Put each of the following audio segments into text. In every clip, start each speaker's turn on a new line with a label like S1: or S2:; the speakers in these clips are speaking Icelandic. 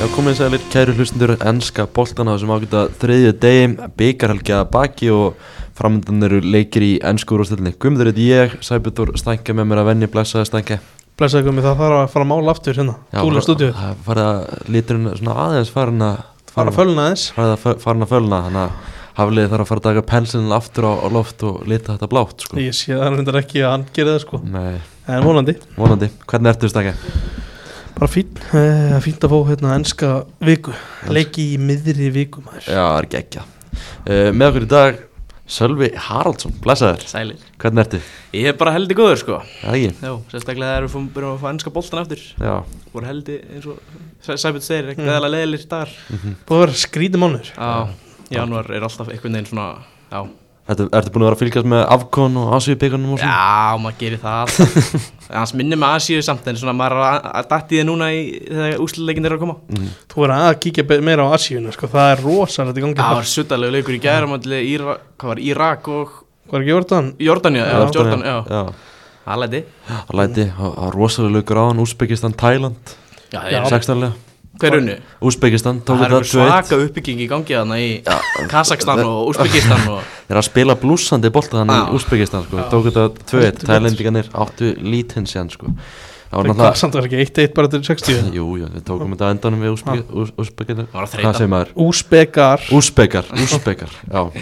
S1: Já, komið sælir, kæru hlustundur, ennska boltan á þessum ágæta þriðju degi, byggarhelgja baki og framöndan eru leikir í ennsku úrvastöldinni. Guðmundur, þetta er ég, Sæbjörn Stænke með mér að venni, blessaði Stænke.
S2: Blessaði komið, það þarf að fara að mála aftur hérna,
S1: Já,
S2: gúla stúdíu,
S1: Það farið að liturinn svona aðeins farin að
S2: fara að fölna aðeins.
S1: farið að fö- farin að fölna, þannig að hafliði þarf að fara að taka pensilin aftur á, á loft og lita þetta blátt, sko.
S2: Ég sé það reyndar ekki að hann gerir það sko,
S1: Nei,
S2: en vonandi,
S1: vonandi. Hvernig ertu Stænke?
S2: bara fín, eh, fínt að fá hérna ennska viku, leiki í miðri viku maður.
S1: Já, það er geggja. Uh, með okkur í dag, Sölvi Haraldsson, blessaður.
S3: Sælir
S1: Hvernig ertu?
S3: Ég er bara heldig góður sko
S1: Það ekki?
S3: Já, sérstaklega þegar við fórum byrjum að fá ennska boltan aftur
S1: Já.
S3: voru heldi eins og Sæbjörn segir, ekkert mm. eðalega leðilir dagar
S2: Búið að vera skrítið mánuður.
S3: Já, januar er alltaf einhvern veginn svona Já,
S1: Ertu, ertu búin að vera að fylgjast með Afkon og Asíubíkanum og svona?
S3: já maður gerir það alltaf Þannig minnir með Asíu samt en svona maður er að- að datti þið núna í þegar úslileikin er að koma
S2: Þú verður að kíkja be- meira á Asíuna sko, það er rosalegt í gangi.
S3: Það
S2: þar.
S3: var suttalegu leikur í gæra mátli Íra, hvað var Írak og
S2: Hvað er ekki verið þann?
S3: Jordania, já, Jordan, já,
S1: já.
S3: það læti
S1: Það læti, það var rosalega laukur á hann, Úsbekistan, Tæland,
S3: Já, það
S2: Já.
S3: er-
S1: sextanlega.
S3: hver unnu?
S1: Úsbekistan tók
S3: Það er
S1: þetta 2-1.
S3: einhver svaka uppbygging í gangi þarna í Kazakstan og Úsbyggistan og
S1: Þeir eru að spila blúsandi bolta þannig
S3: Já.
S1: í Úsbekistan, sko. Tók þetta 2-1, Tælendinganir áttu lítinn sér, sko. Það var
S2: Það er
S1: náttúrulega,
S2: samt að vera ekki 1-1 bara til 60.
S1: jú, jú, við tókum þetta á endanum við Úsbek- Ús- Úsbekina.
S3: Það var að þreyta.
S1: Hvað segir maður?
S2: Úsbekar,
S1: Úsbekar, Úsbekar, já.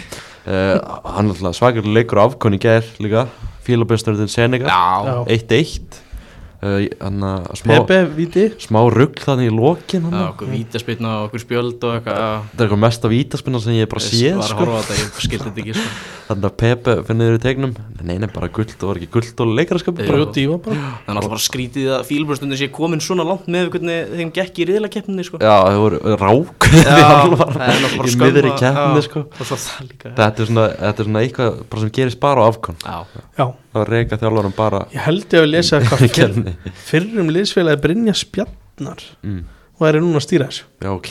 S1: Uh, hann náttúrulega svakar leikur afkon í gær líka, Fílabestarðin Senegal.
S3: Já,
S1: 1-1 uh, Þannig að smá,
S2: Pepe, Viti,
S1: smá rugg þannig í lokin
S3: já,
S1: þarna.
S3: okkur vítaspilna og okkur spjöld og eitthvað já.
S1: Þetta er eitthvað mesta vítaspinna sem ég hef bara séð
S3: var að
S1: sko.
S3: horfa á þetta, ég skildi þetta ekki sko.
S1: Þannig að Pepe finnir í tegnum Nei, nei, bara guld, það var ekki guld og leikaraskap
S3: Jú.
S1: bara,
S2: Brjóti, Ívar bara.
S3: Það er alltaf bara skrítið að fílbröðstundin sé komin svona langt með hvernig þeim gekk í riðlakeppninni sko.
S1: Já, það voru eh, rák
S3: það er náttúrulega bara
S1: Í
S3: skömm
S1: miðri
S3: að-
S1: keppni
S3: já,
S1: sko.
S3: Og svo það líka
S1: Þetta er svona, þetta er svona eitthvað bara sem gerist bara á afkon
S3: Já,
S2: Já,
S1: Það var reyka þjálfarum bara
S2: ég held ég að lesa eitthvað
S1: í
S2: fyrr,
S1: keppni
S2: fyrrum liðsfélagi Brynja Spjarnar
S1: Mm.
S2: og það er núna að stýra þessu.
S1: Já, ok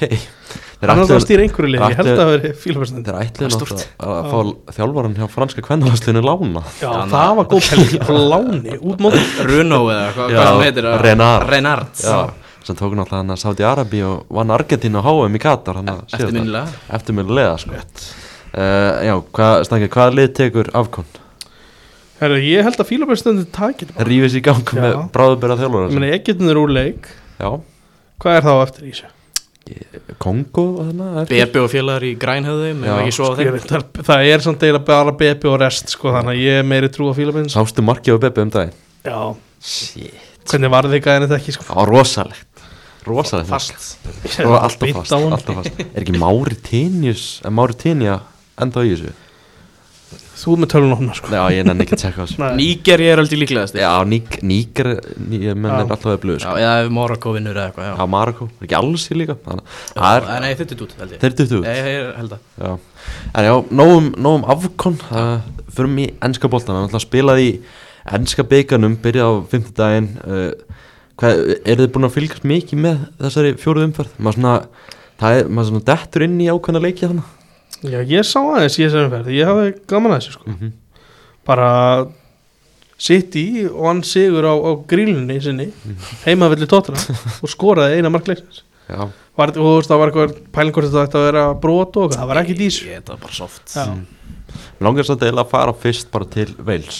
S1: Þeir
S2: Hann er alltaf að
S1: ætluðu-
S2: stýra einhverju liði, ég held að
S1: Ætli-
S2: það veri fílabærsnendur
S1: þeir ætluðu
S3: Það er
S1: náttúrulega að fá þjálfaran hjá franska kvennarhanslunni lána
S2: Já, það var góð helgi á láni út móti
S3: Runo eða hvað
S1: Já,
S3: hvað það heitir að-
S1: Renard.
S3: Renard
S1: Já, sem tók náttúrulega hann að Saudi Arabi og vann Argentínu á HM í Katar hann að síðasta.
S3: E- Eftirminnilega.
S1: Eftirminnilega, sko uh, Já, hvað, stangi, hvaða lið tekur afkon?
S2: Herra, ég held að fílabærsnendur takir bara
S1: Rífis í gang
S2: Já.
S1: með bráðubera
S2: Ég
S1: þjálfur
S2: meina, Egyptin er úr leik,
S1: Já,
S2: hvað er þá eftir í þessu?
S1: Kongo og þannig eftir.
S3: Bebi og félagar í grænhöðum
S1: Já, sko,
S3: Ef ekki svo á
S2: Sko, Ég
S3: þeim
S2: veit að- Það er samt eiginlega bara bebi og rest sko, þannig að ég er meiri trú á fílabærsnendur
S1: Sástu markið á Bebe um daginn
S2: Já, hvernig varði þið gæðin þetta ekki sko
S1: Það var rosalegt Rosalegt
S3: Fast
S1: Það var alltaf
S2: Beint
S1: fast,
S2: á hann.
S1: alltaf fast Er ekki Máritinius, Máritinja enda í þessu?
S2: Þú með tölun ofna sko
S1: Já, ég nenni ekki að tjekka á þessu
S2: Nei.
S3: Nígeri er aldrei líklegast
S1: Já, Ník, Níker, ný, ég menn
S2: Já.
S1: er alltaf að blöðu
S3: Já, eða ef Morocco vinnur eða eitthvað já.
S1: Já, Marokko, er ekki alls í líka Þannig, að það er,
S3: Já, Nei, þetta er dút held ég
S1: þeir duttu út
S3: Ég ég held að
S1: Já. En já, nógum, nógum afkon uh, Förum í ennska boltan Það er náttúrulega spilaði í ennska bygganum Byrjaði á fimmtudaginn uh, hvað, Er þið búin að fylgast mikið með þessari fjóruð umferð? Maður svona, það er, maður svona dettur inn í ákveðna leikja þannig
S2: Já, ég sá aðeins í þessum ferð, ég hafði gaman að þessu sko Bara sitt í og hann sigur á, á grílunni sinni, heimavilli tóttina og skoraði eina markleiksins
S1: Já,
S2: var, og þú veist, það var eitthvað pæling hvort þetta ætti að vera brot og eitthvað, það var ekki dís
S3: Ég, þetta var bara soft
S2: Já.
S1: langar samt eiginlega að fara fyrst bara til Wales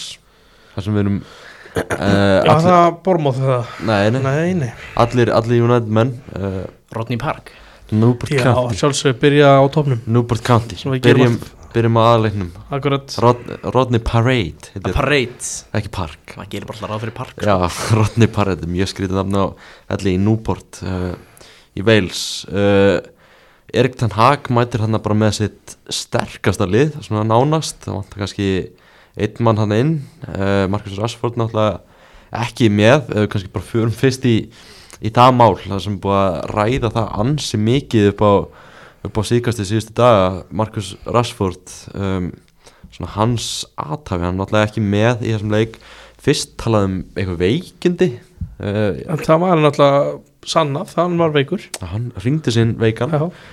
S1: Það sem við erum uh,
S2: Já,
S1: allir,
S2: það bormóð það
S1: nei, nei,
S2: Nei, nei,
S1: allir, allir United menn uh,
S3: Rodney Park
S1: Newport
S2: já,
S1: County
S2: sjálfsög byrja á topnum
S1: Newport County
S2: Sem við gerum
S1: Byrjum, byrjum á aðleiknum
S2: Akkurat,
S1: Rod- Rodney Parade
S3: A
S1: heitir,
S3: Parade
S1: ekki Park
S3: maður gerir bara alltaf ráð fyrir park
S1: já, Rodney Parade, mjög skrítið nafn á allir í Newport uh, í Wales uh, Erik Ten Hag mætir hann bara með sitt sterkasta lið, svona nánast það vantar kannski einn mann hann inn uh, Marcus Rashford náttúrulega ekki með, uh, kannski bara fyrum fyrst í, í það mál, það sem er búið að ræða það ansi mikið upp á upp á síkast í síðustu daga Marcus Rashford um, svona hans aðtafi, hann er náttúrulega ekki með í þessum leik fyrst talað um eitthvað veikindi uh,
S2: en það var náttúrulega sannað, hann var veikur
S1: hann ringdi sinn veikan uh,
S2: já,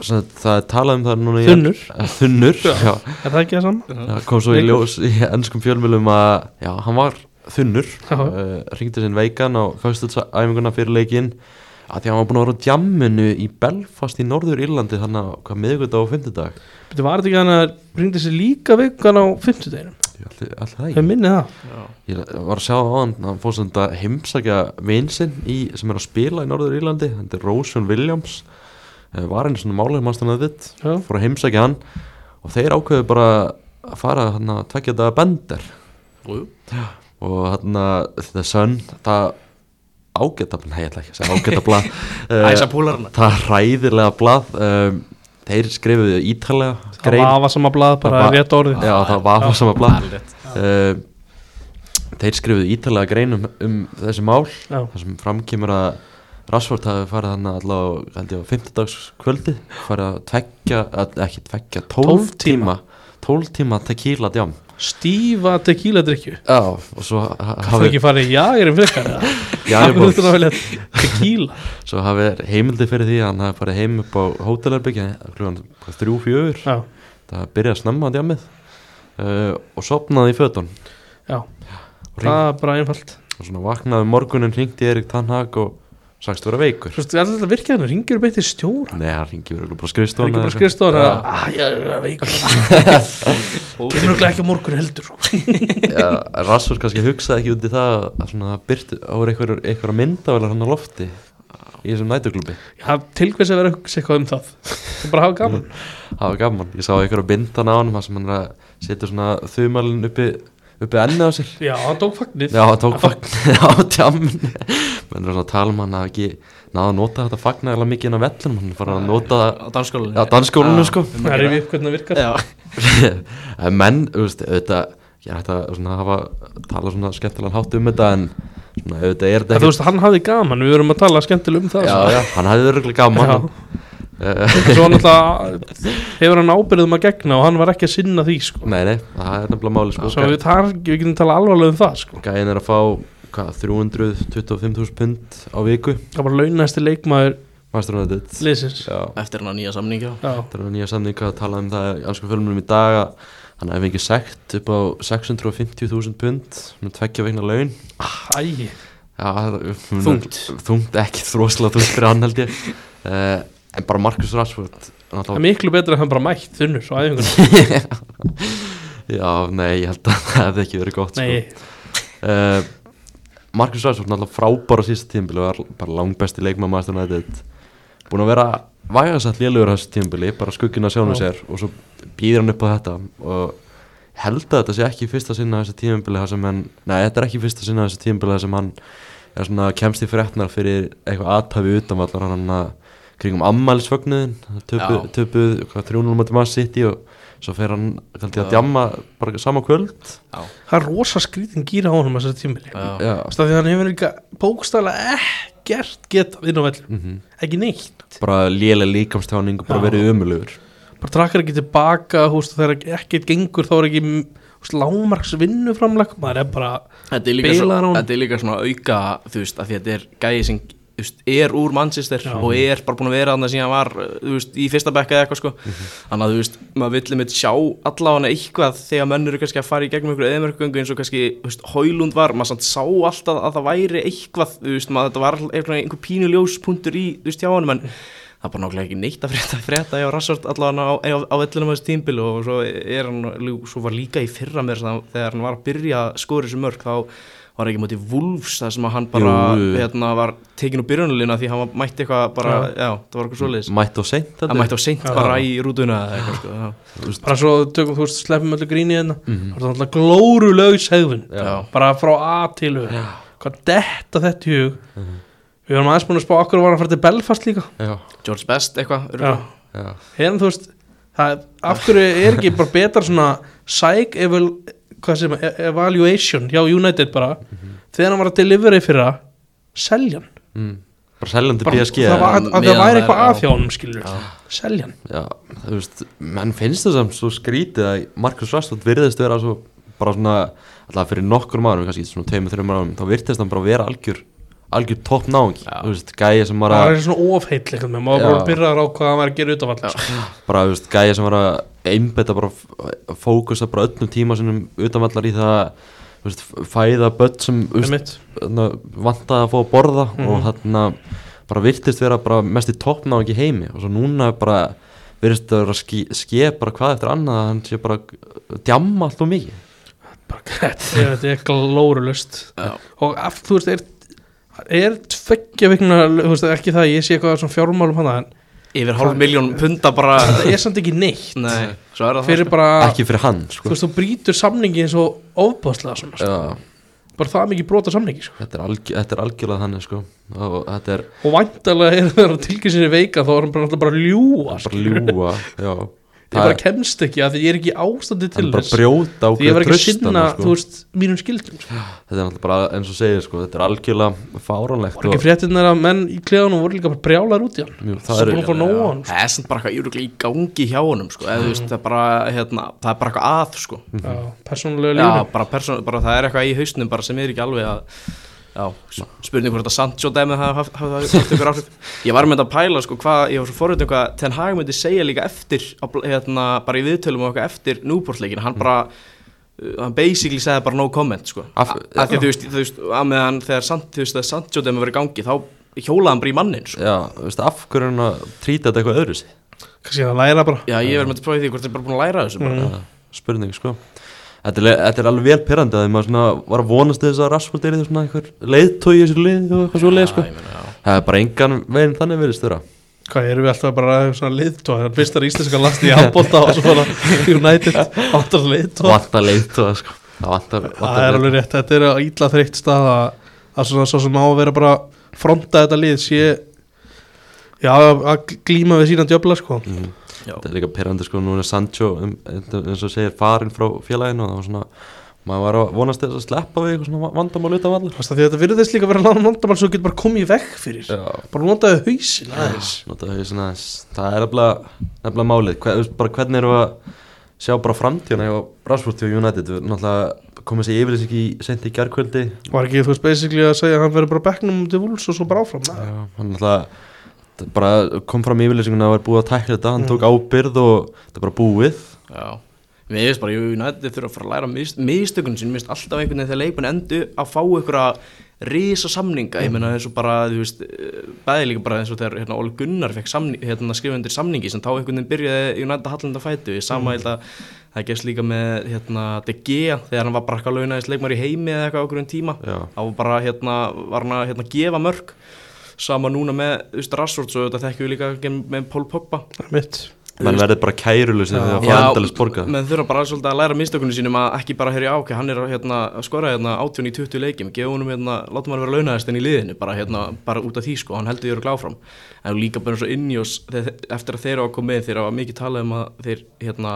S1: svona, það er talað um það núna í-
S2: Þunnur,
S1: Eh, þunnur
S2: Já.
S1: já.
S2: er það ekki það saman?
S1: það kom svo í
S2: Veikur.
S1: ljós í ennskum fjölmjölum að já, hann var þunnur
S2: Já,
S1: uh, ringdi sinn veikan á föstutsæfinguna fyrir leikinn að því að hann var búin að vera á djamminu í Belfast í Norður Írlandi þannig að hvað miðvikudag og fymtudag
S2: Þetta var þetta ekki hann að ringdi sér líka veikan á 50 deginum
S1: alltaf það
S2: Það
S1: ekki
S2: minni það
S3: Já.
S1: ég var að sjá á hann hann fór sem þetta heimsækja vinsinn í, sem er að spila í Norður Írlandi hann er Rósun Williams Eh, var henni svona málega mannstæðan að þitt
S2: Já,
S1: fór að heimsækja hann og þeir ákveðu bara að fara hann að tvekja þetta bender
S3: Jú.
S1: og hann að The Sun það ágæta, nei ég ætla ekki að segja ágæta blað eh,
S3: Æsa púlarna
S1: það hræðilega blað um, þeir skrifuðu ítalega
S2: það
S1: grein,
S2: var sama blað bara
S1: Það var-
S2: rétt orðið
S1: já það var sama blað
S3: Alrétt.
S1: uh, þeir skrifuðu ítalega grein um, um þessi mál
S2: Já.
S1: þar sem framkemur að Rashford hafi farið hann allavega held ég á 50 dags kvöldi farið að tvekja, að, ekki tvekja 12
S2: Tólf
S1: tíma 12 tíma tequila djám
S2: Stífa tequila drikju
S1: já, og svo ha-
S2: Það er
S1: hafi
S2: ekki farið í jagerum frekar eða? Af hverju ertu
S1: Jæjuborg,
S2: að velja Tequila
S1: svo hafi heimildi fyrir því að hann hafi farið heim upp á hótelarbyggja klúan 3-4
S2: Já,
S1: það byrjaði að snemma djamið uh, og sopnaði í fötun
S2: já,
S1: og, hring,
S2: það er bara einfalt
S1: og svona vaknaði um morgunin ringdi Erik Tannhag og sagst vera veikur
S2: Svo stu, alltaf þetta virkja þannig, ringir beittir stjóra
S1: Nei, hann ringi verið bara
S2: Það er
S1: skrifstofan
S2: ekki bara skrifstofan að "Ah, Ég er veikur Kemur ekki ekki á morgun heldur
S1: Rassur kannski hugsaði ekki út í það að svona það byrtu á einhver, einhver myndavelar hann á lofti í þessum nætuglubi
S2: Já, til hvers að vera að hugsa eitthvað um það Það er bara að hafa
S1: Mm.
S2: gaman
S1: það var gaman, ég sá einhver að binda hann á hann sem hann er að setja svona þumalinn uppi, uppi enni á sér
S2: Já, hann tók fagnir
S1: Já, það tók fagn á tjammin menn er svona að tala um hann að ekki náða að nota þetta fagn eða mikið inn á vellinum hann fara að nota það
S3: Á um dansskólinu
S1: Já, dansskólanum, sko.
S2: Það er við upp hvernig það virkar
S3: Já,
S1: En menn, þú veist, auðvitað ég er hægt að svona hafa tala svona skemmtilegan hátt um þetta en svona auðvitað er
S2: En
S1: þetta
S2: Þú veist, hann hafði gaman, við vorum að tala skemmtilega um það
S1: já, já, hann hafði örgulega gaman
S2: Já.
S1: uh,
S2: Svo hann alltaf hefur hann ábyrðum að gegna og hann var ekki að sinna því sko.
S1: Nei, nei, það er nefnilega máli sko,
S2: Svo við, tar, við getum tala alvarlega um það sko.
S1: Gæin er að fá hvað, 325.000 pund á viku
S2: Það var launæsti leikmaður
S1: Master of Edit
S2: liðsins
S1: Já,
S3: eftir hann á nýja samninga
S2: Já,
S1: það er nýja samninga að tala um það í ansku fjölmunum í dag að hann hefði fengið sekt upp á 650.000 pund með tveggja vegna laun
S2: æ
S1: Já, það-
S3: Þungt
S1: þungt ekki þróslega þungt fyrir hann held ég uh, en bara Marcus Rashford
S2: Það er
S1: náttúrulega-
S2: miklu betra að hann bara mætt þunnur svo aðeins
S1: já, nei, ég held að það hefði ekki verið gott sko.
S2: Nei,
S1: uh, Marcus Rashford náttúrulega frábæra sísta tímbili var bara langbesti leikmaður maður stjórnættið búin að vera vægarsætt lélugur á þessu tímbili bara skuggin að sjónu
S2: Já.
S1: sér og svo býður hann upp á þetta og held að þetta sé ekki í fyrsta sinna þessu tímbili þar sem hann, nei, þetta er ekki í fyrsta sinna þessu tímbili þar sem hann er svona kemst í fréttnar fyrir eitthvað aðtafi utanvallar hann að kringum ammælisfögnuðin töpuð,
S3: Já.
S1: töpuð hvað, 3-0 mæti maður sitt í og svo fer hann kannski að
S3: Já.
S1: djamma bara sama kvöld
S2: það er rosa skrítin gýra á honum þessar tímili Það
S3: Já.
S1: Já.
S2: er því að hann hefur líka bókstæla ekkert getað inn á vellum
S1: Mm -hmm.
S2: Ekki neitt
S1: bara lélega líkamstjáning og bara
S2: Já.
S1: verið ömulugur
S2: Bara trakkar ekki tilbaka, húst, þegar ekkert gengur þá er ekki húst, lámarks vinnuframlag Maður er bara,
S3: Þetta er líka,
S2: Bilar
S3: svo,
S2: hún?
S3: þetta er líka svona auka þú veist, af því að þetta er gæði sem þú veist, er úr Manchester
S2: Já.
S3: og er bara búin að vera þannig að síðan var þú veist, í fyrsta bekka eða eitthvað sko þannig að þú veist, maður villið mitt sjá allavega eitthvað þegar menn eru kannski að fara í gegnum einhverju eðmerkgöngu eins og kannski þú veist, Hólund var, maður samt sá alltaf að það væri eitthvað, þú veist, maður þetta var einhver, einhver pínu ljóspunktur í, þú veist, hjá hann en það er bara nákvæmlega ekki neitt að frétta, frétta hjá Rassort allavega á, á, á vellinum á þessu tímbil og svo er hann, ljú- svo var líka í fyrra mér þegar hann var að byrja að skora þessu mörg þá var ekki mútið Wolves það sem að hann bara
S1: Jú.
S3: hérna, var tekin úr byrjunulina því hann var- mætti eitthvað bara, já, það var eitthvað svoleiðis
S1: mætt og seint
S3: hann mætti á seint
S2: Já.
S3: bara í rútuna eða eitthvað sko, já.
S2: bara svo tökum þú veist, sleppum öllu gríni hérna Það er alltaf glórulaus hegðun
S3: Já.
S2: Bara frá A til U Hvað detta þetta í hug Við varum aðeins búin að spá okkur var hann að fara til Belfast líka
S1: já,
S3: George Best eitthvað
S2: Já,
S3: örugglega.
S1: já.
S2: hérna þú veist það, af hverju er ekki bara betra svona psych eval, hvað sem, e- evaluation hjá United bara þegar hann var að deliveri fyrir að selja hann
S1: Mm. bara seljandi
S2: bara,
S1: PSG
S2: það, var, að, að það
S3: meðan
S2: væri
S3: væri
S2: eitthvað
S3: á-
S2: að hjá honum skilur selja hann
S1: já, þú veist, menn finnst það samt svo skrítið að Marcus Rashford virðist vera svo, bara svona alltaf fyrir nokkur márum, kannski svona tveimur, þreimur márum þá virðist hann bara vera algjör algjör topp náðing,
S3: Já.
S1: þú veist, gæja sem var
S2: það
S1: að
S2: var svona ofheill eitthvað með maður
S1: Já.
S2: bara byrjar á hvað hann var að gera út af allir sko.
S1: bara, þú veist, gæja sem var að einbetta bara f- að fókusa bara öllum tíma sinum utanvallar í það að, þú veist, fæða börn sem, þú veist,
S2: Einmitt. Mhm.
S1: þarna, vantaði að fá að borða og þarna hérna, bara virtist vera bara mest í toppna ekki heimi og svo núna bara virðist að vera að ske, ske bara hvað eftir annað að hann sé bara að djamma alltaf mikið
S2: bara grætt þetta er glórulust
S3: Já.
S2: og af, þú veist, er er tveggja vikna, þú veist, ekki það að ég sé eitthvað svona fjármálum hana, en
S3: Yfir hálf miljón punda bara
S2: það er samt ekki neitt
S3: Nei, svo er það sko.
S2: fyrir bara,
S1: ekki fyrir hann
S2: þú
S1: sko.
S2: veist, þú brýtur samningi eins og ofbáslega svona, sko.
S1: Já,
S2: bara það mikið brota samningi sko.
S1: þetta, er algjör, þetta er algjörlega þannig sko. og þetta er
S2: og væntalega er það tilkynsinni veika þá er hann bara, náttúrulega bara að ljúa sko.
S1: bara ljúa já.
S2: ég bara kemst ekki að því ég er ekki í ástandi til
S1: hann bara
S2: þess
S1: brjóta
S2: því ég
S1: ákveð
S2: var ekki að sinna,
S1: tröstana
S2: þú
S1: sko.
S2: veist, mínum skildum sko.
S1: þetta er alltaf bara eins og segir sko, þetta er algjörlega fáránlegt
S2: var ekki fréttinnar að menn í kleðanum voru líka bara brjálar út í hann
S1: Jú, það
S2: það er
S1: eru-
S2: búin að fá nóg á hann sko.
S3: Það er samt bara eitthvað júruglega í gangi hjá honum sko. Eða, þú
S2: Mm.
S3: veist, það, er bara, hérna, það er bara eitthvað að sko.
S2: Já, persónulega
S3: Já,
S2: lífnum
S3: bara persón, bara, það er eitthvað í hausnum bara, sem er ekki alveg að Já, s- spurning hvort að Sancho dæmi hafa haft, haft, haft, haft ykkur áhrif Ég var með að pæla sko, hvað, ég var svo forvitið hvað Ten Hag myndi segja líka eftir á bl- hérna, bara í viðtölum og eitthvað eftir Newport-leikin
S1: Mm.
S3: hann bara, uh, hann basically segði bara no comment sko.
S1: Af-
S3: af því að þú veist, þú veist, að meðan þegar Sant- þú veist, þegar Sancho dæmi var í gangi þá hjólaði hann bara í mannin sko.
S1: Já, þú veist, af hverju er hann að trýta þetta eitthvað öðru sig
S2: kannski að læra bara
S3: Já,
S1: eh.
S3: ég verður með að prófa því hvort þið er bara búin að læra þessu bara. Ah,
S2: Mm.
S1: spurning, sko Þetta er, le- þetta er alveg vel perandi að því maður svona var að vonast til þess að Rashford er svona einhver leiðtói í þessu lið og eitthvað svo leið, sko
S3: Já, ég meina, já.
S1: Það er bara engan veginn þannig verið störa
S2: Hvað erum við alltaf bara svona liðtóa Það er fyrst að íslenska lasti í handbólta og svona United áttar liðtóa
S1: Vantar leiðtóa, sko Það vantar,
S2: Það er
S1: vantar
S2: alveg rétt, þetta er að ítla þreytt stað að, að svona svo sem á að vera bara fronta þetta lið sé Já, að glíma við sína djöfla sko
S1: Mhm.
S3: Já.
S1: Þetta er líka perandi, sko, núna er Sancho um, eins og segir farin frá félaginu og það var svona, maður var að vonast til þess að sleppa við eitthvað svona vandamál utan vallar
S2: Fast að því að þetta virðist líka vera lána vandamál sem þú getur bara komið í vekk fyrir Bara notaði hausin aðeins
S1: Nota hausinn aðeins. Það er nefnilega, nefnilega málið. Hver, þú veist, bara hvernig erum við að sjá bara framtíðuna hjá Rashford og United? Við náttúrulega komum þessi yfirleys ekki sent í gerkvöldi.
S2: Var ekki, þú veist, basically að segja að hann verður bara á bekknum til vúls og svo bara áfram Nei.
S1: Hann náttúrulega þetta bara kom fram í yfirleysinguna að var búið að tækla þetta. Hann tók ábyrð og þetta er bara búið.
S3: Já. Mér finnst bara, jú, United þurfa að fara að læra mis, mistökunum sín, mér finnst alltaf einhvern veginn þegar leikmenn endu að fá einhverja risa samninga, ég meina eins og bara, þú veist, eh, bæði líka bara eins og þegar hérna, Óli Gunnar fekk samning, hérna, skrifundir samningi sem þá einhvern veginn byrjaði United hallanda fætu, ég sama held að það gerst líka með, hérna, De Gea þegar hann var bara eitthvað launaðist leikmar í heimi eða eitthvað okkur um tíma,
S1: Já.
S3: þá var bara, hérna, var hann að, hérna, gefa mörg, sama núna með, þú veist, Rassvort, svo þetta þekkjum við líka hérna, með Pól Pogba,
S2: Mitt
S1: Menn verðið bara kærulusið
S2: Já.
S1: þegar það
S3: Já,
S1: fara endalist borgað.
S3: menn þurfa bara svolítið að læra mistökunum sínum að ekki bara herja á, ok, hann er að, hérna, að skora hérna 18 í 20 leikjum, gefa honum hérna, látum hann vera launaðist enn í liðinu, bara hérna, bara út af því sko, hann heldur ég eru gláfram, en líka bara svo innjós, eftir að þeir eru að koma með þeir hafa mikið talað um að þeir, hérna,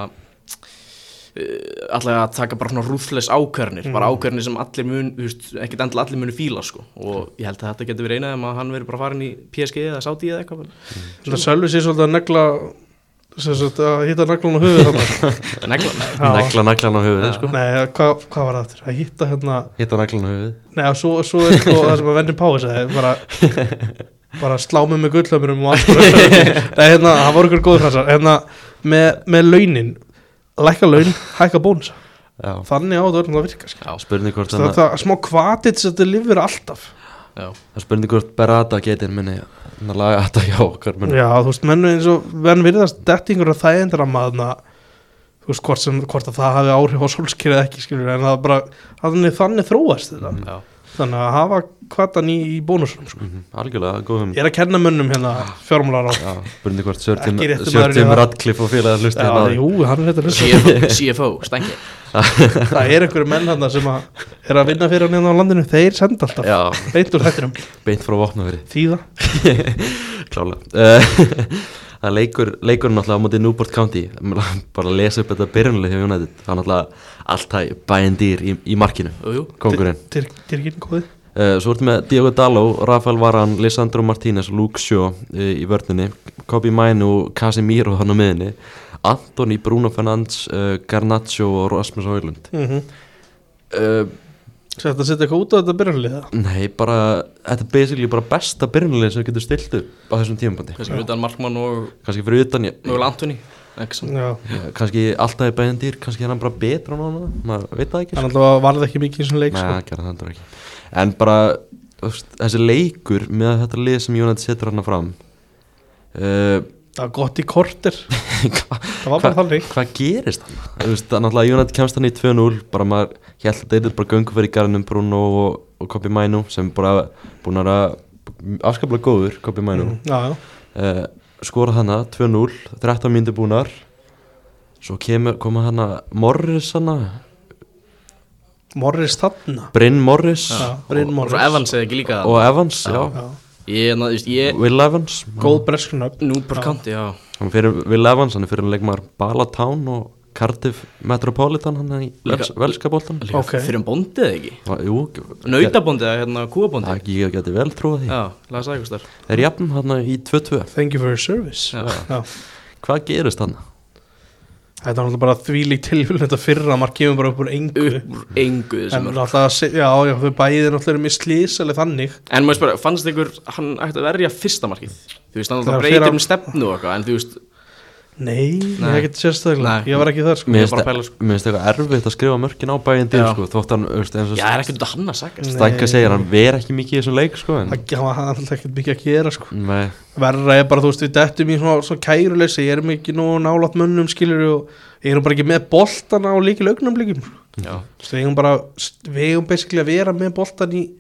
S3: alltaf að taka bara svona rúðfles ákvörnir, bara
S1: Mm.
S3: ákvörnir sem allir mun, þú veist, ekkert endilega allir munu fíla sko, og ég held að þetta getur verið einað um að hann verið bara farin í PSG eða Saudi eða eitthvað,
S2: Þetta sjálfur sér svolítið að negla sem sagt að hitta neglan á höfuð þarna
S3: en eitthvað,
S2: Já.
S1: Negla naglan á höfuðið, sko.
S2: Nei, hvað hva var það aftur? Að hitta hérna
S1: Hitta naglan á höfuðið.
S2: Nei, og svo, svo er sko það sem að vendin Páir sagði bara, bara slá mig með gullamurum og allt bara Nei, hérna, það voru ykkur góður fransar hérna, með, með launin lækka laun, hækka bónusa
S1: Já.
S2: þannig á þetta öllum að virka sko.
S1: Spurning hvort
S2: það,
S1: hann
S2: það smá kvatið sem þetta lifir alltaf
S3: já,
S1: að spurning hvort Berata getinn minni að laga þetta hjá okkar minni.
S2: Já, þú veist, menn eins og menn virðast dettingur að það endur að maður þú veist, hvort, sem, hvort að það hafi áhrif á solskýrið ekki, skilur, en það bara þannig, þannig þróast þetta
S3: já.
S2: þannig að hafa kvatan í, í bónusunum sko.
S1: Mhm, Algjörlega, góð hugmynd.
S2: ég er að kenna mönnum hérna fjármálar á
S1: Já, spurning hvort
S2: Ekki rétti maðurinn í
S1: Sörtjum
S2: það.
S1: Radcliffe og félagar hérna hlusti
S2: Já, jú, hann er þetta hlusta
S3: CFO, CFO, stængi
S2: það er einhverju menn hann sem að er að vinna fyrir hann hérna á landinu, þeir senda alltaf
S1: Já,
S2: beint úr þættinum,
S1: beint frá vopnaveri
S2: þýða
S1: Klála Það er leikur, leikurinn náttúrulega á móti Newport County bara að lesa upp þetta byrjunlega hjá United það er náttúrulega alltaf bæjandýr í, í markinu,
S3: Jú, jú.
S1: kongurinn
S2: Tyrkinn góði
S1: uh, Svo ertu með Diogo Daló, Rafael Varan Lissandro Martínez, Luke Shaw uh, í vörninni Kobi Mainu, Casemiro hann á miðinni Antoni, Bruno Fernandes, uh, Garnaccio og Rasmus Højlund
S2: mm
S3: Mhm.
S2: -hmm.
S1: uh,
S2: Þetta setja eitthvað út á þetta byrjanlega
S1: Nei, bara, þetta er basically bara besta byrjunlega sem getur stilt upp á þessum tímabundi
S3: kannski utan Markmann og
S1: kannski fyrir utan ég,
S3: mögulega Antoni ekki samt
S2: Já,
S1: Já, kannski alltaf er bæðin dýr kannski er hann bara betra núna maður veit það ekki sko.
S2: hann alltaf varði ekki mikið í svona leik
S1: Nei,
S2: sko.
S1: hann gerði það heldur ekki en bara þú veist, þessi leikur með að þetta lið sem Jónat setur hana fram uh,
S2: Það var gott í korter Það var bara þannig
S1: hvað gerist hann? Þú veist, að náttúrulega Jónat kemst hann í 2-0 bara maður held að deytið bara göngu fyrir garðinum Bruno og, og Kopi Mænu sem bara búin að afskaplega góður Kopi Mænu mm.
S2: Já, já
S1: uh, skorað hana 2-0 13 mínútur búnar svo kemur, koma hana Morris hana,
S2: Morris þarna
S1: Bryn Morris
S2: Já,
S3: Og-
S2: Bryn
S3: og svo
S2: Morris
S3: Evans eða ekki líka
S1: og Evans, já,
S2: Já.
S3: ég, na, just, ég
S1: Will Evans
S2: Góð
S3: Mm.
S2: bresknöfn
S3: nú bara kanti já.
S1: hann fyrir Will Evans, hann er fyrir leikmar Balatown og Cardiff Metropolitan hann er í
S3: Líka-
S1: velskapoltan
S3: Líka
S2: Ok.
S3: fyrir um bondið eða ekki
S1: Jú,
S3: nautabondið eða hérna kúabondið
S1: ég, ég geti vel trúið því
S3: já, lasa eitthvað starf
S1: er jafn hann í 2-2
S2: Thank you for your service
S3: Já.
S2: Já.
S1: hvað gerist hann?
S2: Þetta var náttúrulega bara þvílík tilfylg Þetta fyrra mark kemur bara upp úr engu
S3: upp úr engu
S2: En
S3: þessum en,
S2: náttúrulega, se- já, já, þau bæðir náttúrulega eru mislýs Eller þannig
S3: en maður spara, fannst ykkur hann ætti að verja fyrsta markið þú veist,
S2: Það
S3: hann alltaf
S2: er fyrir
S3: breytir
S2: að-
S3: um stefnu og eitthvað en þú veist,
S2: Nei, Nei.
S3: Nei.
S2: ekkert sérstaklega
S3: Nei.
S2: Ég var ekki þar sko
S1: Mér
S3: er
S1: finnst
S3: bara að pæla, sko.
S1: mér finnst eitthvað erfitt að skrifa mörkin á bæðin til
S3: Já.
S1: sko, þótt hann, veist, eins og
S3: já, er ekkert út að hann að sagast
S2: Nei.
S1: Stænka segir hann ver ekki mikið í þessum leik sko, en,
S2: Það það var alltaf ekkert mikið að gera sko
S1: nei,
S2: Verra er bara, þú veist, við dettum í svona svo kæruleysi Ég erum ekki nú nálat mönnum skilur og ég erum bara ekki með boltan á líki lögnum líkim
S3: já,
S2: Við eigum bara, við eigum basically að vera með boltan í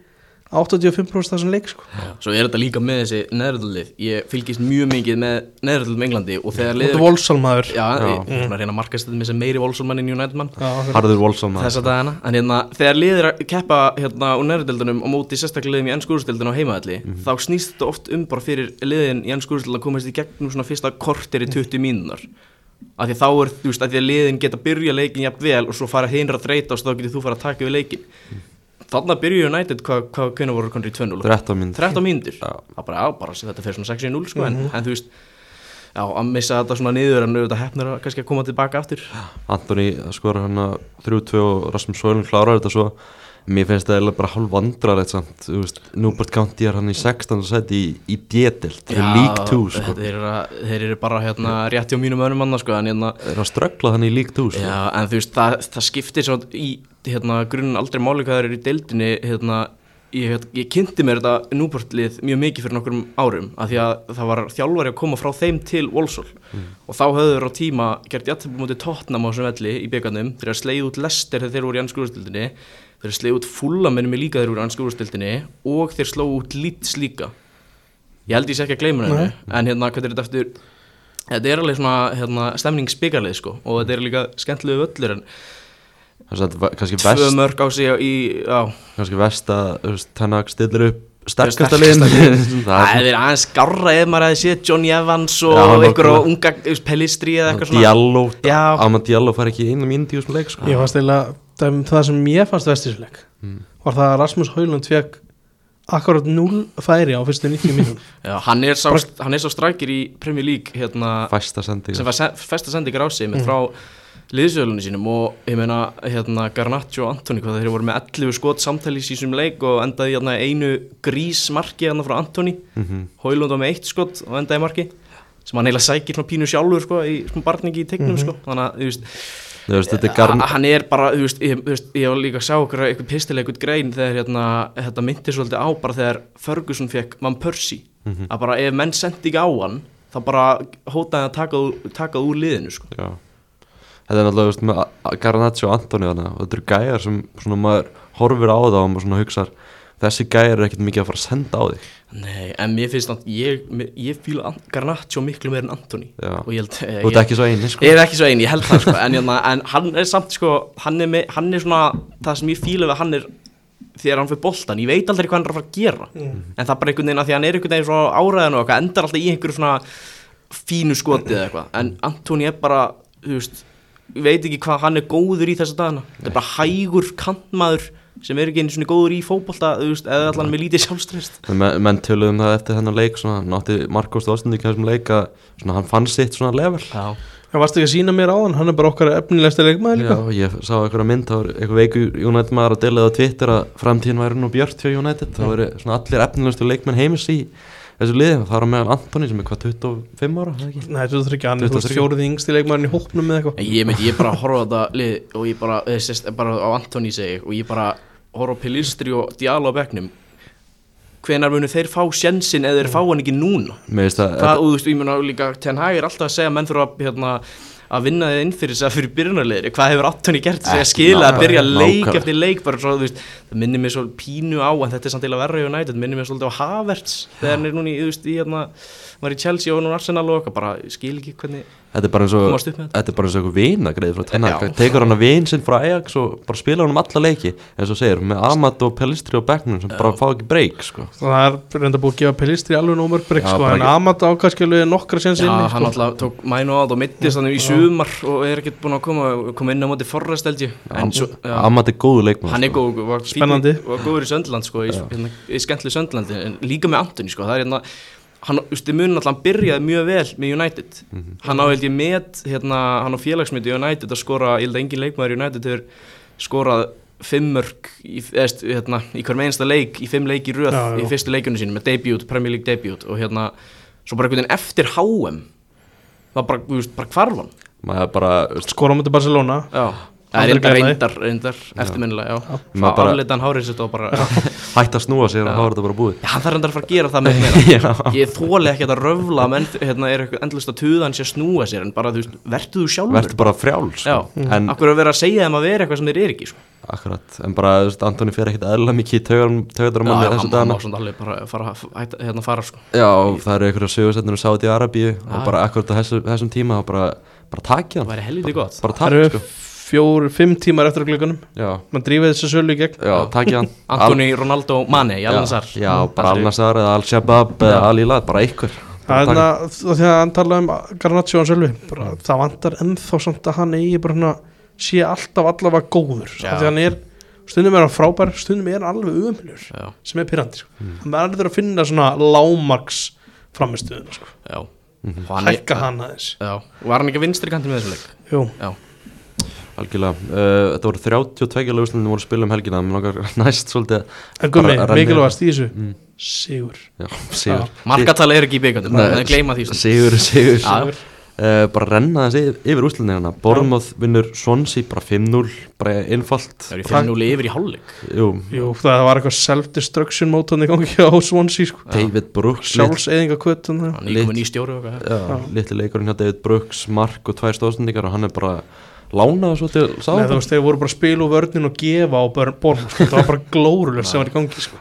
S2: 85% þessum leik sko
S3: svo er þetta líka með þessi neðröldlið ég fylgist mjög mikið með neðröldlum Englandi og þegar
S2: Þú
S3: liður
S2: ert volsalmaður
S3: já,
S1: Já.
S3: ég er svona að reyna að markast þetta með þessi meiri Volsonmann en United mann
S2: Já,
S1: harður Wolfson maður. sko.
S3: þessa dagana, en hérna, þegar liðir að keppa hérna úr nærdeldunum og móti sérstaklega liðum í ennskúrstildin á heimaðalli,
S1: Mhm.
S3: þá snýst þetta oft um bara fyrir liðin í ennskúrstildin að komast í gegnum svona fyrsta kortir í
S1: Mhm.
S3: 20 mínunar af því að þá er, þú veist, af því að liðin geta byrja leikin jafn vel og svo fara hinra að þreita og svo þá getur þú fara að taka við leikin
S1: Mhm.
S3: þannig að byrja United, hvað hva, hvernig voru konur í 2-0?
S1: 13 minn
S3: 13 mínútur,
S1: Já. Mhm.
S3: það bara, já, bara þetta fyrir svona 6-0 sko, en, en þú veist já, að missa þetta svona niður en auðvitað hefnir að kannski að koma tilbaka aftur
S1: Antoni skorar hann að 3-2 og Rasmus Sólin klárar þetta svo Mér finnst það eiginlega bara hálf vandrarlegt samt Þú veist, Núbert County er hann í 16. seti í, í D-delt Þeir
S3: Já, eh,
S1: er lík 2 sko
S3: þeir eru, að- þeir eru bara hérna rétti á mínum önum manna sko en, hérna,
S1: Þeir eru að ströggla hann í lík 2 sko
S3: já, en þú veist það, það skiptir svo í hérna, grunn aldrei máli hvað þeir eru í deildinni hérna, ég, hérna, ég kynnti mér þetta núbortlið mjög mikið fyrir nokkrum árum af því að það var þjálfari að koma frá þeim til Wolsall
S1: Mm.
S3: og þá höfðu þeir á tíma gert jættabum mútið Tottenham á þessum velli í byggarnum þeir eru að sleið út lester þegar þeir voru í anskúrstildinni þeir eru að sleið út fullamennum í líka þegar þeir voru í anskúrstildinni og þeir slóu út lits líka ég held ég sé ekki að gleyma henni en hérna, hvað er þetta eftir þetta er alveg svona hérna, stemningsbyggarlið sko og þetta er líka skemmtilegu völlur en
S1: Þess að þetta var kannski
S3: tvö
S1: vest,
S3: mörg á sig í, á,
S1: kannski vest að þú veist, Tennak stillir upp sterkasta
S3: Sterkasta
S1: liðin
S3: það er verið aðeins garra ef maður hefði séð Johnny Evans og
S1: Já,
S3: einhver á
S1: nákvæmlega.
S3: unga þú veist, Pellistri eða eitthvað svona
S1: Diallo,
S3: Já.
S1: Amma Diallo fær ekki inn um indíu sem leik sko
S2: Ég fannst eiginlega, það, um það sem ég fannst vestisleik var það að Rasmus Haulund fekk akkurat 0 færi á fyrstu 90 mínum
S3: Já, hann er sá, hann er sá strækir í Premier League hérna,
S1: Fæsta sendi
S3: sem var se- festa sendingar á sig mm. frá liðsöðlunum sínum og ég meina hérna, Garnaccio og Antoni hvað þeir voru með 11 skot samtælis í þessum leik og endaði hérna, einu grísmarki hérna frá Antoni mm
S1: Mhm.
S3: -hmm. Hólund var með eitt skot og endaði í marki sem hann eiginlega sækir svona pínu sjálfur sko, í svona barningi í tegnum sko. þannig að þú veist,
S1: Þú veist, þetta er
S3: Garn...
S1: garn
S3: Eh, hann er bara, þú veist, ég, þú veist, ég var líka að sjá okkur eitthvað pistilega eitthvað grein þegar hérna, þetta myndi svolítið á bara þegar Ferguson fekk mann Percy
S1: Mhm.
S3: að bara ef menn sendi ekki á hann þá bara hótaði að taka, þú- taka þú úr liðinu sko.
S1: Já. Þetta er náttúrulega þú veist, með A- A- Garnaccio og Antoni þarna og þetta eru gæjar sem svona maður horfir á það og maður svona hugsar þessi gæjar er ekkert mikið að fara að senda á þig
S3: Nei, en mér finnst að ég, mér- ég fíla An- Garnaccio miklu meir en Antoni
S1: Já.
S3: og ég held
S1: Þú ert ekki svo eini sko
S3: Ég er ekki svo einn, ég held það sko en, hérna, en hann er samt sko hann er, með, hann er svona, það sem ég fíla við hann er þegar hann fyrir boltan, ég veit aldrei hvað hann er að fara að gera en það er bara einhvern veginn að því að hann er einhvern veginn svo áræðan og eitthvað, endar alltaf í einhverju svona fínu skotið eða eitthvað en Antoni er bara, þú veist ég veit ekki hvað hann er góður í þessa dagana það er bara hægur kantmaður sem er ekki einu svona góður í fótbolta þú veist, eða allan með lítið sjálfstrest
S1: En men- menn töluðum það eftir þennan leik svona, hann átti Markos Þorstund í þessum leik að svona, hann fann sitt svona level
S3: Já,
S2: Ég varst ekki að sína mér á hann, hann er bara okkar efnilegsta leikmaður líka
S1: Já, ég sá einhverja mynd, þá var einhver veiku United maður að dela það á Twitter að framtíðin væri nú björt hjá United, þá eru svona allir efnilegustu leikmenn heimis í þessu liði það er á meðal Antoni sem er hvað 25 ára, er það ekki?
S2: Nei, þú þurft ekki, hann er þú veist
S1: 23.
S2: fjórið yngsti leikmaðurinn í hópnum með eitthvað
S3: En Ég myndi, ég bara horfa á þetta lið og ég bara, þessi, bara á Antoni segi ég, og ég bara horfa á Pilistri og Diallo á bekknum hvenar munu þeir fá sjensin eða þeir fá hann ekki núna
S1: Mér veist að
S3: það, og þú veist, ég mun að líka Ten Hag er alltaf að segja að menn þurfa að, hérna, að vinna þið inn fyrir þess að fyrir byrjunarleiri hvað hefur Antoni gert þess að
S1: Ekki,
S3: skila að
S1: nákvæmlega,
S3: byrja leik
S1: nákvæmlega.
S3: eftir leik bara svo, þú veist, það minnir mér svo pínu á en þetta er samt til að verra í United, minnir mér svolítið á Havertz þegar hann er núna í, þú veist, í hérna hann var í Chelsea og núna Arsenal og okkar bara ég skil ekki hvernig
S1: þetta er bara eins og
S3: komast upp með þetta
S1: Þetta er bara eins og einhver vinagreið frá tenna
S3: Já.
S1: Tekur hann að vin sinn frá Ajax og bara spila hann um alla leiki eins og segir, með Amat og Pelistri og Becknum sem bara fá ekki breyk sko.
S2: það er reynda búið að gefa Pelistri alveg nómur brygg
S1: Já,
S2: sko,
S1: bara
S2: en
S1: ekki-
S2: Amat ákast alveg nokkra séns
S3: Já,
S2: inni
S3: hann
S2: sko.
S3: alltaf tók mænu á þetta og mittist þannig í sumar og er ekkert búin að koma, koma inn á móti forrest held ég En svo- já.
S1: Amat er góðu leikmann
S3: hann er
S1: sko.
S3: góð, var fínn-
S2: Spennandi.
S3: var góður í Söndland sko, í, hérna, í skemmtlu Söndlandi en líka með Antoni sko, það er hérna hann, ústu, mun alltaf, hann byrjaði mjög vel með United hann á held ég met hérna, hann á félagsmyndi í United að skora, ég held að engin leikmaður í United hefur skorað fimmörk í, eðst, hérna, í hverjum einasta leik í fimm leik í röð
S2: Já, já.
S3: í fyrstu leikunum sínum með debut, Premier League debut og hérna, svo bara einhvern veginn eftir HM það bara, þú veist, bara hvarf hann
S1: Maður er bara, veist,
S2: skora á mútið Barcelona
S3: já,
S2: Aldrei
S3: reyndar,
S2: gleyma því.
S3: reyndar, reyndar eftirminnilega, já, já.
S1: Maður bara-
S3: afleita hann hárið sitt og bara
S1: hætt að snúa sér og þá er þetta bara búið
S3: Já, hann þarf endur að fara að gera það með mér Ég þóli ekki að röfla menn, hérna, er eitthvað endlust að tuða hans að snúa sér en bara, þú veist, vertu þú sjálfur
S1: Vertu bara frjál
S3: Já,
S1: sko. En
S3: akkur að vera að segja þeim að vera eitthvað sem þeir eru ekki sko.
S1: Akkurat, en bara, þú veist, Antoni fer ekkert eðla mikið í taugardur á manni
S3: hann
S1: þessu
S3: hann
S1: dagana
S3: má svona alveg bara fara, hætta, hérna, fara sko.
S1: Já, og það eru einhverja sögursendinu sáði í Arabíu og bara akkurat á þessu, þessum tíma þá bara, bara takja
S3: Það
S1: hann
S3: væri helviti gott
S1: bara
S2: það
S1: takja,
S2: eru
S1: sko
S2: fjór, fimm tímar eftir að glöggunum
S1: Já,
S2: mann drífið þessu sölu í gegn
S1: já, takja hann
S3: Antoni Ronaldo Mane,
S1: Al-
S3: Jalansar
S1: Já, já, bara Al-Nassar eða Al-Shabab eða Al-Ilad, bara einhver
S2: Það
S1: Bara
S2: er
S1: taka-
S2: það því að hann talaði um Garnaccio og Sölvi bara,
S3: Mm.
S2: það vantar ennþá samt að hann eigi bara hana, sé alltaf allavega góður
S3: Já.
S2: af því að hann er, stundum er hann frábær stundum er hann alveg umhjör
S3: Já, Mm.
S2: sem er pyrrandi, sko. hann verður að finna svona lámarks framistuðuna sko.
S3: já
S1: Mhm.
S3: Og hann er-
S2: hækka hann aðeins
S3: Já, var hann ekki vinstri kanti með þessum leik?
S2: Jú,
S3: Já,
S1: Algjörlega, uh, þetta voru 32 lögustundum voru að spila um helgina, mér langar næst svolítið að
S2: en gummi,
S1: bara renna-
S2: mikilvægast í þessu
S3: Mm.
S2: sigur,
S1: Já, sigur
S3: markatala er ekki í byggandum,
S1: Nei.
S3: það er gleyma því sko.
S1: Sigur, sigur
S3: Já, já.
S1: uh, bara renna þessi yfir úslinni hérna Bormoth vinnur Swansea bara 5-0 bara einfalt
S3: Það er í 5-0 yfir í hálfleik
S1: Jú,
S2: Jú, það var eitthvað self-destruction mótan í gangi á Swansea sko.
S1: David Brooks lit,
S2: sjálfseyðinga kvötun
S3: Hann
S1: Lit.
S3: er komin í stjóru og eitthvað
S1: já, litli leikurinn hjá David Brooks mark og tvær stóðsendingar og hann er bara lánað svo til sá
S2: Nei, þú veist, þeir voru bara að spila úr vörnin og gefa á borðum, sko. það var bara glórulegt sem var í gangi, sko.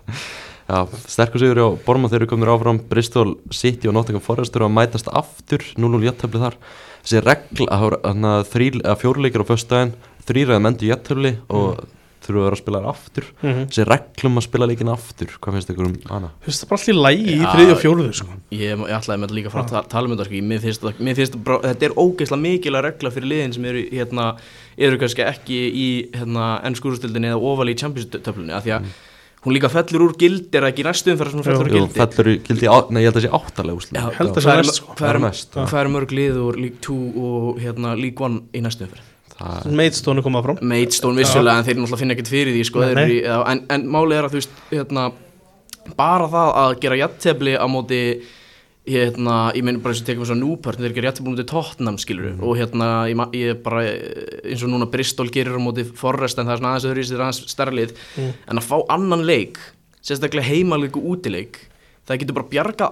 S1: Já, sterkur sigur á Bormoth þeir eru kominir áfram Bristol City og Nottingham Forest eru að mætast aftur 0-0 jættöfli þar þessi regla að hana, þríl, að fjórleikir á föstudaginn þrýræðum endur jættöfli og þurfa að vera að spila þær aftur þessi reglum að spila leikin aftur hvað finnst ykkur um hana?
S2: Þú veist, það er bara allir lægi í
S3: Já.
S2: þriði og fjóruðu, sko.
S3: Ég, ég ætlaði með þetta líka að fara að
S1: Ah.
S3: ta- tala um þetta sko. Ég- mér finnst, þetta- mér finnst bara, þetta er ógeðslega mikilvæg regla fyrir liðin sem eru, hérna, eru kannski ekki í hérna, ennskúrustildinni eða ofal í Champions-töflunni af því
S1: Mm.
S3: að hún líka fellur úr gildi er það ekki í næstu umferð sem hún fellur úr
S1: Jú,
S3: gildi
S1: fellur í gildi, á, nei ég held að sé áttalega úslega
S2: held að
S3: hvað
S2: sé
S3: er-
S2: næst, sko.
S3: hvað er-
S1: Það er næst, já.
S3: Hvað er mörg lið úr League 2 og hérna, League 1 í næstu umferð?
S1: það
S2: Meitstónu koma fram.
S3: Maidstone vissulega en þeir náttúrulega finna ekkert fyrir því sko,
S2: Nei,
S3: þeir eru í, já, en, en málið er að þú veist hérna, bara það að gera jattefli á móti hérna, ég meina bara eins og tekum svo núpört þeir gera jattefli á móti Tottenham skilur
S2: Mhm.
S3: og hérna ég, ma- ég bara eh, eins og núna Bristol gerir á móti Forrest en það er svona aðeins öðru í sér aðeins stærlið
S2: Mm.
S3: en að fá annan leik sérstaklega heimaleik og útileik það getur bara bjargað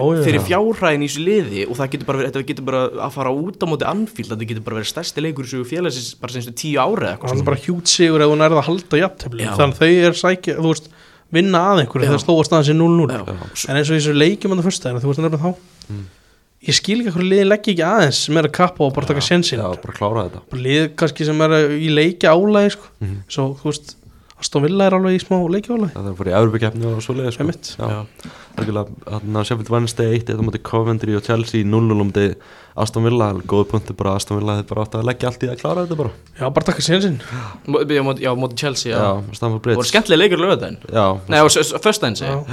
S2: Já, já,
S3: fyrir
S2: já.
S3: fjárhæðin í þessu liði og það getur bara, verið, þetta getur bara að fara út á móti anfíld, þetta getur bara verið stærsti leikur í sögu félagsins bara senstu tíu ára eða eitthvað
S2: Það er bara hjút sigur ef hún er það að halda jafntefli.
S3: Já.
S2: Þannig að þau er sækja, þú veist, vinna að einhverju
S3: Já.
S2: þegar slóast aðeins í 0-0.
S3: Já. Mm.
S2: En eins og í þessu leikjum að það fyrsta, þú veist, nefnir þá, ég skil ekki hverju liðin leggja ekki aðeins sem er að kappa og bara taka
S1: Já,
S2: sjensin.
S1: bara klára þetta
S2: Bara Lið kannski sem er í leikja álægi, sko.
S3: Mhm.
S2: Svo, þú veist, Aston Villa er alveg í smá leikja
S1: Það þarf að fara í Európa-keppni og svoleiði sko.
S2: Einmitt.
S1: Já, algjörlega, þannig að Sheffield Wednesday 1 þetta mútið Coventry og Chelsea 0-0 um þetta Aston Villa, alveg góð punktu bara Aston Villa þeir bara átt að leggja allt í að klára þetta bara
S2: Já, bara taka sénsinn
S3: Mó- Já, móti, já, móti Chelsea, já.
S1: Já, Stamford
S3: Voru
S1: Bridge
S3: skemmtilega leikur lögadaginn.
S1: Já,
S3: Nei, og föstdaginn segi. ég.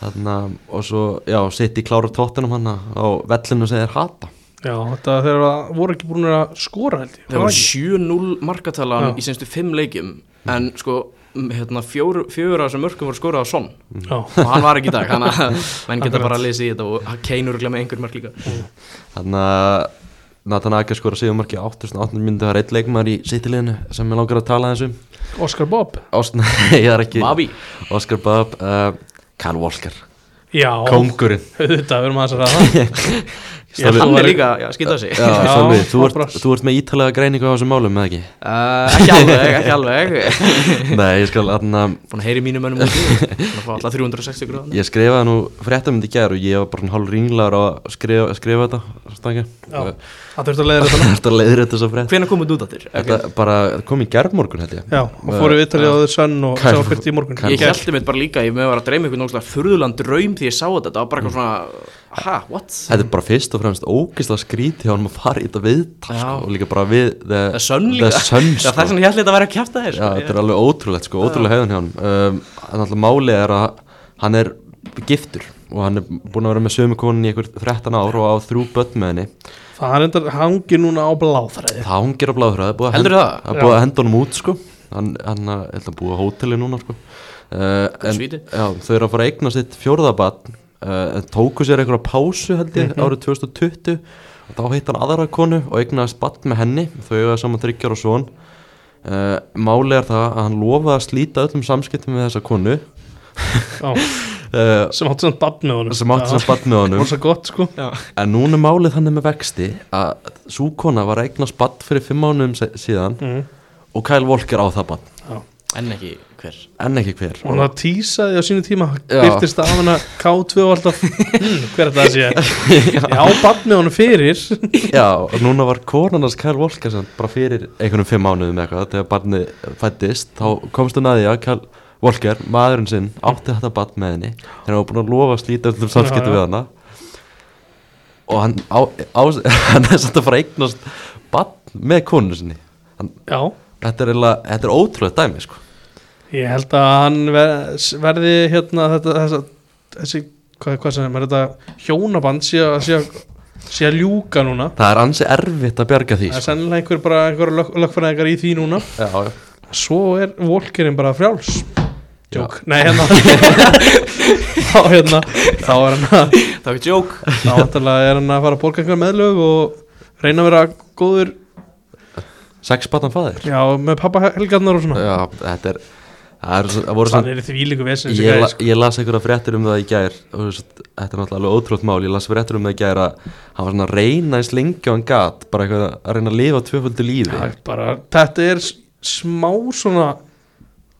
S1: þannig að, og svo, já, City klára tóttinum hann á vellinu sem þeir hata
S2: Já, þetta þegar það voru ekki búin að skora held ég
S3: Það voru 7-0 markatalan
S2: Já.
S3: í senstu 5 leikjum, en sko, m- hérna, fjóru, fjóru af þessum mörkum voru skorað á Son,
S2: Já,
S3: og hann var ekki í dag, þannig að menn geta bara að lesa í þetta og Kane eru glemja einhver mörk líka.
S1: Þannig að Nathan Aker skora síðumarki 8.8 myndi það er eitt leikmaður í City-liðinu sem ég langar að tala þessum
S2: Oscar Bob
S1: Ást, nei, ég um. er ekki
S3: Mavi,
S1: Oscar Böb uh, Kyle Walker,
S2: Já,
S1: kóngurinn
S2: auðvitað verðum að það það
S3: Já,
S1: Stolli-
S3: hann
S2: var-
S3: er líka, já, skýta sig
S1: Já,
S2: Já,
S1: Sölvi, þú,
S2: hann
S1: ert,
S2: brast.
S1: þú ert með ítalega greiningu á þessum málum, eða ekki?
S3: Uh, ekki alveg, ekki alveg
S1: Nei, ég skal, aðna,
S3: Búin að heyri mínu mönnum úti Búin að fá alla 360 gráðan
S1: ég skrifaði nú fréttamund í gær og ég var bara hálf ringlaður á að skrifa, skrifa þetta, stangja.
S2: Já, það þurfti að leiða þetta
S1: Þetta leiðir þetta svo frétt.
S3: Hvenær komið þú út aftur?
S1: Þetta bara kom í gærmorgun, held ég.
S2: Já, og fóru við Ítalið á þau sönn og
S1: Kyle-
S2: sá fyrt í morgun
S1: Kyle-
S3: Ég held mitt bara líka, ég með var að dreyma einhvern náttúrulega furðulan draum því ég sá þetta, það var bara eitthvað svona Aha, what?
S1: Þetta er bara fyrst og fremst ógislega skrítið á hann að fara í þetta viðtal, sko,
S3: Já.
S1: og líka bara við the,
S3: Það er sönn líka
S1: the sun,
S3: Já, Það er
S1: sko.
S3: svona ég held að þetta væri að kjæfta þér
S1: Já, þetta er alveg ótrúlegt, sko, ótrúlega hegðan hjá hann. Um, en alltaf málið er að hann er giftur og hann er búin að vera með sömu konin í einhver 13 ár og á þrjú börn með henni.
S2: Það er endar hangi núna á bláþræði
S1: Það hangir á bláðhraði búið að
S3: Heldurðu
S1: henda-
S3: það?
S1: Það er búið að henda honum út sko Hann, hann er held að búið á hóteli núna sko uh, en,
S3: svíti.
S1: já, Þau eru að fara að eigna sitt fjórðabatn uh, En tóku sér einhverja pásu held ég árið 2020 Og þá heitt hann aðra konu og eignaðist batn með henni Þau eru saman þryggjar og svon uh, Máli er það að hann lofaði að slíta öllum samskiptum með þessa konu
S2: Já,
S1: uh,
S2: sem átti samt bann með honum
S1: Sem átti samt batn með honum
S2: Það var svo gott sko
S1: En núna er málið þannig með vexti að sú kona var að eignast badd fyrir fimm mánuðum se- síðan
S2: Mhm.
S1: og Kyle Walker á það badd,
S3: En ekki hver
S1: en ekki hver.
S2: Og það tísaði á sínu tíma
S1: Já.
S2: Byrtist af hana K2 og alltaf hmm, Hver er það að sé Já, bann með honum fyrir
S1: Já, og núna var konan hans Kyle Walker sem bara fyrir einhvernum fimm mánuðum eða eitthvað, þegar barnið fættist, þá komst hún að því að Kyle Walker, maðurinn sinn, átti þetta badd með henni, þegar hann var búin að lofa að slíta öllum samskiptum
S2: Já,
S1: við
S2: já.
S1: hana. Og hann, á, á, hann er samt að fara að eignast badd með konu sinni. Hann,
S2: Já,
S1: þetta er, eiginlega- þetta er ótrúlega dæmi, sko.
S2: ég held að hann ver- verði hérna þetta, þessa, Þessi, hvað, hvað sem er þetta Hjónaband sé að sé að- sé að ljúka núna
S1: Það er ansi erfitt að bjarga því
S2: Það er
S1: sko.
S2: sennilega einhver bara einhver lök, lögfræðingar í því núna
S1: Já, já.
S2: Svo er Volkerinn bara frjáls
S1: Já.
S2: Jók, nei hérna Þá hérna Þá er hann að
S3: Það er ekki joke
S2: Þá vantarlega er hann að fara að borga einhver meðlög og reyna að vera góður
S1: Sex batan fæðir
S2: Já, með pappa helgarnar og svona
S1: Já, þetta er Það, er, það voru
S2: Það
S1: svona
S2: er því líku vesin
S1: ég, la, ég las einhverja fréttir um það í gær og þú veist, Þetta er náttúrulega alveg ótrútt mál Ég las fréttir um það í gær að Hann var svona að reyna eins lengi og hann gat Bara eitthvað að reyna að lifa tvöföldu lífi
S2: Það er bara, þetta er s- smá svona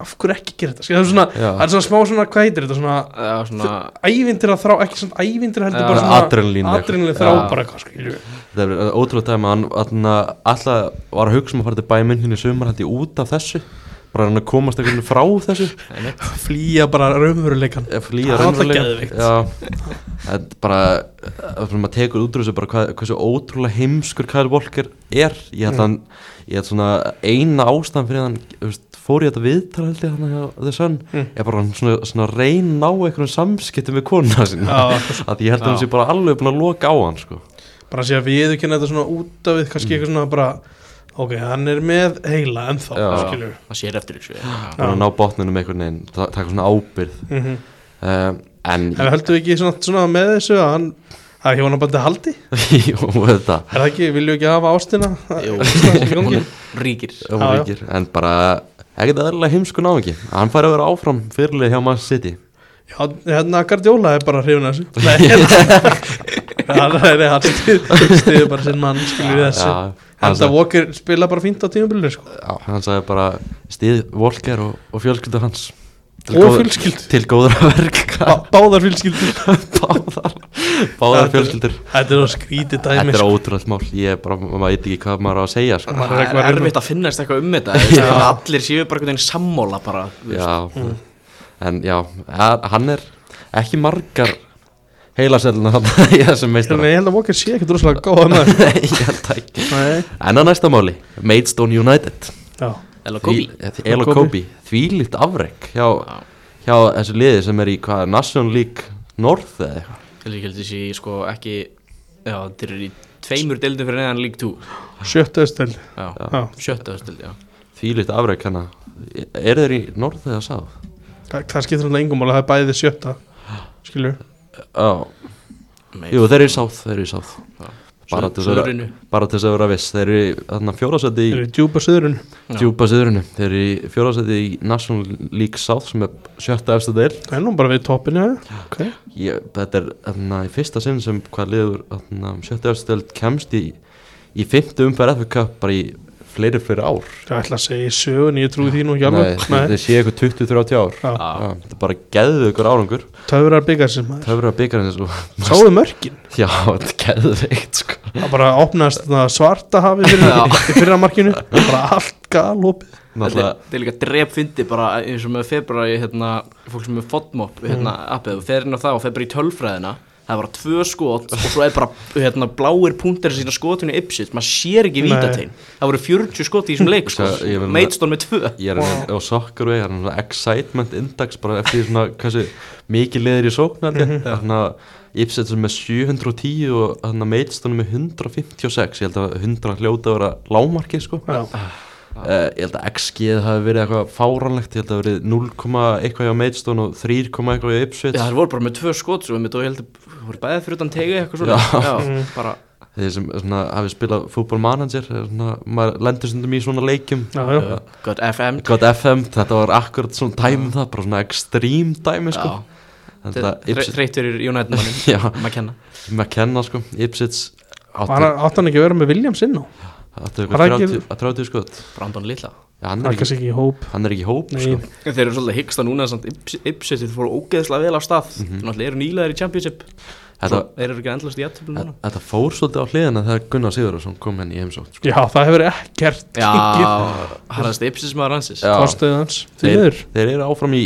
S2: Af hverju ekki gera þetta? Skilja, Það er svona,
S1: Já.
S2: það er svona smá svona, hvað heitir þetta? Svona
S3: Já, svona
S2: ævindir að þrá, ekki svona ævindir heldur
S3: Já.
S2: bara svona
S1: Adrenalín eitthvað.
S2: adrenalín þrá
S1: Já.
S2: bara eitthvað skilju
S1: Það er ótrúlega dæmi Hann hann alltaf var að hugsa um að fara til bæminn Hinn í sumar hætti út af þessu Bara að reyna að komast einhvern veginn frá þessu
S2: Flýja bara raumveruleikan
S1: Ef flýja
S2: Það er
S1: raunveruleika.
S2: alltaf geðveikt.
S1: Já, þetta er bara ef maður tekur út úr þessu bara hvað, hversu ótrúlega heimskur Kyle Walker er ég held að hann, ég held svona eina ástæðan fyrir að hann þú veist, fór í þetta viðtal held ég hann að þessu hann
S2: Mm.
S1: er bara hann svona, svona reyna á einhverjum samskiptum við konuna sinna
S2: Já,
S1: að ég held að hann
S3: Já.
S1: sé bara alveg búin að loka á hann sko.
S2: bara sé að við kynna þetta svona út af við kannski eitthvað svona bara ok, hann er með heila ennþá
S1: Já.
S2: skilur við.
S3: Það sér eftir sko. þessu já.
S1: bara að ná botninum einhvern veginn ta- taka svona ábyrð
S2: Mhm.
S1: um, en
S2: en við höldum við ekki svona, svona með þessu að hann að hjónabandi haldi er
S1: jú, þetta
S2: það ekki, viljum við ekki hafa ástina
S3: Jú.
S2: Íslands í gangi?
S3: Hún ríkir
S1: Já,
S2: Já, já.
S1: ríkir, en bara ekkert aðeinslega heimskun á ekki hann fær að vera áfram fyrirlið hjá Man City
S2: já, hérna Gardiola er bara hrifin af þessu nei, hérna hann er hann stuðið bara sinn mann skilur við þessu
S1: Já, hann,
S2: hann það
S1: sagði,
S2: Walker spila bara fínt á tímabilinu sko.
S1: já, hann sagði bara stíð Volker og, og fjölskyldu hans
S2: Og
S1: góð-
S2: fjölskyldu.
S1: til góður að verka
S2: Bá- báðar fylskildur
S1: báðar, báðar fjölskyldur
S2: þetta er það skrítið dæmi
S1: þetta er
S2: sko.
S1: ótrúlega mál ég er bara, maður veit ekki hvað maður á að segja sko.
S2: Maður
S3: Það
S2: eitthvað
S3: er
S2: að reyna-
S3: erfitt að finnast eitthvað um þetta þú veist, Allir séu bara einhvern veginn sammóla bara þú veist.
S1: já,
S2: Mm.
S1: en já að- hann er ekki margar heilaselna í þessum meistar
S2: Þannig að ég held að Walker sé ekkert rosalega góða með Nei,
S1: en að næsta máli Maidstone United
S2: já,
S3: Ella Kobe
S1: El og Kobi þvílíkt afreg hjá,
S3: Já.
S1: hjá þessu liði sem er í hvað, National League North eða eitthvað
S3: Heldur ekki heldur þessi sko ekki Já, þeir eru í tveimur deildum fyrir neðan League 2
S2: sjöttu östel
S3: Já,
S2: Já.
S3: sjötta östil, já
S1: þvílíkt afreg hana er þeir í North eða South?
S2: Þa, Það skiptir hann engum mála, það er bæðið sjötta Skilju,
S1: Já,
S3: Meir.
S1: jú þeir eru í South, þeir eru í South
S3: Já.
S1: Bara til þess að-
S3: Suðrinu.
S1: bara til þess að vera viss þeir eru þannig fjórasæti
S2: Þeir
S1: í
S2: eru djúpa söðrun
S3: Já.
S1: djúpa siðurinu þeir eru í fjórasæti í National League South sem er sjötta efstu deil
S2: Það er nú bara við toppinu okay.
S1: ég, þetta er þarna, í fyrsta sinn sem hvað liður þarna, um sjötta efstu deil kemst í, í fymtu umferð FA Cup bara í fleiri fleiri ár
S2: Það ætla að segja í sögun, ég trúi því nú ekki
S1: Nei,
S2: alveg Nei.
S1: þetta sé eitthvað 20-30 ár
S2: Já.
S1: Já, þetta er bara geðu ykkur árangur
S2: Töfrar byggarsins maður
S1: töfra byggarins og
S2: Sáðu mörkin
S1: já, þetta er geðveikt sko
S2: Það bara opnaðist þarna svarta hafi fyrir, í fyrra markinu Bara allt galopið
S3: Þetta er-
S1: Náttúrulega,
S3: þetta er líka drep fyndi bara eins og með februari hérna, fólk sem er fotmop
S1: Mm.
S3: hérna, appið, þú fer inn á það og fer bara í tölfræðina það er bara tvö skot og svo er bara hérna, bláir punktar sína skotinu ypsitt, maður sér ekki
S2: Nei.
S3: vítatein það voru 40 skot í þessum leik sko.
S1: Sko, ég vil-
S3: meitstón með tvö
S1: ég er wow. á sokkarveg, ég er svona excitement index bara eftir því svona hversu mikið liðir í sóknar þannig að Ipset sem er 710 og þannig að meitstunum er 156 ég held að 100 hljóta að vera lámarki sko
S2: Já,
S1: Uh, ég held að XG hafi verið eitthvað fáránlegt ég held að hafi verið 0, eitthvað hjá meitstun og 3, eitthvað hjá Ipswich
S3: Já, það voru bara með tvö skot svo einmitt og ég held að það voru bæðið fyrir utan tegi eitthvað svona
S1: Já. Mm.
S3: Já, bara,
S1: þeir sem svona, hafi spilað fútbolmanager svona, maður lendur stundum í svona leikjum
S2: já, já
S3: gott FM
S1: gott FM, þetta var akkurat svona dæmi um það, bara svona ekstrím dæmi sko.
S3: Já,
S1: þetta Ipswich
S3: þreytur í United mannin
S1: Já.
S3: maður kenna
S1: maður kenna sko, Ipswich
S2: Var
S1: átti
S2: hann- Átti hann ekki að vera með Williams inn á
S1: átti
S2: var það ekki-
S1: eitthvað 30 30 skot
S3: Brandon Lilla
S1: Já, hann er
S2: Það er
S1: ekki,
S2: kannski ekki í hóp
S1: hann er ekki í hóp
S2: Nei.
S1: sko.
S3: En Þeir eru svolítið hyggsta núna samt Ipsið þeir fóru ógeðslega vel á stað mm -hmm. Náttúrulega eru nýlegaðir í Championship
S1: þetta,
S3: Svo Þeir eru ekki endlast í jættöflu núna
S1: þetta fór svolítið á hliðina þegar Gunnar Sigurðarsson kom henni í heimsótt sko.
S2: Já, það hefur ekkert gengið.
S3: Já, harðast Ipsið sem að rannsist
S1: Já.
S2: Kostuðið hans Því
S1: þeir,
S2: miður.
S1: þeir eru áfram í,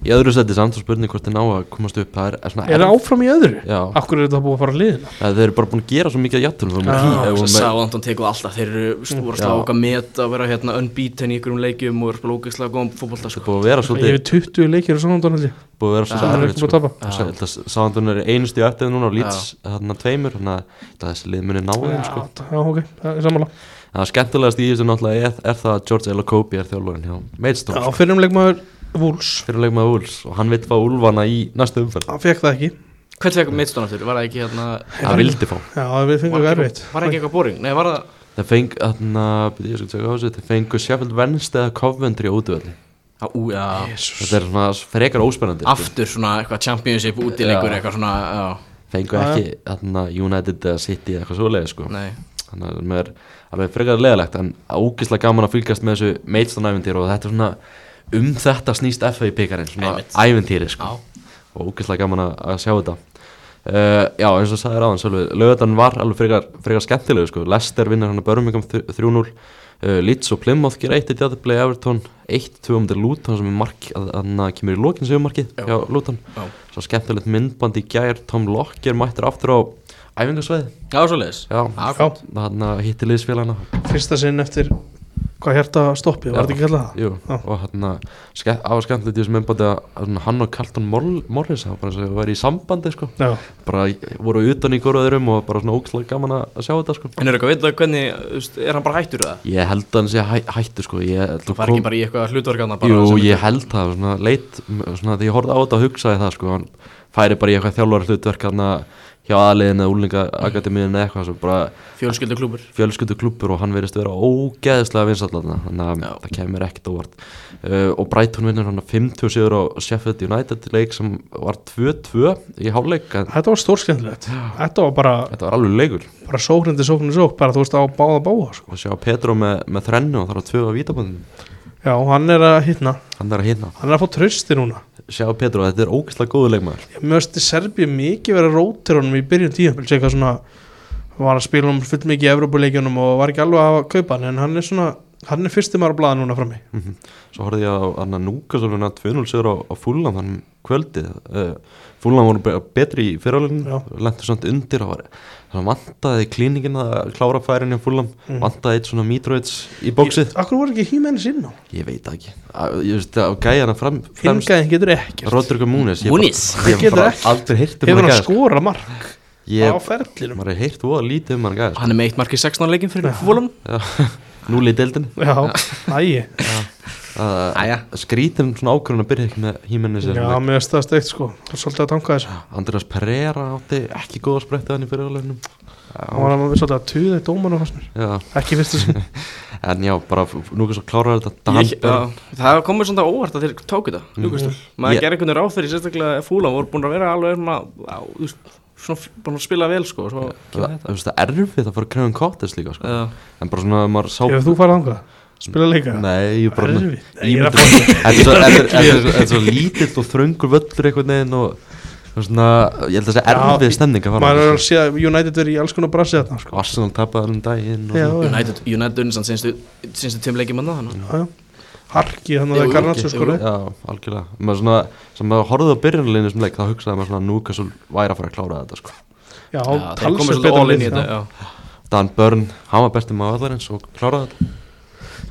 S1: í öðru seti samt og spurning hvort þeir ná að komast upp það er, er svona
S2: Er það
S1: erf-
S2: áfram í öðru?
S1: Já,
S2: Akkur er þetta búið að fara að liðina?
S1: að þeir eru bara búin að gera svo mikið að jættunum
S2: Já,
S3: Svo Sáðantón tekur alltaf Þeir eru stúra
S1: Já.
S3: sláka met að vera hérna unbeaten í ykkurum leikjum og eru bara ógeðslega góðum fótbolta sko.
S1: búið að vera
S2: Ég
S1: svolítið
S2: hef 20 leikir og svona tónaldi
S1: búið að vera
S2: Já,
S1: svo
S2: hann er
S1: erfitt
S2: ekki búið að tapa.
S1: sko. Þess- þess- Southampton er einustu eftir núna og Leeds þarna tveimur þannig að ég held að þessi lið muni ná þeim sko.
S2: Já, ok, það er sammála
S1: En það skemmtilegast í þessu náttúrulega er, er það að George Elokobi er þjálfurinn hjá
S2: Já,
S1: Maidstone sko,
S2: fyrir um leikmaður Vúls
S1: fyrir leik með Úls og hann vill fá Úlvana í næstu umferð
S2: Hann fekk það ekki
S3: Hvert fekk meitstun aftur? Var það ekki hérna
S1: það vildi fá
S2: Já, við fengum
S3: var,
S2: ekki
S3: ekki,
S2: erfitt
S3: var ekki eitthvað boring? Nei, var það
S1: það feng, þarna, byrja, ég skal tjekka á þessu, þeir fengu Sheffield Wednesday eða Coventry á útvöldi
S3: Já, Ú, já
S1: þetta er svona frekar óspennandi sko.
S3: Aftur svona eitthvað Championship útilegur
S1: Já.
S3: eitthvað svona Já,
S1: fengu
S2: Já, já.
S1: ekki þarna, United eða City eða eitthvað svoleiði sko.
S3: nei
S1: þannig að það er alveg frekar leðalegt en ógislega gaman að fylgjast með þessu meitstanæventýr og þetta er svona um þetta snýst FA í byggarinn, svona
S3: Einmitt.
S1: æventýri sko.
S3: Já,
S1: og ógislega gaman að, að sjá þetta uh, já eins og sagði ráðan Sölvi, lögðan var alveg frekar, frekar skemmtilegu sko. Lester vinnur hann að Birmingham þr- 3-0 Uh, Leeds og Plymouth gera eitt í djáttubli Everton 1-2 um til Luton sem er mark að hann kemur í lokin segumarkið
S3: Já.
S1: hjá Luton
S3: já
S1: svo skemmtilegt myndband í gær Tom Locker mættir aftur á æfingarsveið
S3: Já, svoleiðis
S1: já,
S2: Já,
S3: Já,
S1: þannig að hitti liðsfélagana
S2: fyrsta sinn eftir hvað hjarta stoppi, var þetta ekki kallað það?
S1: Jú,
S2: Já.
S1: og hérna aðeins skemmtilegt í þessum einbæti að svona, hann og Carlton Mor- Morris hafa bara að vera í sambandi sko.
S2: Já,
S1: bara voru utan í góruðurum og bara svona ógslag gaman að að sjá þetta sko.
S3: En er eitthvað veit hvernig, þú veist, er hann bara hættur það?
S1: ég held að hann sé hæ, hættu sko. ég,
S3: Þú far ekki bara í eitthvað hlutverkarna bara
S1: Jú,
S3: sem-
S1: ég held það, svona, leit svona, þegar ég horfði á þetta og hugsaði það sko, hann færi bara í eitthvað þjálfara hlutverk hann hjá aðliðin eða úlinga akademiðin eða eitthvað, svo bara
S3: Fjölskylduklúbur
S1: fjölskyldu klubur og hann verðist vera ógeðslega vinsallatna þannig að
S3: Já.
S1: það kemur ekkert óvart uh, og Brighton vinnur hann að 50 sigur á Sheffield United leik sem var 2-2 í háleik en
S2: þetta var stórskendilegt Þetta var bara,
S1: þetta var alveg leikur
S2: bara sóknandi sóknandi sók bara þú veist á báða báða sko.
S1: og sjá Petro með, með þrennu og þarf að tvöga vítaböndin
S2: Já, hann er að hitna,
S1: hann er að hérna
S2: hann er að fá trösti núna
S1: sjá Petro, þetta er ógeðslega góðu leikmaður
S2: Ég mjögst í Serbíu mikið vera rótir honum í byrjun tíðanbíl, sé eitthvað svona var að spila um full mikið í Evrópuleikjunum og var ekki alveg að kaupa hann en hann er svona, hann er fyrstum að blaða núna frammi
S1: Mhm. svo horfði ég á hann að núka svolvina 2-0 sigur á, á Fulham hann kvöldið uh, Fulham voru be- betri í fyrirhálinn
S2: Já.
S1: lendur samt undir það var þannig vantaði klíningin að klára færin hjá Fulham
S2: Mhm.
S1: vantaði eitt svona Mitrovic í bóksið
S2: Akkur voru ekki Hímenis inn á
S1: Ég veit það ekki Að- Ég veist að gæjana fram, fremst
S2: Hingæðin getur ekkert
S1: Rodrigo Múnis
S3: Muniz?
S1: Ég hef
S2: Getur
S1: bara
S2: ekki.
S1: aldrei heyrt um
S2: Hefur
S1: hann
S2: hann
S1: gæja
S2: skorað mark á
S1: Ég,
S2: ferlinum
S1: maður hef heyrt voða lítið um hann gæja
S3: Hann er með eitt mark í 16 leikin fyrir fólum
S1: Núli í deildinni
S2: Já, ægi
S3: Jæja.
S1: Skrítum svona ákvörðun að byrja ekki með hérna. Hímennis
S2: Já, mér veist það steikt sko Það er svolítið að tanka þessu
S1: Andrés Pereira átti ekki góða sprettu hann í fyrirleginum
S2: hann var alveg svolítið að tuða í dómar og hans
S1: já,
S2: ekki fyrst þess
S1: en já, bara f- nú kannski að klára þetta
S3: Ég,
S1: Dan Björn,
S3: já, það komur svona óvart að þeir tóku þetta Newcastle. maður
S1: Ég-
S3: yeah. gerir einhvern ráð fyrir sérstaklega að fúlan voru búin að vera alveg svona, á, þú veist, svona búin að spila vel sko, svo,
S1: það þú veist, það er erfitt að fara að krefum kottis líka sko.
S3: uh,
S1: en bara svona, ef maður sá
S2: ef þú farið þangað, spila leika
S1: nei, ég bara
S2: Erfitt. Nei,
S1: Ímyndum-
S2: ég er að fá-
S1: Þetta er svo- þetta er- þetta er svo- þetta er svo lítill og þröngur völlur einhvern veginn og og svona, ég held að það sé erfið
S2: Já,
S1: stemning að
S2: maður er
S1: fara
S2: að sé að United er í alls konar brasi þarna sko.
S1: Arsenal tapaði alveg um daginn og
S2: Já,
S1: svona.
S3: United, United unnið samt senstu, senstu tveim leikjum annað þannig
S2: Já, já. harki þannig að það
S3: Jú,
S2: er Garnatsu
S3: jú,
S2: sko
S1: Já, algjörlega maður svona, sem maður horfði á byrjunleginu sem leik þá hugsaði maður svona nú hversu væri að fara að klára þetta sko.
S2: já,
S3: Já, þeir komið
S2: talsveit
S3: svolítið
S2: betur
S3: all in í
S2: lið
S3: þetta
S2: já.
S3: já.
S1: Dan Börn, hann var bestið maður allarins og kláraði þetta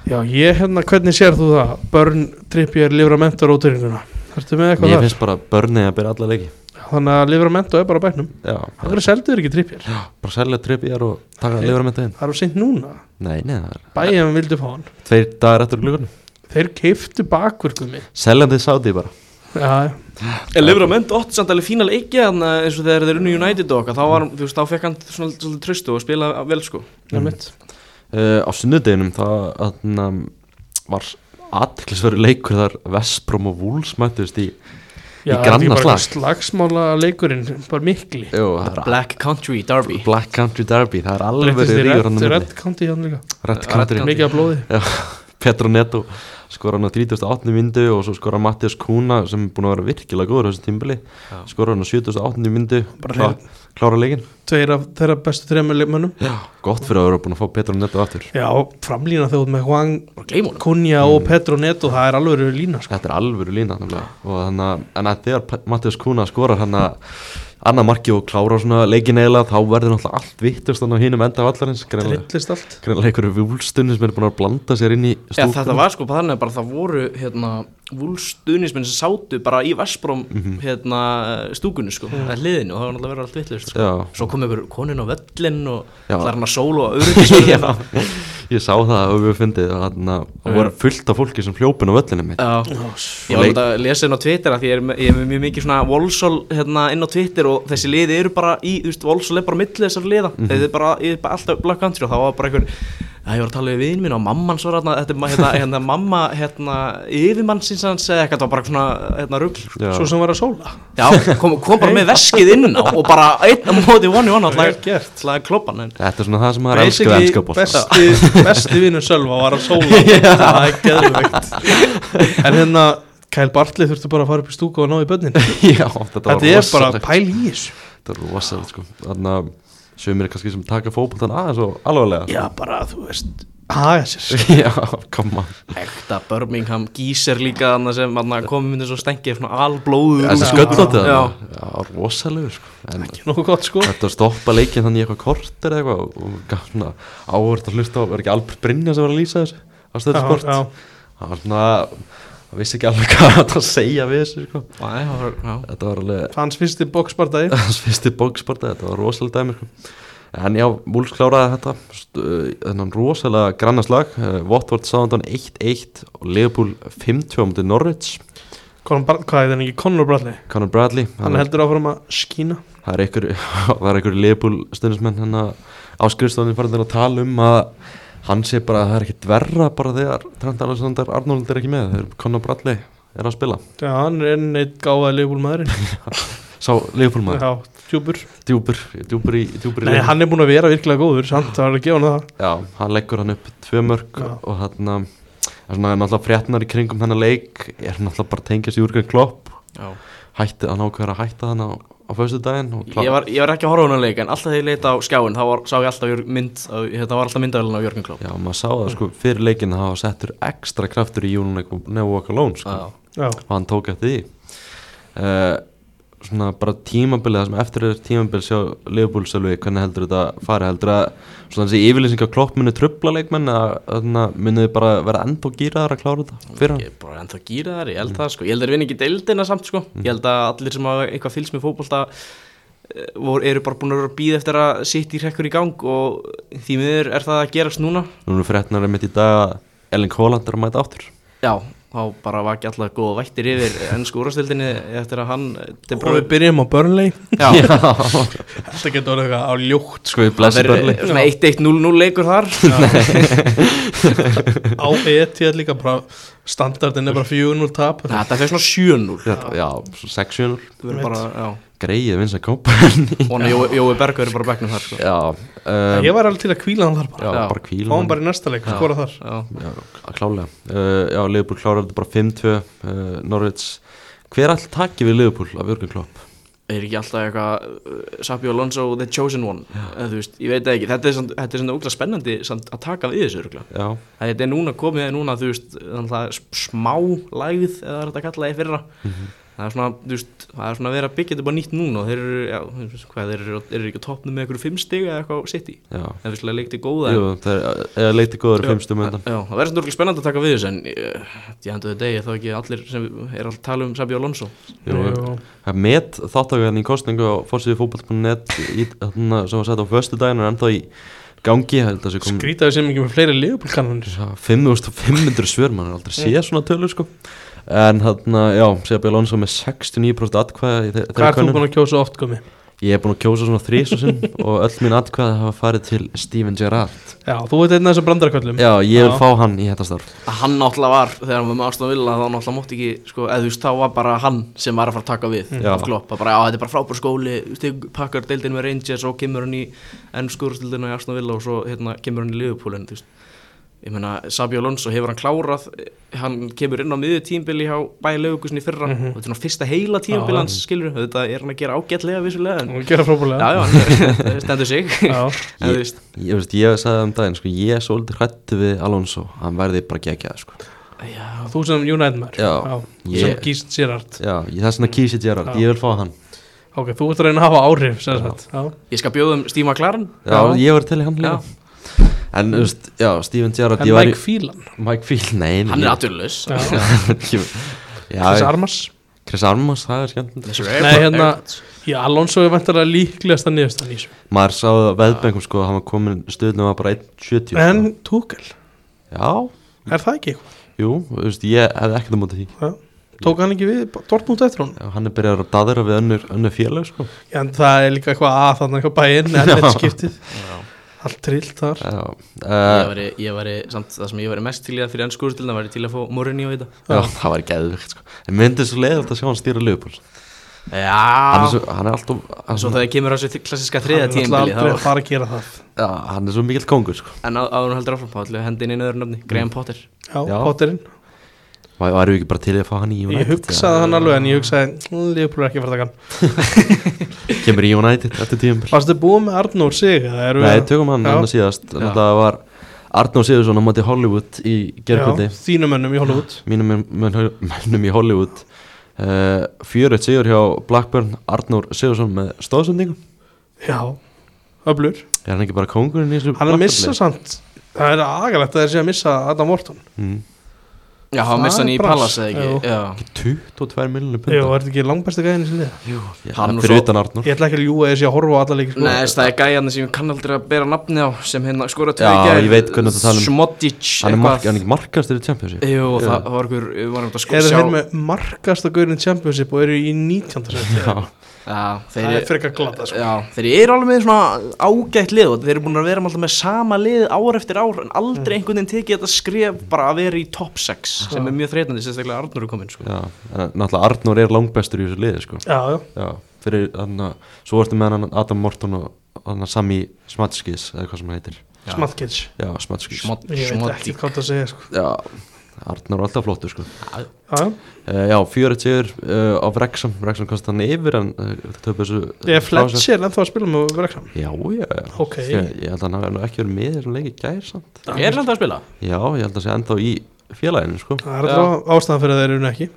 S2: já, ég hérna, hvernig sér þú það Börn, Trippier, Livramento róturinguna Ertu með eitthvað
S1: Mér
S2: þar?
S1: finnst bara Börni að byrja alla leiki
S2: Þannig að Livramento er bara á bæknum
S1: Já,
S2: Það verður selduður ekki Trippier
S1: bara selja tripp í þar og taka lifur með þetta inn
S2: Það er á seint núna
S1: Nei, nei, það er
S2: Bæjum vildu fá hann
S1: tveir dagar eftir glugunum
S2: Þeir keiftu bakverkum minn
S1: Seljandi sáti bara
S2: Já,
S3: En Livrament ótt samt alveg fína leikja þannig að eins og þegar þeir unnu United og okkar þá var, þú veist, þá fekk hann svona svolítið tröstu og spila vel sko
S2: það er mitt
S1: uh, Á sunnudeginum það atna, var aðteklisverður leikur þar Vestbrom og Wolves mættust í
S2: Já,
S1: Í granna
S2: þetta er bara
S1: slag.
S2: Slagsmála leikurinn, bara mikli
S1: Jú, það er
S3: Black Country Derby
S1: Black Country Derby Það er alveg
S2: Breyttist í
S1: ríður
S2: Red,
S1: hann um
S2: Red County hann líka
S1: Red
S3: Red
S1: Country
S2: Mikið af blóði
S1: Petro Neto skora hann á 38. myndu og svo skora Mattias Kuna sem er búin að vera virkilega góður á þessu tímbili
S3: Já.
S1: skora hann á 78. myndu
S2: Bara
S1: klá, klára leikin
S2: Tveir af þeirra bestu þreymur leikmönnum
S1: gott fyrir að vera búin að fá Petro Neto aftur
S2: Já, framlýna þjóð með Hwang
S3: Bara gleym honum
S2: Kunja
S1: Mm.
S2: og Petro Neto, það er alveg lína sko.
S1: þetta er alvöru lína nefnilega. og þannig að, en að þegar Pe- Mattias Kuna skorar hann að annað marki og klára svona leikin eiginlega þá verður náttúrulega allt vittust hann á hinum enda vallarins greinlega
S2: Drillist allt
S1: greinlega einhverju vúlstunni sem er búin að blanda sér inn í
S3: Já,
S1: stúkuna.
S3: þetta var sko bara þannig að bara það voru hérna vúlstuðnismenn sem sátu bara í Vestbrom
S1: Mhm.
S3: hérna stúkunni sko, mm hliðinu og það var náttúrulega verið allt vittlust sko.
S1: Já.
S3: Svo kom ykkur konin á völlin og
S1: Já.
S3: það er hann að sólu og öryggis
S1: Já, ég sá það og við fyndið og þarna það voru fullt af fólki sem hljópin á völlinu mitt
S3: Já, ég var þetta að lesa inn á Twitter að því ég er, með- ég er með mjög mikið svona Volsol hérna inn á Twitter og þessi liði eru bara í, þú veist, Volsol er bara milli þessar liða,
S2: Mhm.
S3: mm þeir eru bara, ég er bara alltaf Black Country og það var bara einhver, að ég var að tala við vinn minn og mamman svo hérna, þetta er ma- hérna, hérna mamma, hérna, yfirmannsins hans eða eitthvað, það var bara svona, hérna, rugl
S1: Já.
S2: Svo sem var að sóla
S3: Já, kom, kom bara með veskið inn á og bara einn á móti vonu
S2: Vel
S3: vonu alltaf,
S2: gert.
S3: alltaf kloppan en
S1: Þetta er svona það sem maður elskar við elskar bótt
S2: besti, besti vinnu Sölva var að sóla Það er geðveikt En hérna, Kyle Bartley þurfti bara að fara upp í stúku og ná í bönnin
S1: Já, þetta var
S2: Þetta er bara
S1: rosalegt.
S2: pæl í þessu
S1: Þetta er rosalegt sko Þannig að sömur er kannski sem taka fótboltan aðeins og alvarlega
S2: Já, bara, þú veist Haga sér
S1: Já, koma
S3: Ekta Birmingham gíser líka þannig sem þarna komum myndi svo stengið svona alblóðu
S1: Þessi sko- sköllóti
S3: Já,
S1: það Já, rosalegur sko En
S2: Ekki nógu gott, sko
S1: þetta að stoppa leikinn þannig í eitthvað kort eða eitthvað og gafna áhvert að hlusta á Er ekki Albert Brynja sem var að lýsa þessu á stöðu sport
S2: já.
S1: Það var svona Það vissi ekki alveg hvað það að segja við þessu sko
S3: Æ, það var- já.
S1: Þetta var alveg
S2: Hans fyrsti boxbardagi
S1: hans fyrsti bóksparta, þetta var rosalega dæmi sko. en já, Wolves kláraði þetta st- uh, þennan rosalega grannaslag uh, Watford Southampton 1-1 og Liverpool 5-2 á mútið Norwich
S2: Conor Bar- Hvað er það ekki? Conor Bradley
S1: Conor Bradley,
S2: Hann heldur áfram að skína
S1: það er einhver það er einhver Liverpool stundismenn hann á skrifstofunni farin að tala um að hann sé bara að það er ekki dverra bara þegar Trent Alexander Arnold er ekki með þegar Conor Bradley er að spila
S2: Já, hann er enn eitt gáðaði leifbúlmaðurinn
S1: sá Liverpool maður,
S2: Já, djúpur
S1: djúpur djúpur í, djúpur í
S2: Nei,
S1: liðinu.
S2: hann er búin að vera virkilega góður Samt það var að gefa hann það
S1: Já, hann leggur hann upp tvö mörg
S2: Já.
S1: og þarna er svona náttúrulega fréttnar í kringum þennan leik er náttúrulega bara tengjast í úrgang klopp
S3: Já.
S1: hætti, hann ákveður að hætta þann á, á fyrstu daginn og
S3: Ég var, ég var ekki að horfa á hana leik en alltaf þegar ég leita á skjáin þá var, sá ég alltaf jör- mynd, á- þetta var alltaf myndavælun á Jörgen Klopp
S1: Já, maður sá það sko fyrir leikinn að það var settur ekstra kraftur í Júnuleik og Neu Walk Alone sko
S3: Já.
S2: Já,
S1: og hann tók eftir því uh, svona bara tímabilið það sem eftir er tímabilið sjá Leopold Sölvi hvernig heldur þetta fari heldur að svona þessi yfirlýsing á klopp muni trubla leikmenn að þarna munu þið bara vera enda og gýraðar að klára þetta fyrir hann
S3: Ég er bara ennþá gýra þar,
S1: Mm.
S3: ég held það sko Ég held þeir vinna ekki deildina samt sko Ég held að allir sem hafa eitthvað fylgst með fótbolta eh, voru, eru bara búin að vera að býða eftir að sitt í hrekkur í gang og því miður er það að gerast núna
S1: Nú erum fréttnar einmitt í dag að Ellen Holland er að mæta áttur
S3: Já, þá bara var ekki alltaf góða vættir yfir ennsku úrvastildinni eftir að hann eh, De
S2: og
S3: Bruyne-
S2: við byrjum á Burnley
S3: Já,
S2: þetta getur orðið eitthvað á ljótt
S1: sko við
S3: það
S1: blessi börli
S3: verður svona 1-1-0-0 leikur þar
S2: á ETL líka bara standardin er bara 4-0 tap
S3: Nei, Þetta fyrir svona 7-0
S1: já, svo 6-7
S3: Þetta verður bara, já
S1: greið vins að kópa já,
S3: Og hann Jói, Jói Berg verður bara á bekknum þar sko.
S1: um,
S2: ég var alveg til að kvíla hann þar bara
S1: já,
S3: Já.
S1: bara kvíl
S2: fá hann bara í næsta leik, skora þar
S3: Já,
S1: Já, klálega uh, Já, Liverpool klárar þetta bara 5-2 uh, Norwich Hver all takki við Liverpool af Jörgen Klopp?
S3: er ekki alltaf eitthvað uh, Sabio Alonso, The Chosen One eða, þú veist, Ég veit það ekki, þetta er samt- þetta er svona ógla spennandi samt að taka við þessu örgla
S1: Já,
S3: Þetta er núna komið, núna þú veist þannig að smá lægð eða er þetta kallaði fyrra það, er svona, þú veist, það er svona að vera að byggja þetta bara nýtt núna og þeir eru, já, þú veist, hvað, þeir eru, þeir eru ekki á toppnum með einhverju fimm stig eða eitthvað sitt í
S1: já
S3: Það er visslega leikti góða en-
S1: Jú, það er eða leiti góður
S3: Já,
S1: fimmstu möndan
S3: Já, það verður svona spennandi að taka við þessu en eh, ég endur þetta degi þá ekki allir sem er að tala um Sabi Alonso
S1: Jú, það er met þáttakaðan hérna í kostningu á fórsíðu fótboll.net í þarna sem var sett á föstu daginn er ennþá í gangi ég held að þessi kom
S2: skrýtaði sem ekki með fleiri liðbúlkanunir
S1: 5500 svör, mann er aldrei séð svona tölur sko En þarna, já, segja Björn Lónsson með 69% atkvæða í þe- þeirri
S2: hvað er þú
S1: könnun.
S2: búin að kjósa oft komi?
S1: Ég er búin að kjósa svona þrís og sinn og öll mín atkvæði hafa farið til Steven Gerrard
S2: já, þú veit einn af þessum brandarköllum
S1: Já, ég vil
S2: Já.
S1: fá hann í þetta starf
S3: að hann náttúrulega var þegar hann var með Aston Villa þá náttúrulega mótti ekki sko, eða þú veist þá var bara hann sem var að fara að taka við
S1: Já.
S3: af Klopp að bara já þetta er bara frábær skóli stig, pakkar deildin með Rangers og kemur hann í ennskúrstildina í Aston Villa og svo hérna kemur hann í Liverpool en þú veist ég meina Sabi Alonso hefur hann klárað eh, hann kemur inn á miðju tímbili hjá bæði Leifugusni fyrra
S1: Mhm.
S3: og þetta er svona fyrsta heila tímbili
S2: Já.
S3: hans skilur þetta er hann að gera ágætlega vissulega en
S2: og gera
S3: já
S2: frábúlega
S3: já hann stendur sig
S2: já.
S3: en þú veist
S1: Ég veist, ég sagði það um daginn, sko, ég er svolítið hrættu við Alonso Hann verði bara gegjað, sko
S3: já
S2: þú sem United maður
S1: Já.
S2: sem
S1: Ég-
S2: gíst Gerard
S1: Já, ég þess vegna kísi Gerrard,
S2: Já.
S1: ég vil fá hann
S2: ok, þú ert að reyna að hafa áhrif sem sagt. Já.
S3: ég skal bjóða um Steve McLaren
S1: Já,
S2: Já.
S1: ég var til í hann líka
S3: Já.
S1: En, þú veist, já, Steven Gerrard
S2: en
S1: ég var í-
S2: Mike Phelan
S1: Mike Field, nei nei,
S3: hann er
S1: ég-
S3: aturlaus
S2: Já. Chris
S1: Já,
S2: Armas
S1: Chris Armas, það er skemmt
S3: Nei,
S2: hérna- já, Alonso er vantilega líklegast að nýðast að nýsum
S1: Maður sá það á veðbengum, sko, hann var komin stöðnum að bara 1.70 sko.
S2: en Tuchel,
S1: Já,
S2: er það ekki eitthvað?
S1: jú, þú veist, ég hefði ekkert á móti því
S2: Já. tók hann ekki við Dortmund eftir hún
S1: Já, hann er byrjar að daðra við önnur, önnur félag sko.
S2: Já, en það er líka eitthvað að þannig eitthvað bæinn en þetta
S1: Já.
S2: skiptið, allt trillt þar
S1: Já,
S3: Ég
S1: uh,
S3: væri, ég væri, samt það sem ég væri mest til í það fyrir ennsku úrstilna væri til að fá Morinni á þetta
S1: já, það var geðvikt sko. En myndið svo leiðilt að sjá hann stýra Leopold hann, er
S3: Já,
S1: svo- hann er alltaf hann,
S3: svo þegar kemur þessu klassiska þriða
S2: Hann er náttúrulega
S3: tímbili
S2: aldrei að
S3: þá,
S2: fara að gera það
S1: já, hann er svo mikill kongur sko.
S3: En á- áður hún heldur áfram, þá ætlum við að henda inn einu öðru nafni,
S2: Mm.
S3: Graham Potter
S2: Já,
S1: Já.
S2: Potterinn,
S1: Var- Varum við ekki bara til í að fá hann í United
S2: ég hugsaði hann alveg en ég hugsaði, "Mm, Liverpool er ekki að fara að taka hann
S1: ja. Kemur í United eftir tíumbil
S2: Varstu búið með Arnór sig? eða erum við
S1: Nei,
S2: að-
S1: tökum hann
S2: Já.
S1: hann síðast Þannig að það var Arnó Sigursson á móti Hollywood í gerkvöldi
S2: Já, Þínum mönnum í Hollywood
S1: Mínum menn- menn- mönnum í Hollywood uh, 40 sigur hjá Blackburn Arnór Sigursson með stóðsendingu
S2: Já, öflur
S1: Er hann ekki bara kongurinn í þessu
S2: Hann er að
S1: Blackburn
S2: missa
S1: liði?
S2: samt Það er agalegt að þeir sé að missa Adam Morton
S1: Mm.
S3: Já,
S2: Það
S3: hann missa hann
S2: er
S3: í
S2: bras.
S3: Palace eða ekki Já,
S1: 22 miljonir
S2: Jú,
S1: punta
S2: er þetta ekki langbæsti gæðin í sinni
S3: Jú,
S1: Já,
S3: hann og
S1: fyrir
S3: svo
S1: utan Arnur
S2: Ég ætla ekki að ljúga þessi að horfa á alla leiki sko.
S3: Nei, þess, það er gæjarni sem ég kann aldrei að bera nafni á sem hérna skora tvö
S1: Já,
S3: í gær,
S1: ég veit hvernig þú talar um.
S3: Smodic,
S1: Hann er, mark,
S3: eitthvað
S1: hann er ekki markastur í Champions League
S3: Jú,
S1: Já.
S3: það var einhver, við varum
S2: Er
S3: eitthvað sko
S2: þeir
S3: sjá
S2: sjá... með markasta gaurin championship og eru í 19. seti
S1: Já,
S3: Já, þeir
S2: Það er frekar glata sko.
S3: Já, þeir eru alveg með svona ágætt lið og þeir eru búin að vera með alltaf með sama lið ár eftir ár en aldrei einhvern veginn tekið þetta skref bara að vera í top 6 sem er mjög þreytandi, sérstaklega Arnur er komin sko.
S1: já en náttúrulega Arnur er langbestur í þessu liði sko.
S2: Já, já,
S1: Já, fyrir þannig að Svo ertu með hann Adam Morton og hann Sami Smatskis eða hvað sem hann heitir
S3: Já.
S2: smattkids
S1: Já, Smatskis
S3: Smot-
S2: Ég veit
S3: Smoddi
S2: ekki hvað það segja sko.
S1: Já, Arnur er alltaf flottur sko.
S2: Já, já.
S1: uh, Já, 40 sigur uh, á Wrexham Wrexham kostið hann yfir en uh, töpu þessu
S2: Ég er Fletcher ennþá að spila með Brekkham
S1: Já, já, já
S2: Ok.
S1: Ég, ég held að hann hafi nú ekki verið með í þessum leik í gær samt
S3: Er hann alltaf að spila?
S1: Já, ég held að sé ennþá í félaginu sko.
S2: Það er alltaf ástæðan fyrir að þeir eru nú ekki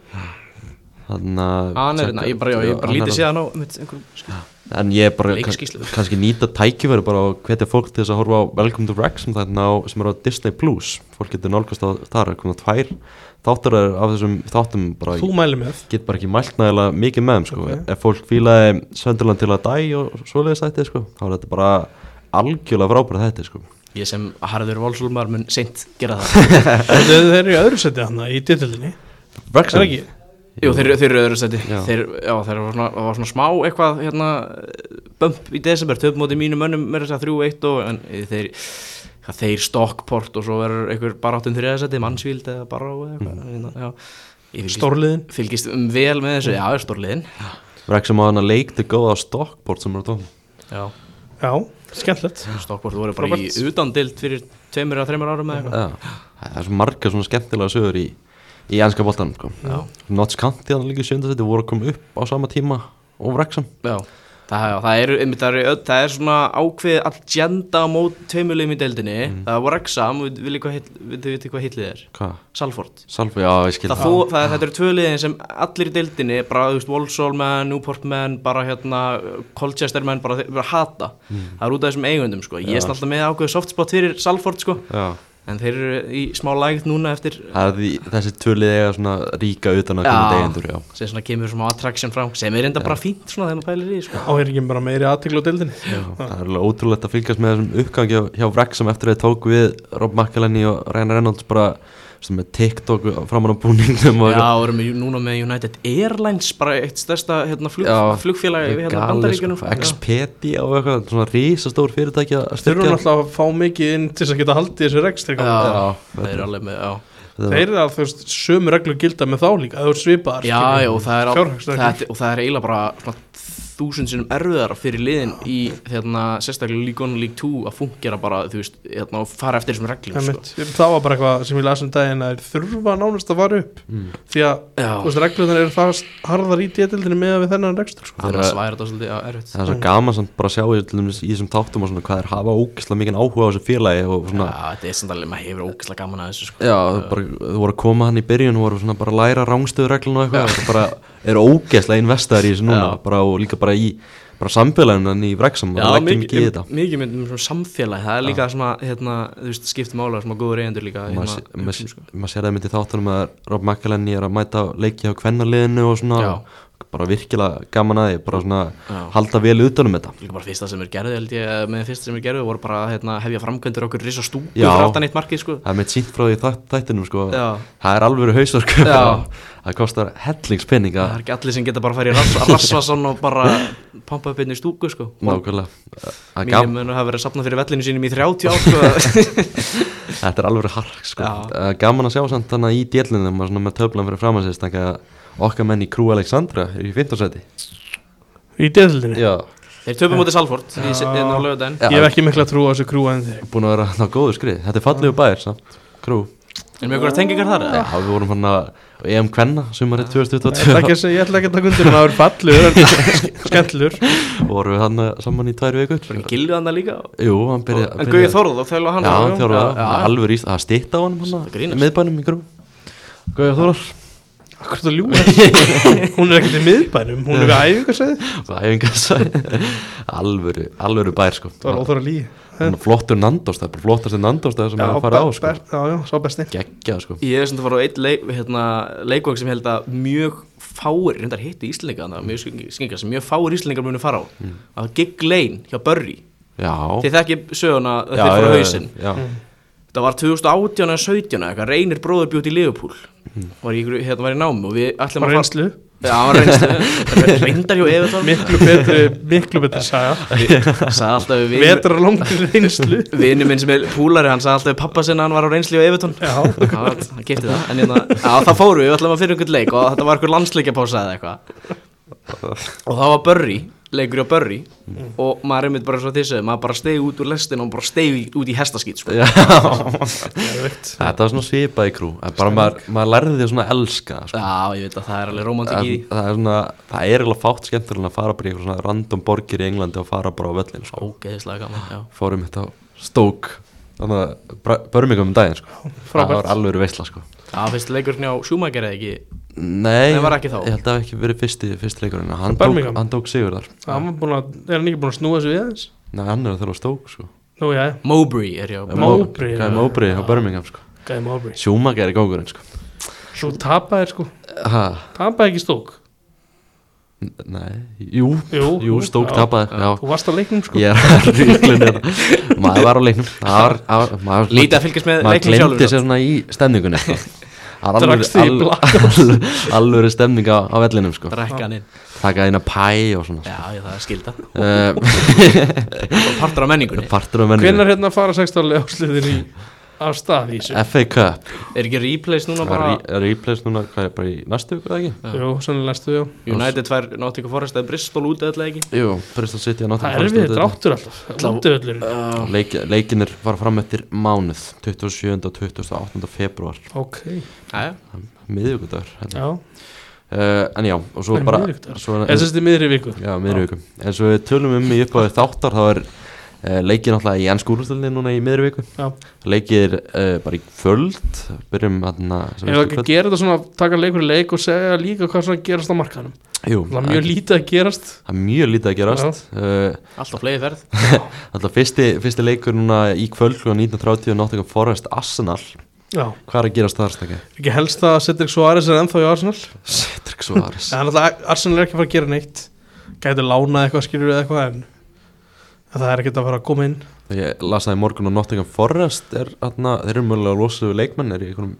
S1: Þannig að
S3: Hann er hérna. þetta, Ah, ég bara, já, ég bara
S1: hann er
S3: lítið
S1: að-
S3: síðan á mitt einhverjum skil.
S1: En ég er bara kann,
S3: Leikskýrslu.
S1: kannski nýta tækifæri bara og hvetja fólk til þess að horfa á Welcome to Wrexham þarna á, sem er á Disney Plus fólk getur nálgast á þar, er komið tvær þáttur af þessum þáttum bara
S2: Þú mæli með
S1: ég get bara ekki mælt nægilega mikið með þeim sko.
S2: Ok.
S1: ef fólk fílaði Sönderland til að dæ og svoleiðis ætti sko, þá er þetta bara algjörlega frábæra þetta sko.
S3: Ég sem harður Volsúlmar mun seint gera það
S2: Þeir þeir eru í öðru seti hann í ditilinni Er það
S1: Wrexham?
S2: ekki?
S3: Jú, þeir, þeir eru öðru seti
S1: Já.
S3: Þeir, já, þeir var svona, það var svona smá eitthvað hérna, bump í desember Töfum móti mínum mönnum með þess að 3-1 og, En eh, þeir, hvað, þeir stokkport Og svo verður einhver baráttum þriða seti Mansvíld eða bará eða eitthvað hérna, já. Ég fylgist,
S2: Stórliðin
S3: fylgist um vel með þessu Já, stórliðin
S1: Wrexham á hann að leik þig góða á Stockport sem er á tóma
S3: Já,
S2: Já, skemmtilegt
S3: stokkport voru bara
S2: Roberts.
S3: í utandild Fyrir tveimur eða þreimur árum eða eitthvað
S1: Já, það er svo marga svona skemmtilega sögur í, í ennska boltan sko.
S3: Já.
S1: Notts County hann líka sjöndasetti voru að koma upp á sama tíma og Wrexham
S3: Já, það, já, það, er, einmitt, það, er, öll- það er svona ákveðið agenda á mót tveimulum í deildinni Það var Rexham, við viljum hvað, heill- við- þið vitið hvað hitlið er
S1: Hvað?
S3: Salford
S1: Salfi, já ég skil
S3: Það, þú, það, þetta eru tvö liðin sem allir í deildinni bara, þú veist, Walsall menn, Newport menn bara hérna, Colchester menn bara, þeir- bara hata,
S1: Mm.
S3: það er út af þessum eigundum sko. ég er alltaf með ákveðið softspot fyrir Salford sko.
S1: Já,
S3: en þeir eru í smá lægt núna eftir
S1: það er því þessi tvölið eiga svona ríka utan að koma degendur Já,
S3: sem svona kemur svona attraction frá sem er enda bara fínt svona þegar maður pælir í því, sko.
S2: Á er ekki bara meiri aðtiklu á dildinni
S1: það er alveg ótrúlegt að fylgjast með þessum uppgangi hjá- hjá Wrexham eftir að þeir tók við Rob McElhenney og Ryan Reynolds bara svona, með TikTok framan á búningnum og
S3: Já, við erum með- núna með United Airlines bara eitt stærsta hérna, flug,
S1: Já,
S3: flugfélagi við hérna
S1: galið, sko,
S3: bandaríkjunum
S1: Expedia og eitthvað, svona rísastór fyrirtæki að
S2: Þeir eru
S1: styrkja.
S2: náttúrulega að fá mikið inn til þess að geta haldið þessu rekstri
S3: Já,
S2: gangi.
S3: já, þeir eru alveg með já.
S1: Þetta-
S2: Þeir eru að þú veist sömu reglur gilda með þá líka Það eru svipaðar
S3: Já,
S2: skilur.
S3: já, og það er, al-
S2: Fjárhagsreglur.
S3: það, og það er eiginlega bara svona, þúsund sinnum erfiðara fyrir liðin í hérna, sérstaklega League 1 og League 2 að fungera bara, þú veist, hérna, og fara eftir þessum reglum sko.
S2: Einmitt. Það var bara eitthvað sem ég las um daginn að þeir þurfa nánast að fara upp
S1: Mm.
S2: því að
S3: Já.
S2: þú veist, reglurnar eru það harðar í détildinu með við þennan rekstur sko.
S3: annars væri þetta svolítið já, erfitt
S1: Það er svo gaman samt bara að sjá í, til dæmis í þessum þáttum og svona hvað er hafa ógislega mikið áhuga á þessu félagi og
S3: Já,
S1: svona
S3: þetta er samt alveg, maður hefur ógeðslega gaman að þessu sko.
S1: Já, þú bara, þú voru að koma hann í byrjun og voru svona bara að læra rángstöðureglun og eitthvað og bara eru ógeðslega investaðar í þessu núna
S3: Já.
S1: bara, og líka bara í bara samfélaginu en í vreksam og það leggja mikið í þetta
S3: mikið myndum svona samfélagi, það er líka svona, hérna, þú veist, skiptum ála, svona góður eigendur líka
S1: Og maður sé-
S3: hérna,
S1: maður sé- maður sér það myndi þáttunum að Rob McElhenney er að mæta á leiki á kvennarliðinu og svona
S3: Já.
S1: bara virkilega gaman að því bara svona
S3: Já.
S1: halda vel utanum þetta
S3: líka bara fyrsta sem er gerði held ég, eða með fyrsta sem er gerði voru bara að hérna, hefja framkvæmdur okkur risa stúku
S1: Já.
S3: fyrir aftan eitt markið sko
S1: Það er mitt sínt frá því í þætt- þættinum sko
S3: Já.
S1: Það er alvöru hausverk sko.
S3: Já.
S1: Það kostar hellingspinning
S3: það er ekki allir sem geta bara að fara í rass, rassvasan og bara pampa upp einu stúku sko
S1: Nákvæmlega Það er
S3: mínir
S1: gaman,
S3: munu hafa verið að sapna fyrir vellinu sínum í 30 ár sko.
S1: Þetta er alveg hark sko.
S3: Já.
S1: Það er Gaman að sjá samt þannig í djellinu maður svona með töflan fyrir framan sér þannig að okkar menn í Krú Alexandra er í 15 seti
S2: í détildinu
S1: Já
S3: þeir töfum mótið Salford í
S2: Já.
S3: setinu á lögadaginn
S1: Já.
S2: ég hef ekki mikla trú á þessu krúa en þeir
S1: Búin að vera á góðu skrið Þetta er fallegu bæðir samt Krú
S3: erum við einhverja tengingar þar?
S1: Já, við vorum hann að EM Kvenna sumarið
S2: Ég ætla
S1: 2022
S2: ekki að segja- ég ætla ekki að taka undir en það eru fallur en skemmtlur
S1: vorum við hann saman í tvær vikur
S3: Var ekki gilvið hann líka?
S1: Jú, hann byrja,
S3: En Gauði Þorð og þjóðlega hann
S1: Já, hann þjórað
S3: já,
S1: það,
S3: já.
S1: það er alveg íst, það stýtt á hann hann
S3: grínast.
S1: í miðbænum í Krú Gauði Þórar,
S2: akkur það ljúa hún er ekkert í miðbænum, hún er við æfingarsæði
S1: það er enga sæ alvöru, alvöru bær sko
S2: það var óþára líi
S1: Þannig að flottur Nandos, það er bara flottast Nandos það sem er að fara á sko
S2: já, já, sá besti
S1: Gekkja sko
S3: Ég er sem þetta var á eitt leik, hérna, leikvang sem ég held að mjög fáir, reyndar hitti Íslinga þannig að mjög skingar sem mjög fáir Íslingar munu fara á
S1: Hmm.
S3: mm. að Gig Lane hjá Burry
S1: Já
S3: þið þekki söguna að
S1: Já,
S3: þeir fóru
S1: já,
S3: á
S1: já,
S3: hausinn Mm.
S1: Já,
S3: það var 2018 eða 17 eða eitthvað reynir bróður bjótt í Liverpool var í, ykkur- hérna var í námi og við ætlum
S2: bara
S3: að
S2: reynslu,
S3: Já, hann var reynslu reyndar hjá Evertón
S2: miklu betri miklu betri saga
S3: sagði alltaf við vinur-
S2: betra langt reynslu
S3: vinur minn sem er púlari hann sagði alltaf við pappa sinna hann var á reynslu hjá Evertón
S2: já,
S3: Já, hann kipti það en hérna, á, það fóru við, við ætlum að fyrir einhvern leik og þetta var einhver landsleikjapása eða eitthvað og það var Burry, leikur á Burry og maður einmitt bara svo þessu maður bara stegi út úr lestin og bara stegi út í hestaskýt sko.
S1: já.
S2: geðveikt.
S1: Þetta var svona svipað í krú en bara maður, maður lærði því að svona elska það, sko.
S3: já, ég veit að það er alveg
S1: en,
S3: romantik í því
S1: það er svona, það er eiginlega fátt skemmtilega en að fara bara í eitthvað svona random borgir í Englandi og fara bara á völlin sko.
S3: ógeðislega gaman, já
S1: Fórum þetta á Stoke Þannig að Bra- Birmingham um daginn sko. Það
S2: Frábært.
S1: var alveg veistla sko
S3: það finnst leikurinn hjá Schumacher eða ekki
S1: Nei,
S3: Nei, var ekki þá.
S1: ég held að það hafi ekki verið fyrsti, fyrsti leikurinn en hann tók,
S2: Birmingham?
S1: hann tók sigur þar
S2: hann var búin að, er hann ekki búin að snúa þessu við aðeins
S1: Nei, hann er að þurfa Stoke sko
S2: nú já,
S3: Mowbray er hjá
S2: Mowbray,
S1: Gæði
S2: já.
S1: Móbrí á Birmingham sko
S2: gæði Mowbray
S1: Schumacher er góðurinn sko
S2: svo tapaði sko,
S1: ha,
S2: tapaði ekki stók
S1: Nei, jú,
S2: Jú,
S1: jú, stók
S2: já.
S1: tapaði Já,
S2: Þú varst á leiknum sko
S1: ég er ríklun hérna Maður var á leiknum Það var- það var- maður-
S3: Lítið að fylgjast með
S1: Maður
S3: leiknum
S1: glemdi
S3: sjálfur
S1: sér svona í stemningunni sko. Það var
S2: Drakkst þig í
S1: alvöru- al- al- alvöru stemning á, á vellinum sko.
S3: Rekkan inn
S1: Taka eina pæ og svona sko.
S3: Já, ég, það er skilda
S1: uh,
S3: Og Partur á menningunni
S1: Partur um
S2: Hvenær
S1: ennum
S2: hérna fara sextálega ásliðin í af stað í þessu?
S1: FA Cup
S3: Er ekki replays núna
S1: Það
S3: bara
S1: er replays núna, hvað er bara í næstu viku eða ekki?
S3: Já.
S2: Jú, sennilega næstu, já
S3: United tvær Nottingham Forest eða Bristol út eða ekki
S1: Jú, Bristol City að
S2: Það er við dráttur alltaf Útöðlurinn
S1: Leik, Leikinir var fram eftir mánuð 27. og 28. februar
S2: Ok,
S3: Jæja.
S1: miðvíkudagur uh,
S2: já
S1: Eh, en já, og svo
S2: Er
S1: bara
S2: miðvikudagur?
S1: svo,
S2: En sérst í miðri viku
S1: já, miðvíku en svo við tölum um í uppáðu þáttar þá er uh, leikið náttúrulega í ennskúlustöldin núna í miðvíku
S2: Já.
S1: leikið er uh, bara í kvöld byrjum aðna
S2: Ef það ekki gera þetta svona Taka leikur í leik og segja líka hvað svona gerast á markanum
S1: Jú,
S2: Það er mjög lítið að gerast
S1: það er mjög lítið að gerast uh,
S3: Alltaf fleiri ferð
S1: alltaf fyrsti, fyrsti leikur núna í kvöld klukkan 19.30 og náttúrulega Forrest Arsenal
S2: Já
S1: hvað er að gerast þar stakki?
S2: Ekki helst að Cedric Suárez er ennþá í Arsenal
S1: Cedric Suárez
S2: En alltaf Arsenal er ekki að fara að gera neitt Gæti lánað eitthvað skilur eða eitthvað en en það er ekkert að fara að koma inn
S1: Ég las það í morgun og Nottingham Forest er, atna, þeir eru mögulega að losa við leikmenn er í einhverjum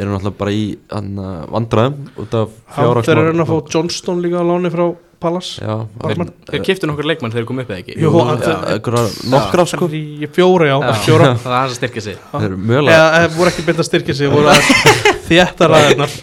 S1: eru náttúrulega bara í atna, vandræðum út af
S2: Hann-
S1: fjára
S2: Þeir eru enn að fá Johnston líka á láni frá Palace
S1: já,
S2: Varman.
S1: þeir-
S3: Þeir kiptu nokkur leikmann þegar þeir komu upp eða ekki
S2: Jú,
S1: Jú,
S2: hann-
S1: ja, einhverjar nokkra sko
S2: Í fjóra, já,
S3: Já.
S2: fjóra
S3: Það er aðeins að styrka sig
S1: þeir eru mögulega,
S2: Eða eða voru ekki beint að styrkja sig voru að þétta ræðarnar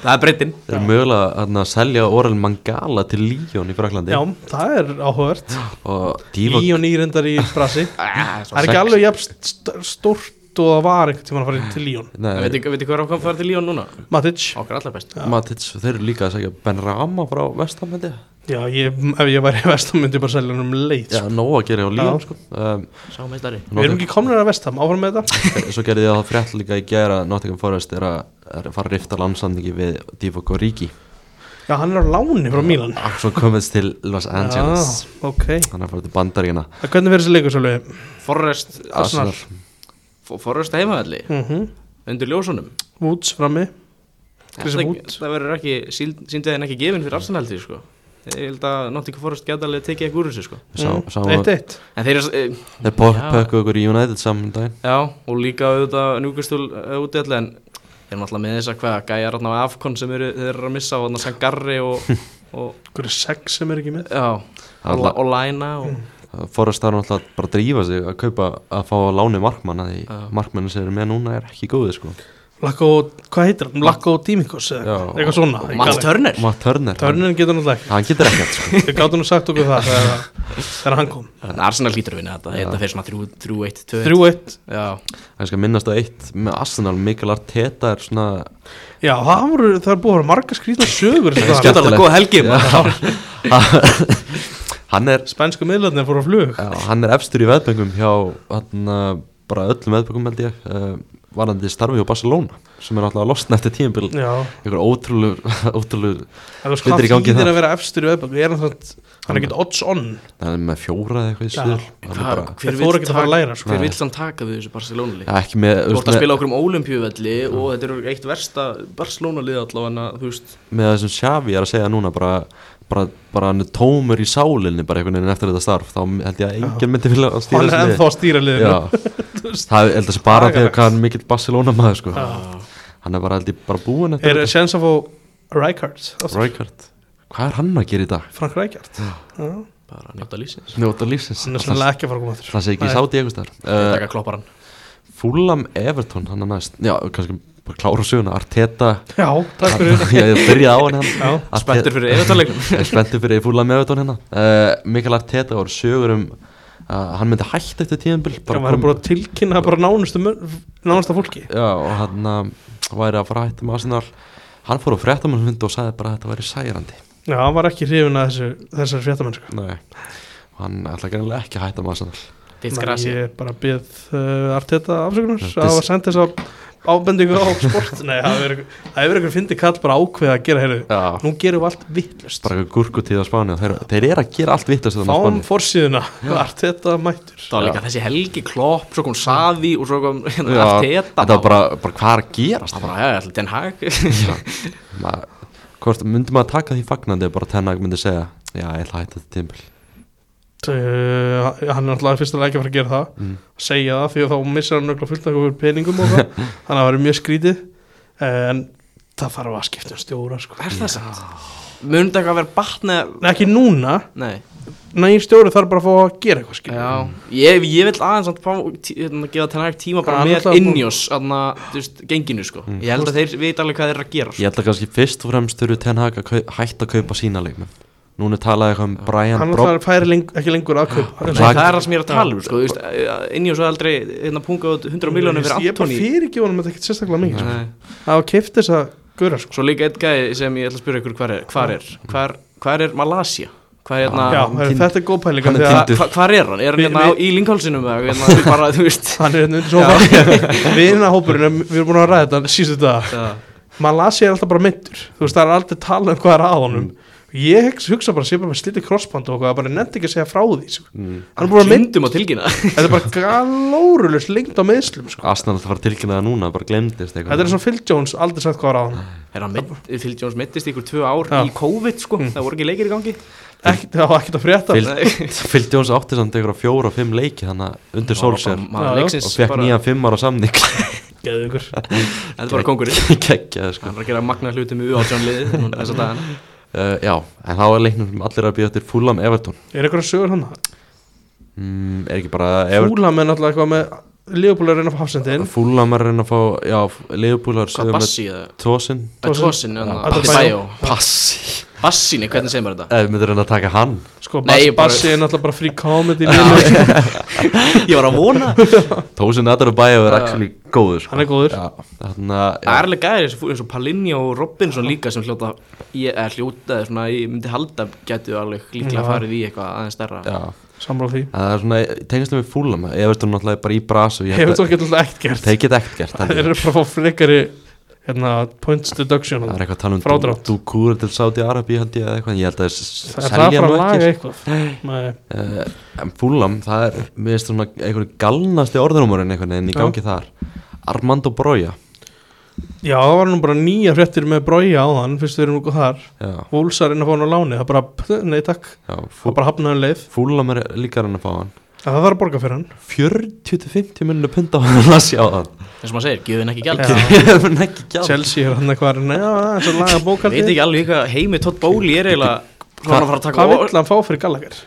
S3: Það er breytin
S1: þeir eru mögulega atna, að selja Orel Mangala til Líón í Fraklandi
S2: Já, það er áhugavert
S1: og Divock
S2: Líón nýrendar í Brasi Það
S3: Það
S2: er ekki alveg jafn st- stórt og það var einhvern tímann að fara til Líón
S1: Nei,
S3: Veitir hvað er ákvæm farið til Líón núna?
S2: Matic
S3: Okkar allar best
S1: Matits, þeir eru líka að segja Ben Rama frá Vestamendi
S2: Já, ég, ef ég væri í vestam myndi ég bara selja hann um leið
S1: já,
S2: sko.
S1: nóg að gera á Líón
S2: Já.
S1: sko. um,
S3: Sá meistari
S2: Við erum ekki komnir að vestam, áfram með þetta
S1: svo gerði ég það frétt líka í gera Nottingham Forest er að, er að fara að rifta landsandingi við Divock og Ríki
S2: Já, hann er á láni frá Mílan
S1: Axel Cummins til Los Angeles
S2: Já, ok
S1: hann er að fara til bandaríkina
S2: Það hvernig fyrir þessi leikur svolítið?
S3: Forrest
S2: Arsenal.
S3: Fo- Forrest heimavalli
S2: Mm
S3: Undir ljósunum
S2: Woods frammi Chris
S3: Það
S2: Wood.
S3: það verður ekki Sýndu þeim ekki gefin fyrir Arsenal því sko Ég held að Nottingham Forrest geta alveg tekið eitthvað úr þessu sko
S1: Sá-
S2: Mm,
S1: sá-
S2: 1-1
S3: En þeir eru eh,
S1: þeir pop-
S3: Já.
S1: pökkuðu okkur í United saman um daginn
S3: Já og líka auðvitað Njúkastúl úti allir En þeir eru alltaf með þess að hvað Gæjar á Afkon sem eru, þeir eru að missa Og þannig Sangarri og, og
S2: Hver er sex sem er ekki með?
S3: Já Og,
S1: Alla-
S3: og Læna og
S2: Mm.
S1: Forrest þarf náttúrulega bara að drífa sig að kaupa að fá að láni markmann af því
S3: Já.
S1: markmann sem eru með núna er ekki góði sko
S2: Lakko, hvað heitir hann? Lakko Tímikos eða
S1: Já.
S2: eitthvað svona
S1: Og
S2: Ég
S3: Mats
S2: kann-
S3: Turner
S1: Matt Turner,
S2: Törnin getur náttúrulega
S1: Hann, hann getur ekkert sko
S2: ekki Við gátum nú sagt okkur það þegar, þegar hann kom
S3: Þannig Arsenal hlýtur að vinna þetta Þetta fyrir svona 3-1 2-1
S2: 3-1
S3: Já
S1: hann skal sko minnast á eitt með Arsenal Mikael Arteta er svona
S2: Já, það voru, það er búið að vera marga skrýtna sögur þessa dagana.
S1: skemmtilegt.
S3: Skjöndar alveg góð helgi maður.
S1: hann er,
S2: Spænsku miðlarnir fóru á flug
S1: já, hann er efstur í veðbengum hjá hann, uh, bara öllum veðbengum held ég uh, varandi starfi hjá Barcelona sem er náttúrulega að losna eftir tímabil
S2: Já,
S1: einhver ótrúlu, ótrúlu
S2: það er
S1: Hlutir í
S2: hvað
S1: gangi
S2: þýðir
S1: þar.
S2: að vera efstur í veðbæk Við erum þannig að hann er ekkert odds on
S1: hann er með fjóra eða eitthvað í
S2: Já.
S1: suður Hann er
S3: Hvað-
S1: bara-
S2: Þeir
S3: vill
S2: fóru ekkert að fara að
S3: taka-
S2: læra, sko.
S3: Hver
S1: Nei.
S3: vill hann taka við þessu Barcelona lið
S1: Já, ekki með,
S3: Þú
S1: veist,
S3: ert að
S1: með,
S3: spila okkur um ólimpíuvelli og þetta eru eitt versta Barcelona lið allavega en þú veist
S1: með það sem Xavi er að segja núna bara, bara, bara hann er tómur í sálinni bara einhvern veginn eftir þetta starf þá held ég að enginn myndi vilja að stýra
S2: Hann er
S1: þessu
S2: ennþá að stýra
S1: liði.
S2: liðinu
S1: Já. það er- held að sé bara
S2: Agalegt.
S1: þegar hvað hann er mikill Barcelona maður sko.
S2: Já.
S1: hann er bara held ég bara búinn
S2: Er
S1: eftir
S2: sjans að fá Rijkaard
S1: Rækart hvað er hann að gera í dag?
S2: Frank Rijkaard Já.
S3: bara njóta lísins
S1: njóta lífsins
S2: Hann er
S1: það
S2: sannlega ekki að fara að koma aftur
S1: það sé ekki
S2: Nei.
S1: sátt í einhvers þar
S3: taka klopparan
S1: Fulham Everton hann er næst já kannski bara klára söguna Arteta
S2: Já, takk fyrir
S1: ég ég byrjaði á hann hann
S2: Já,
S1: Arteta-
S3: spenntur fyrir eðvitaðleiknum
S1: Ég er spenntið fyrir fúla með þetta hérna uh, Mikael Arteta voru sögur um að hann myndi hægt eftir tíðanbíl
S2: hann var bara að tilkynna bara nánustu mön- nánasta fólki
S1: Já, og hann uh, væri að fara hægt um Arsenal Hann fór á fréttamannfund og sagði bara að þetta væri særandi
S2: Já, hann var ekki hrifin að þessu, þessar fréttamennsku
S1: Nei Og hann ætla greinlega ekki að hætta um Arsenal
S3: ditt
S2: Þannig
S3: grasi
S2: Ég bara byrð uh, Arteta afsökunar
S1: This-
S2: að hafa sent þess að ábendingu á sport Nei, það hefur einhver- það hefur einhver fyndi kall bara ákveða að gera heyrðu
S1: Já
S2: Nú gerum við allt vittlust
S1: Bara eitthvað gúrkutíð á Spáni og þeir, þeir eru að gera allt vittast þetta á
S2: Fáum
S1: Spáni
S2: forsíðuna, Arteta mættur
S3: það var líka þessi helgi klopp svo kom Savi og svo kom hérna,
S1: Já,
S3: Arteta
S1: Þetta var bara, bara hvað er að
S3: það
S1: gerast
S3: bara já, allir Den Hag
S1: Ma- Hvort, myndi maður taka því fagnandi ef bara Tenag myndi segja Já, ég ætla að hætta þetta tímpil
S2: Uh, hann er alltaf fyrst að ekki að fara að gera það
S1: mm.
S2: segja það því að þá missar hann nöggla fullt af okkur peningum og það þannig að það verður mjög skrítið en það þarf að skipta um stjóra sko.
S3: Er það samt? Mun þetta eitthvað að vera batna
S2: Nei, ekki núna,
S3: Nei
S2: nægir stjóri þarf bara að fá að gera eitthvað skilur
S3: Já, ég, ég vil aðeins samt fá, tí, hérna, gefa tennar tíma bara
S2: Hann
S3: með
S2: ætlaði að bú-
S3: innjós þarna, þú veist, genginu sko
S1: Mm.
S3: Ég held að þeir veit alveg hvað þeir eru að gera sko.
S1: Ég ætla kannski fyrst og fremst þurfu Tenag að kau- hætta að kaupa sína leikmenn Núna er talað eitthvað um Brian
S2: hann
S1: Brock
S2: alltaf færi leng ekki lengur að kaupa
S3: Nei,
S1: Rak-
S3: það er það sem ég er að tala um sko, þú veist, Innjós er aldrei hérna, punga út 100 miljónir fyrir
S2: ég bara
S3: Antoni
S2: fyrirgjóð hann með þetta ekkert sérstaklega mikið sko.
S3: Nei.
S2: það var keift þess að gura sko.
S3: Svo líka eitt gæði sem ég ætla að spyrja ykkur hvar er Hvar er, hvar, hvar er Malaysia? Hvað er hérna
S2: já,
S1: hann
S2: heru,
S1: kind-
S2: þetta er góð pæling
S1: hann er
S2: því að
S1: kind-
S3: hva, Hvar er hann? Er hann
S2: Vi- vi-
S3: hérna á- í Lincolnsinum? eða Hérna, bara, þú veist
S2: hann er hérna undir sofa vinahópurinn, er- við erum búin að ræða þetta síðustu dag
S3: það-
S2: Malasi er alltaf bara mittur þú veist það er aldrei talað um hvað er að honum ég hugsa- hugsa bara, sé bara með slítið krossband og eitthvað, bara nefndi ekki að segja frá því sko.
S1: Mm.
S2: hann er búin að mynd
S3: Gleymdum að tilkynna
S2: Þetta er bara galórulust lengt á meðslum sko.
S1: Asnar ætla að fara að tilkynna það núna, bara glemdist eitthvað
S2: Þetta er svona Phil Jones, aldrei sagt hvað var á hann
S3: Herra, meidd- Phil Jones mittist ykkur tvö ár
S2: Já. Mm.
S3: í COVID sko, það voru ekki leikir í gangi
S2: Ekkert- Það var ekkert að frétta
S1: Phil-
S3: Nei.
S1: Fylgdi Jóns átti samt einhverja fjóra og fimm leiki þannig að undir sólsér
S2: Já,
S3: maður
S2: já.
S1: og
S3: leiksins
S1: fekk
S3: bara-
S1: nýjan fimm ára samning
S2: Geðu ykkur
S3: þetta er bara kongurinn
S1: geggjaði sko
S3: hann er að gera magna hluti með uátjón liði þess að dagana
S1: uh, Já, en þá er leiknum sem allir er að býja til Fulham Everton
S2: Er ykkur að sögur hann?
S1: mm, Er ekki bara Ever-
S2: Fúlam er náttúrulega eitthvað með Leopold er inn á hafsendin
S1: Fulham er að reyna að fá Já, Leifbúlar
S3: hvað bassi eða
S1: Tósin
S3: Tosin,
S2: Adebayo.
S3: Adebayo
S1: Passi
S3: Bassini, hvernig segir maður þetta?
S1: Ef við myndum reyna að taka hann
S2: Sko, Bas,
S3: Nei, bara-
S2: Bassi er náttúrulega bara free comedy
S3: Já.
S2: lélur.
S3: Ég var að vona
S1: Tósin Adar og Bæja er
S3: Já.
S1: actually góður sko.
S2: Uh, Hann er góður
S1: Já, þannig að
S3: Það er
S1: já,
S3: alveg gæðir eins og- eins og Palinja og Robinson líka sem hljóta ég er hljótaði svona, ég myndi halda getu alveg líklega
S2: Já.
S3: farið í eitthvað aðeins stærra
S1: já.
S2: Samráð því
S1: En Það er svona, tengist við Fulham Everton náttúrulega er bara í bras og ég
S2: Hefur
S1: held
S2: þú
S1: að
S2: ekki alltaf ekkert gert
S1: Þeir geta ekkert gert
S2: Þeir
S1: held ég.
S2: eru bara að fá frekari hérna, points deduction
S1: Það er
S2: Það
S1: eitthvað að tala um
S2: Frádrátt.
S1: Dúkúr til Saudi Arabi held ég eða eitthvað en ég held að þeir s-
S2: er það að
S1: selja nú
S2: fara að laga
S1: ekki
S2: eitthvað Nei.
S1: uh, En Fulham, það er mér finnst svona einhvern galnasti orðunumurinn einhvern veginn í
S2: Já.
S1: gangi þar Armando Broja
S2: Já, það var nú bara nýja fréttir með brója á þann Fyrst við erum nú þar
S1: Já,
S2: Vúlsar inn að fá hann á láni Það bara, nei takk
S1: já
S2: Það bara hafnaði leið
S1: Fulham er líka hann að fá hann
S2: Það þarf að borga fyrir hann
S1: 40-50 minnur punta á hann að sjá hann
S3: eins og maður segir, gjöfin ekki gjald
S2: Já.
S1: Gefur ekki gjald
S2: Chelsea er hann eitthvað Nei, það er svo laga
S3: Ég veit
S2: bókaldi
S3: ekki alveg hvað heimi Todd Bóli er eiginlega svona að fara að taka
S2: Hvað vill hann fá fyrir Gallagher?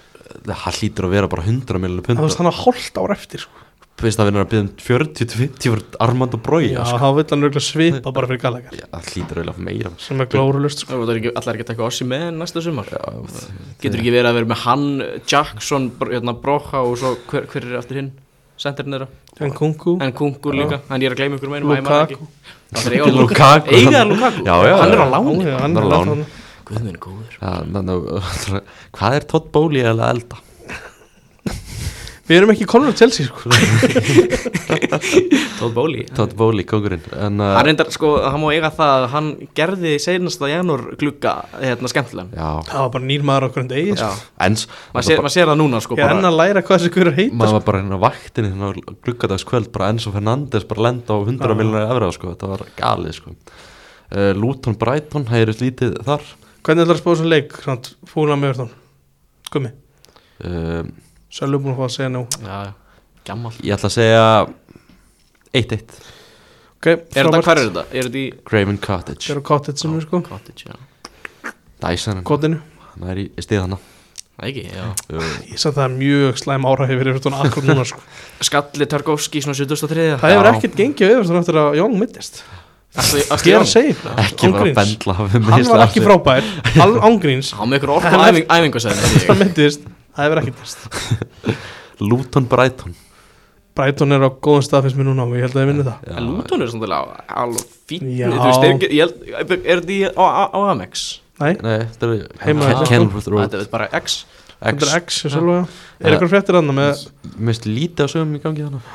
S1: Það hlýtur að vera bara 100 minnur
S2: Það veist
S1: punta
S2: hann að hálft ár eftir sko.
S1: Veist það vinnur að byrja um 40-50 fyrir Armando Broja sko.
S2: þá vill hann auðvitað svipa bara fyrir Gallagher
S1: Já, Það hlýtur að vera meira sko.
S2: Sem er glórulust sko.
S3: Það er ekki, allar ekki að taka Ossi með næsta sumar
S1: Já,
S3: Getur ekki verið að vera með hann, Jackson, Bro- hérna, Brocha og svo hver, hver er aftur hinn? Senderinn þeirra
S2: En Kungu
S3: En Kungur líka, en ég er að gleyma ykkur með einum
S2: Lukaku
S1: Lukaku.
S3: Eiga er Lukaku,
S1: Já, já,
S3: hann er á
S1: já.
S3: láni
S2: Já,
S1: Hann
S2: hann
S1: er á
S2: er lán.
S1: láni.
S3: Guðminn góður
S1: Já, ná, ná, hvað er Todd Bóli eða elda?
S2: Við erum ekki konur Chelsea sko.
S3: Tóð Bóli
S1: Todd Bóli, kongurinn en, uh,
S3: Hann reyndar, sko, hann má eiga það að hann gerði seinasta janúr glugga hérna skemmtilegan
S1: Já,
S2: Það var bara nýr maður okkur en degi
S3: Já,
S2: sko.
S1: ens
S3: maður sér, maður sér það núna sko
S2: Ég er enn
S3: bara
S2: að læra hvað þessi hverju heita
S1: maður
S2: sko.
S1: var bara hérna á vaktinni hérna á gluggadagskvöld bara Enzo Fernandes bara lenda á 100
S2: Já.
S1: miljonar efra sko, þetta var galið sko uh, Luton Brighton, hægirist lítið þar
S2: Hvernig ætlar að spáða þessu leik? Fúla með Evertón Gummi
S1: uh,
S2: Sölum búin að fá að segja nú
S3: Já, gammal
S1: ég ætla að segja 1-1,
S2: okay,
S3: Er þetta,
S2: frábært.
S3: hver er þetta? Er þetta í
S1: Graven Cottage
S2: Þeir eru kottitsinu sko
S3: Cottage, já
S1: Dyson,
S2: Kottinu
S1: hann er í stið hana
S3: Það ekki, já
S1: uh,
S2: Ég sagði það er mjög slæm ára hefur Evertón akkur núna sko
S3: Skalli Tarkovski, svona 73
S2: Það hefur
S1: Já.
S2: ekkert gengið á Evertón eftir að Young mittist
S3: Ætli-
S2: Ég
S3: ætli
S2: er
S3: hann-
S2: að segja ykkur það,
S1: ekki
S2: án
S1: bara að
S2: gríns.
S1: bendla
S2: Hann var ekki frábær, all ángríns
S3: Há með ykkur orðan æfing, æfingasæðin
S2: Það myndist, það hefur ekkert gerst
S1: Luton Brighton
S2: Brighton er á góðum stað finnst mér núna og ég held að ég vinni það
S1: Já,
S3: Lúton er svona alveg fín
S2: Já.
S3: Þú veist, er, ekki- ég held- er þetta í á, á, á Amex?
S2: Nei,
S1: Nei, þetta er
S2: Heima-
S1: Ken- Kenilworth Road
S3: Þetta er bara X
S2: þetta er
S1: X,
S2: X og sjálf
S1: Já.
S2: Er ykkur fréttir annað með
S1: mist lítið að sögum í gangi þannig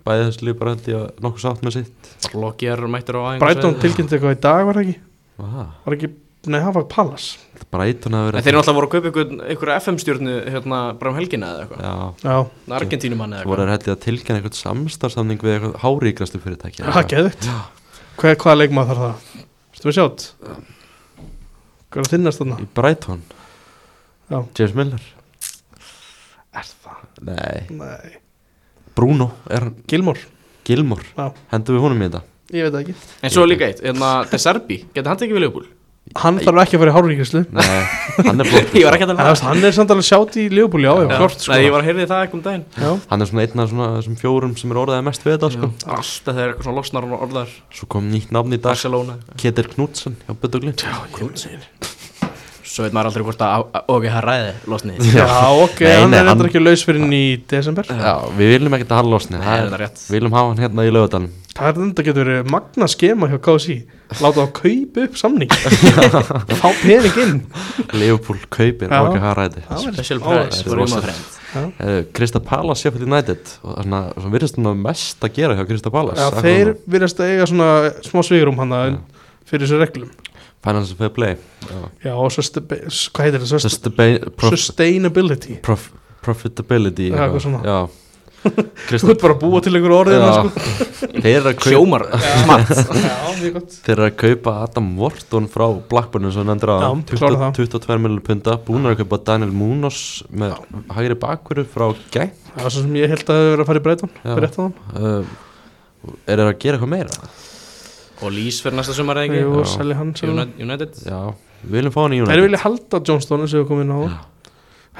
S1: Bæðið þessu lið bara held ég að nokkuð sátt með sitt
S3: Logier mættur á æfingasæðin
S2: Brighton tilkynnti eitthvað í dag var það ekki?
S1: ah,
S2: Var ekki, nei það var Pallas
S1: Brighton hafi
S3: En
S1: verið
S3: þeir náttúrulega voru að kaupa ykkur, ykkur FM-stjórnu hérna bara um helgina eða eitthvað
S1: Já,
S2: Já,
S3: Argentínumann eða
S1: Þú voru
S3: eitthvað
S1: að hætti að tilkynna eitthvað samstarfsamning við eitthvað háríkrastu fyrirtæki
S2: það er geðvitt Hvað, hvaða leikmað þarf það? Ertu við sjátt? Hvað er að þinnast þarna?
S1: í Brighton
S2: Já.
S1: James Miller
S2: Er það?
S1: Nei.
S2: Nei
S1: Bruno er hann
S2: Gilmore
S1: Gilmore
S2: Já.
S1: hendur við honum í þetta
S2: Ég veit það ekki
S3: En svo er líka eitt, hérna, De Serbi, getur hann tekið við Leopold?
S2: Hann þarf ekki að fara í hárvíkislu
S1: Nei, hann er sko. flott
S3: Ég var ekki að tala um það.
S2: Hann er samt alveg sjátt í Leopold Já, já, klart sko
S3: Nei, ég var að heyrði það ekki um daginn
S2: Já,
S1: hann er svona einn af svona þessum fjórum sem er orðaðið mest við þetta sko.
S3: Alltaf þegar eitthvað svona losnar og orðar
S1: svo kom nýtt nafn í dag
S3: Barcelona
S1: Ketil Knudsen hjá Bödduglin
S3: Svo veit maður aldrei hvort að að- ok, það ræði losnið
S2: já ok
S1: Nei,
S2: Hann
S1: nei,
S2: er
S1: hann-
S2: reyndar ekki laus fyrir í desember
S1: Já, við viljum ekkert að hann losni
S3: Það er þetta rétt
S1: Við viljum hafa hann hérna í lögadalum
S2: Það er þetta getur verið magna skema hjá KSI Láta á kaupa upp samning Fá pening inn
S1: Leopold kaupir
S2: Já.
S1: og ekki hafa ræði
S2: Það væri-
S3: Special
S2: Ó,
S3: prize
S1: þetta er
S3: for
S1: rosa.
S3: Roma friend
S1: Eh, Krista Palas Sheffield United og svona, svona virðist hann að mest að gera hjá Krista Palas
S2: Já, þeir virðast að eiga svona smá svigurum hann
S1: Já.
S2: fyrir þessu reglum
S1: Finance Fair Play Já.
S2: Já, og susta- hvað heitir það? Sust-
S1: Sustabi- prof,
S2: Sustainability
S1: prof, Profitability
S2: Já, eitthvað svona.
S1: Já.
S2: Þú
S1: Krista,
S2: ert bara að búa til einhver orðið
S1: Já.
S2: sko.
S1: þeir, eru að kaup,
S3: Sjómar, smart
S2: Já, mjög gott
S1: þeir eru að kaupa Adam Wharton frá Blackburnu sem nefndir á
S2: Já, klára það.
S1: 22 miljonur punta búin að kaupa Daniel Munoz með hægri bakkuru frá Gæ
S2: Það var svo sem ég held að það hefur verið að fara í breytan
S1: Já.
S2: Fyrir eftir það
S1: uh, Er þeir að gera eitthvað meira?
S3: Og Lís fyrir næsta sumar eða
S2: Jú,
S1: Já.
S2: selja hann
S3: ekki
S2: selja hann.
S3: Uni- United
S1: Já, við viljum fá hann í
S2: Þeir
S1: United
S2: vilja halda Johnstone sem við komum inn á
S1: Já.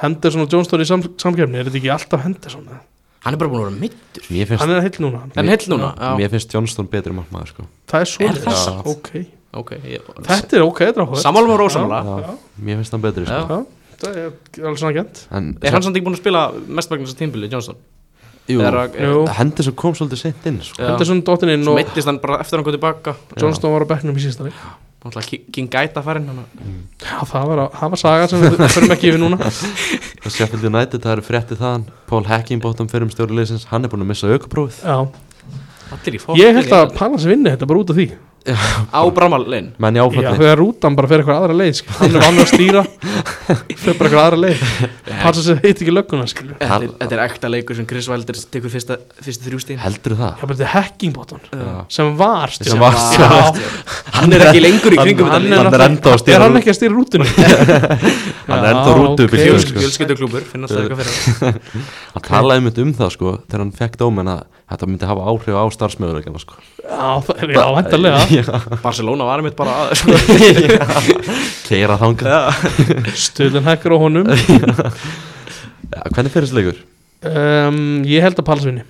S2: Henderson og Johnstone í sam samkefni Er þetta ekki alltaf Henderson? eða?
S3: Hann er bara búin að vera mitt
S1: Mér finnst,
S2: Hann er heill núna hann.
S3: En
S1: Mér-
S3: hill núna Já,
S1: mér finnst Johnston betri markmaður sko.
S2: Það er svo
S3: Er það satt?
S2: okay.
S3: ok ég-
S2: Þetta er ok, þetta er áhugað
S3: Sammála og ósammála
S1: Já.
S2: Já.
S1: Mér finnst hann betri
S3: Já.
S1: sko.
S2: Já, Það er alveg svona gent
S1: En
S3: Er hann samt ekki búin að spila mestmagnast tímbili, Johnson?
S1: Jú,
S3: Er að-
S2: Jú.
S1: hendi sem kom svolítið sent inn sko.
S3: Já.
S2: Henderson dottin inn
S3: Svo
S2: og
S3: meittist hann bara eftir hann kom tilbaka
S2: Johnstone var á bekknum í sísta leik
S3: Náttúrulega Ki- King Gaita farinn hann
S2: Já, það var, það var saga sem við förum ekki yfir núna
S1: Og Sheffield United, það eru frétti þaðan Paul Hackingbottom fyrir um stjóri leysins Hann er búin að missa aukaprófið
S2: Já.
S3: Allir í fólk
S2: Ég held að Pallas vinni þetta bara út af því
S3: Á Bramalinn
S1: Menn í
S2: Já,
S1: áfalli
S2: þegar rútan bara fer eitthvað aðra leið skil. Hann er vanlega að stýra Fer bara eitthvað aðra leið Passa sér heit ekki lögguna skilju
S3: Þetta er- þetta er ekta leikur sem Chris Wilder tekur fyrsta, fyrsta þrjústíðin
S1: Heldur það?
S2: Það er þetta hackingbotton
S1: Já.
S2: Sem var
S1: Sem
S2: stýra
S1: var-
S3: Hann er ekki lengur í kringum
S1: Hann-
S3: þetta
S1: hann
S3: lið
S1: er ennþá að stýra
S2: Er hann
S1: rútu.
S2: ekki að stýra rútunni?
S1: Hann er ennþá rútu upp í
S2: Já,
S1: hljóð,
S3: Fjöls-
S1: sko.
S3: Fjölskylduklúbur, finna alltaf eitthvað fyrir hann.
S1: Hann talaði einmitt um það sko Þegar hann fekk dómen að þetta myndi hafa áhrif á starfsmöðuleikana sko
S2: það- já, hendarlega
S3: Barcelona var einmitt bara að
S1: Keira þangað
S2: Stöðlinn hækkar á honum
S1: Já, Hvernig fyrir þessi leikur?
S2: um, Ég held að Pallas vinni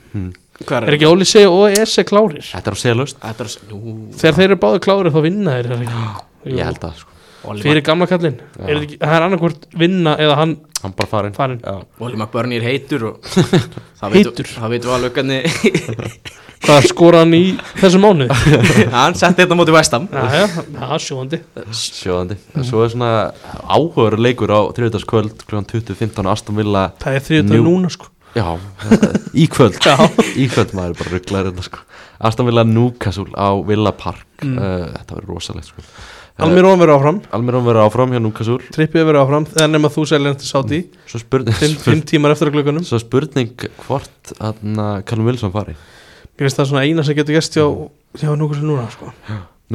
S3: Hvað
S2: Er ekki Óli segi og Ese klárir?
S1: Þetta er á selust
S3: Þetta er s- nú
S2: Þegar þeir eru báði klárir þá vinna þeir er það ekki? Jú.
S1: Ég held það sko
S2: Fyrir gamla kallinn
S1: Já.
S2: Er þetta ekki- Það er annarkvort vinna eða hann
S1: Hann bara farinn
S2: farin
S1: Já.
S3: Oli McBurney er heitur og það
S2: Heitur?
S3: veitum- Það veitum við alveg hvernig
S2: Hvað skora hann í þessu mánuð?
S3: Hann setti þetta móti vestam
S2: Já, já, sjóandi
S1: Sjóðandi Svo er svona áhugaður leikur á þriðdagskvöld kl. 20.15 Aston Villa
S2: Það er þriðutöð
S1: Njú.
S2: núna sko
S1: Já, það- í kvöld
S2: Já.
S1: Í kvöld maður er bara rugglaður hérna sko Aston Villa Newcastle á Villa Park
S2: Mm.
S1: uh, Þetta verður rosalegt sko
S2: Almirón verður áfram,
S1: Almirón verður áfram hjá Newcastle
S2: trippið verður áfram Það er nema þú selja hann til Saudi
S1: Svo spurning,
S2: Fimm, fimm tímar eftir að glöggunum
S1: svo spurning hvort hann Callum Wilson fari
S2: Mér finnst það svona eina sem getur gæst hjá, hjá núkur sem núna
S1: Mm.
S2: sko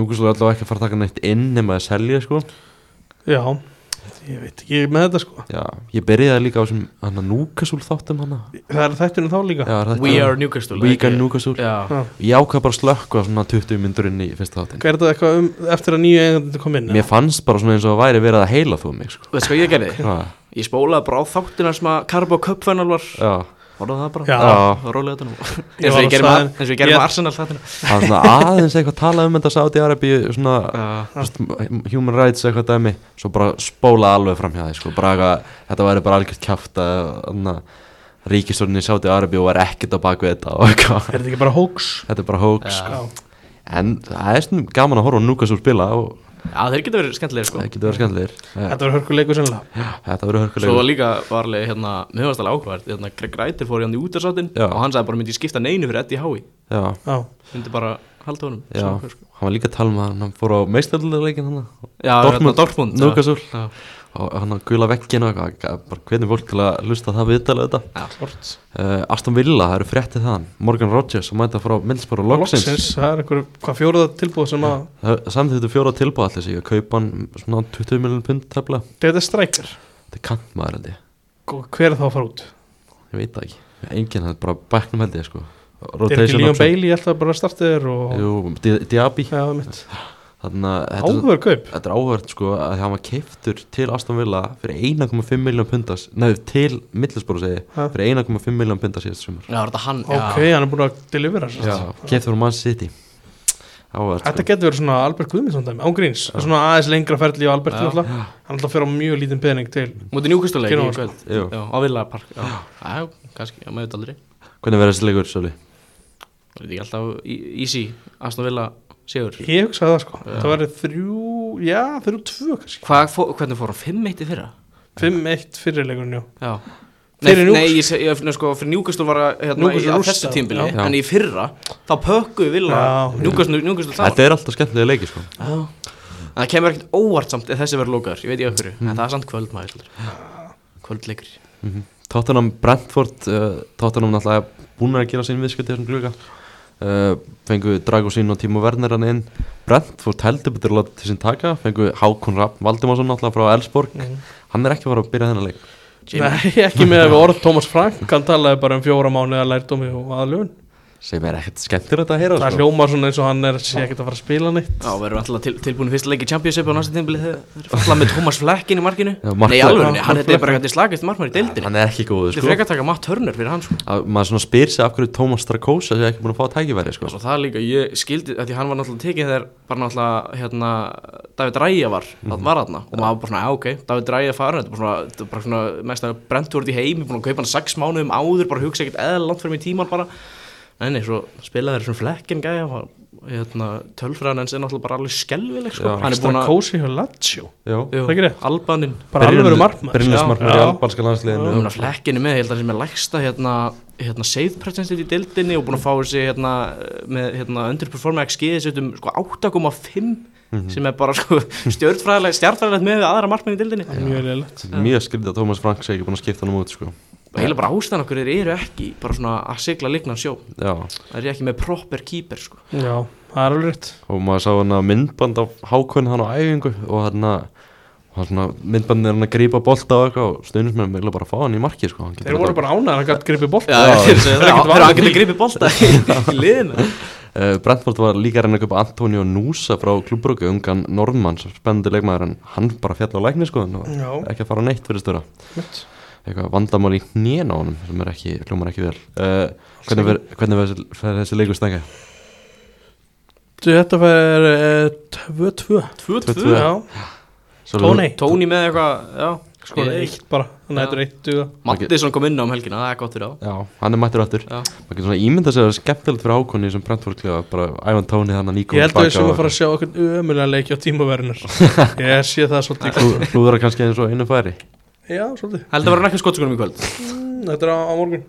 S1: Newcastle er allavega ekki að fara að taka neitt inn nema að selja sko
S2: Já, ég veit ekki með þetta sko
S1: Já, ég byrjaði líka á sem hann að Newcastle þáttum hann
S2: Það er þættunum þá líka
S1: Já, er þetta-
S3: We are Newcastle
S1: We
S3: ekki?
S1: are Newcastle
S3: Já
S2: Já.
S1: Ég ákvað bara að slökka svona 20 myndur inn í fyrsta þáttin
S2: Hvað er þetta eitthvað um, eftir að nýju eigandi kom inn
S1: Mér fannst bara svona eins og væri verið að heila þú mig sko.
S3: Veist hvað ég gerði?
S1: Já,
S3: Ég spólaði bara á þáttina sem að Carbo Cup fennal var
S1: já
S3: Orðaði það bara
S2: Já.
S1: Já.
S3: Það rólega þetta nú
S2: Ég
S3: Eins og
S2: var
S3: ég
S2: á
S3: gerði með-
S2: staðinn.
S3: eins og ég gerði
S2: Ég-
S3: með Arsenal þáttina
S1: Það er svona aðeins eitthvað tala um þetta Saudi Arabíu svona
S3: Já.
S1: just, human rights eitthvað dæmi svo bara spóla alveg fram hjá því sko. bara eitthvað, þetta væri bara algjört kjáft að ríkistjórnin í Saudi Arabíu var ekkert á baku þetta og eitthvað
S2: Er þetta ekki bara hoax?
S1: þetta er bara hoax
S3: Já.
S2: Já,
S1: en það er svona gaman að horfa á Núkas úr spila og
S3: Já, þeir geta verið skemmtilegir sko
S1: það getur verið skemmtilegir Já,
S2: þetta verður hörkuleikur sennilega
S1: þetta verður
S3: Svo var
S1: hörkulegur
S3: líka varlega hérna, mjög aðstæðlega áhugavert hérna, Greg Reiter fór í hann í útarsáttin
S1: Já.
S3: og hann sagði bara myndi ég skipta neinu fyrir Eddie Howe
S1: já,
S2: Já,
S3: myndi bara halda honum
S1: já,
S3: Svona, sko.
S1: hann var líka að tala um að hann fór á meistarleikin hann
S3: já Dortmund, hérna, Dortmund já.
S1: Núkas úr
S3: Já.
S1: og á hann að gula veggin og eitthvað Ga- bara hvernig fólk til að hlusta á það viðtalið þetta
S3: Já, klart
S1: uh, Aston Villa, það eru fréttið þaðan Morgan Rodgers að mæta frá Middlesbrough Logsins, Logsins.
S2: Loksins, það er einhver, hvað fjóruða tilbúð sem að
S1: samþýttu Eh, fjóra tilbúð allir sig að kaupa hann svona 20 miljón pund tefla
S2: Þetta er strækjar
S1: þetta er kantmaður held ég,
S2: Hver er þá að fara út?
S1: ég veit það ekki enginn, það er bara bæknum held ég sko
S2: Er ekki
S1: Rotation
S2: Leon
S1: option.
S2: Bailey alltaf bara að starta þér og
S1: Jú, Di- Diaby
S2: Já, mitt
S1: þannig að þetta er-
S2: Áhugur kaup
S1: Þetta er áhört sko að hann var keiftur til Aston Villa fyrir 1,5 miljón pundas Nei, til Middlesbrough segi ég,
S2: Ha?
S1: Fyrir 1,5 miljón pundas síðast sumar
S3: Já, er þetta hann
S2: Ok,
S3: já.
S2: hann er búin að delivera sér
S1: Keiftur úr Man City sko. Áhört
S2: Þetta getur verið svona Albert Guðmundsson dæmi, ángríns Svona aðeins lengra ferli á Albert
S3: Já.
S2: alltaf Hann alltaf fyrir á mjög lítinn pening til
S3: Mútið njúkastuleik í
S2: Gylfason.
S3: kvöld
S1: Jú.
S3: Já, á Villapark Já, já, kannski, já, maður veit aldrei
S1: Hvernig verður þessi leikur, Sjöli?
S3: Það er ekki alltaf í- easy Aston Villa sigur
S2: Ég hugsaði það sko Það væri þrjú, já, þrjú tvö kannski
S3: Hvað, fó, hvernig fór hann? 5-1 í fyrra?
S2: 5-1 fyrirleikurinn, já
S3: Já Nei,
S2: Fyrir
S3: nei,
S2: Newcastle.
S3: ég, seg- ég, nei, sko, fyrir Njúkastul var að- hérna,
S2: Newcastle
S3: í- á
S2: rústaði,
S3: þessu tímbili
S1: já.
S3: En í fyrra, þá pökkuðu Villa
S2: Já.
S3: Njúkastul, Njúkastul saman
S1: Þetta er alltaf skemmtilega leiki sko
S3: Já. En það kemur ekkert óvart samt ef þessi verður lókaður, ég veit ekki okkur En það er samt kvöld maður heldur. Kvöldleikur
S1: Tottenham Brentford uh, Tottenham náttúrulega búin að gera sín viðskipti þessum glugga uh, Fengu Dragosín og Timo Werner hann inn Brentford heldur betur að láta til sín taka Fengu Hákon Rapp Valdimarsson náttúrulega frá Elsborg
S2: Mhm.
S1: Hann er ekki að fara að byrja þennan leik
S3: Jamie,
S2: Nei, ekki með að við orð Thomas Frank Hann talaði bara um fjóra mánuða lærdómi og aðlögun
S1: sem er ekkert skemmtilegt að heyra
S2: Það
S1: sko.
S2: hljómar svona eins og hann er sé ekkert að fara að spila neitt
S3: Já, verður alltaf til, tilbúin í fyrsta leik í Championship á næsta tímbili þegar þeir falla með Thomas Fleckinn í markinu
S1: Já, Mark-
S3: Nei, alveg, nei,
S2: Mark
S3: hann þetta er bara
S2: Flecken.
S3: eitthvað slagist markmaður í deildinni
S1: hann er ekki góð
S3: Þetta er
S1: sko.
S3: frekar að taka Matt Turner fyrir hann sko
S1: að maður svona spyr sig af hverju Tómas Strakósa sé ekki búin að fá tækifæri sko.
S3: Svo það líka, ég skildi, af því hann var náttúrulega tekið þegar bara náttúrulega, hérna, David Ræja var,
S1: Mhm.
S3: mm var þarna og maður bara svona, já ok, David Ræja farin, þetta er bara svona, þetta er bara svona mest að brentvörð í heimi, búin að kaupa hann sex mánuðum áður, bara hugsa ekkert eða langt fyrir mig tíman bara, nei nei, svo spilaði þeir svona flekkinn gæja, og, hérna, tölfræðan hans er náttúrulega bara alveg skelvileg, sko,
S1: Já.
S3: hann er búin
S2: Stra
S3: að,
S2: kósi hjá Lazio
S1: Já.
S2: Það er ekki rétt.
S3: Albanin,
S2: Bara alveg verið markmann
S1: Brynlismarkmaður í albanska landsliðinu
S3: Núna flekkinu með, ég held að hann sé með lægsta hérna, hérna save percentage í deildinni og búin að fá þessi hérna, með hérna, underperforma XG þessi um sko, 8,5
S1: Mhm.
S3: sem er bara sko, stjórnfræðilegt stjárnfræðilegt með við aðra markmenn í deildinni
S2: Það er Mjög leilegt
S1: mjög skrítið að Tómas Frank sé ekki búin að skipta hann út sko.
S3: og heila bara ástæðan okkur þeir eru ekki bara svona að sigla lignan sjó
S1: Já.
S3: það eru ekki með proper keeper sko.
S2: Já, það er alveg rétt
S1: og maður sá hann að myndband á hákvönd hann á æfingu og hann að og hann svona, myndbandið er hann að grípa bolta og eitthvað og stundismenn meðla bara að fá hann í marki sko. Hann getur
S2: Þeir voru
S1: þetta-
S2: bara ánæðan að gæta gripi bótt
S3: það
S2: er
S3: er
S2: ekkert
S3: ekki
S2: vanið
S3: að geta gripið bolta í í liðinu
S1: Eh, Brentford var líka að reyna að kaupa Antonio Núsa frá klubbröku ungan Norðmann sem spennandi leikmaður en hann bara fjall á lækni sko, og
S2: Já.
S1: ekki að fara á neitt fyrir störa
S2: Mitt.
S1: eitthvað vandamál í hnén á honum sem er ekki, hljómar ekki vel uh, hvernig fer- hvernig fer þessi- fer þessi leikur stanga?
S2: Þetta fær eh, 2-2
S1: 2-2.
S3: 2-2
S2: Já, Tóni
S3: Tóni með eitthvað já,
S2: Sko
S3: ég-
S2: eitt bara Þannig að þetta er eitt duga
S3: Mattisson kom inn á um helgina, það er gott fyrir á
S1: Já, hann er mættur aftur
S3: Já.
S1: maður getur svona ímynda sér að það er skemmtilegt fyrir ákonni sem Brentford kliða, bara ævan Tóni þannig nýkom
S2: Ég held að við sem að fara að sjá okkur ömulega leiki á tímaverðinur Ég sé það svolítið í kvöld.
S1: Þú verður kannski eins og einu færi
S2: Já, svolítið
S3: Heldur að vera ekki skottskunum í kvöld
S2: Mm, Þetta er á, á morgun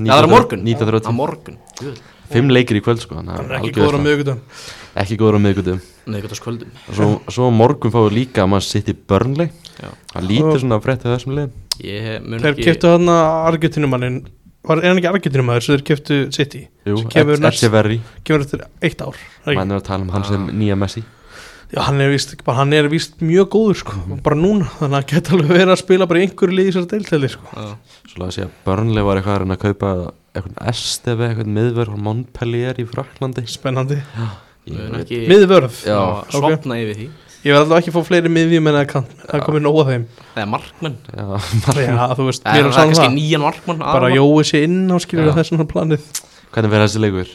S3: Já, það er á morgun
S1: 1930,
S3: Á morgun Jú,
S1: fimm leikir í kvöld sko þannig að
S2: Hann er ekki
S1: algjör
S2: góður á
S1: veisla.
S2: miðugudum
S1: Ekki góður á miðgutum
S3: miðvikudagskvöldum
S1: Svo, svo á morgun fáum við líka að maður sitt í börnleg
S3: Já.
S1: Það lítið svona frétt af þessum liðum
S3: Ég mun
S2: Þeir
S3: ekki
S2: keftu hann að Argentinumannin Var er hann ekki Argentinumæður sem þeir keftu City
S1: Jú,
S2: Sem kemur
S1: Ed-
S2: næst-
S1: Echeverry,
S2: Kemur eftir eitt ár er ekki?
S1: maður er að tala um hann sem nýja Messi
S2: Já, hann er víst, bara, hann er víst mjög góður sko, bara núna, þannig að hann geta alveg verið að spila bara í einhverju liði sér deiltæli sko.
S3: Já.
S1: Svo að segja að börnleg var eitthvað að reyna að kaupa eitthvað STV, eitthvað miðverð og Montpellier í Fraklandi
S2: Spennandi.
S3: Ég mun
S1: Ég-
S3: ekki
S2: Miðvörð.
S1: Já.
S2: ok.
S3: Svopna yfir því
S2: Ég verð allavega ekki að fá fleiri miðvíum en að kant, það komið nóg að þeim.
S3: Eða markmann
S1: Já,
S2: Já, þú veist,
S3: Það
S2: mér
S3: er
S2: er sann
S3: kannski
S2: það.
S3: nýjan markmann
S2: Bara
S3: aðalmarkmann.
S2: jói sér inn á skilur
S1: Já.
S2: þessu svona planið.
S1: Hvernig verður þessi leikur?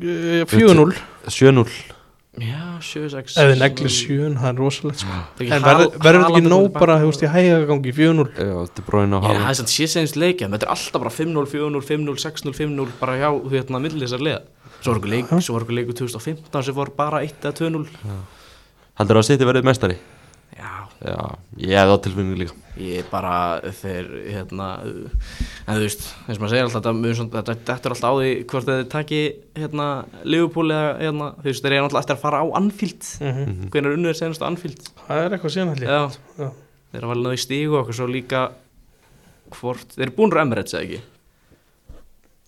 S2: Eh, 4-0,
S1: 7-0
S3: Já, 7-6
S2: eða negli 7, það er rosalegt sko.
S3: Það
S2: En verður verður þetta ekki nóg bara, þú veist, í hægagangi, 4-0.
S1: Já, þetta er bróin á
S3: Já, það
S1: hálf
S3: er sann síðsegins leikja Þetta er alltaf bara 5-0, 4-0, 5-0, 6-0, 5-0 Bara hjá þú hérna millir þessar liða Svo var okkur leik, svo var okkur leiku 2015 sem var bara 1 eða 2-0
S1: Heldur það að City verði mestari?
S3: Já,
S1: já, ég hefði á tilfinningu líka
S3: Ég er bara þeir hérna, en þú veist, eins og maður segir alltaf þetta mun svona- þetta þetta er alltaf á því hvort þið taki hérna Liverpool eða hérna, þú veist, þeir eru alltaf eftir að fara á Anfield
S2: Mhm.
S3: hvernig unnur senast á Anfield
S2: Það er eitthvað síðan allir
S3: Já,
S2: Já.
S3: þeir eru að valið náðu í stígu og okkur svo líka hvort, þeir eru búin úr Emirates eða ekki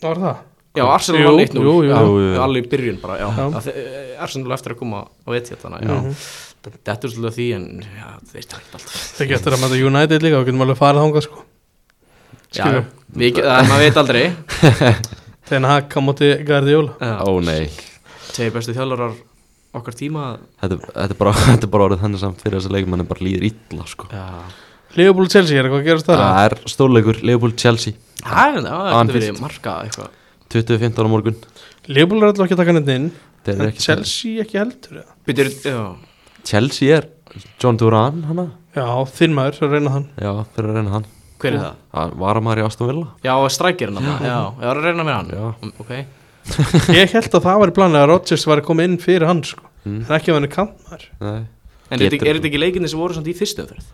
S2: Var það?
S3: Já, Arsenal
S2: Jú,
S3: vann 1-0
S2: jú, jú.
S3: Já,
S1: Jú, jú, jú.
S3: Alveg í byrjun bara, já,
S2: Já.
S3: já. Þe- Arsenal á eftir að koma á etið þannig, já
S2: Mhm.
S3: Þetta er svolítið af því en já, þeir takkt alltaf
S2: Það getur að mæta United líka og getum alveg farið þangað sko
S3: Já,
S2: Skilur.
S3: við, get- það- maður veit aldrei
S2: Þegar haka á móti Guardiola
S3: Já.
S1: Ó nei,
S3: Tveir bestu þjálfarar okkar tíma
S1: þetta, þetta, er bara, þetta er bara orðið þannig samt fyrir þessa leikum en það bara líður illa sko.
S3: Já,
S2: Liverpool Chelsea er eitthvað að gerast þar
S1: Það er stórleikur, Leopold Chelsea
S3: það er það
S1: Anfield.
S3: verið marka eitthvað
S1: 2015 á morgun
S2: Liverpool er alltaf ekki að taka neitt inn
S1: Þeir eru
S2: En
S1: ekki-
S2: Chelsea ekki heldur eða?
S3: Býtur, já,
S1: Chelsea er John Duran hana
S2: Já, þinn maður, svo reyna hann
S1: Já, fyrir að reyna hann
S3: hver er það?
S1: Hann var maður í Aston Villa
S3: Já, strækirinn Já, ég var að reyna með hann
S1: Já.
S3: Ok,
S2: Ég held að það væri planið að Rodgers væri að koma inn fyrir hann sko
S1: Mm.
S2: Það er ekki að hann er kantmaður
S1: Nei,
S3: en er þetta ekki-
S1: Getur-
S3: er þetta ekki leikinni sem voru samt í fyrstu umferð?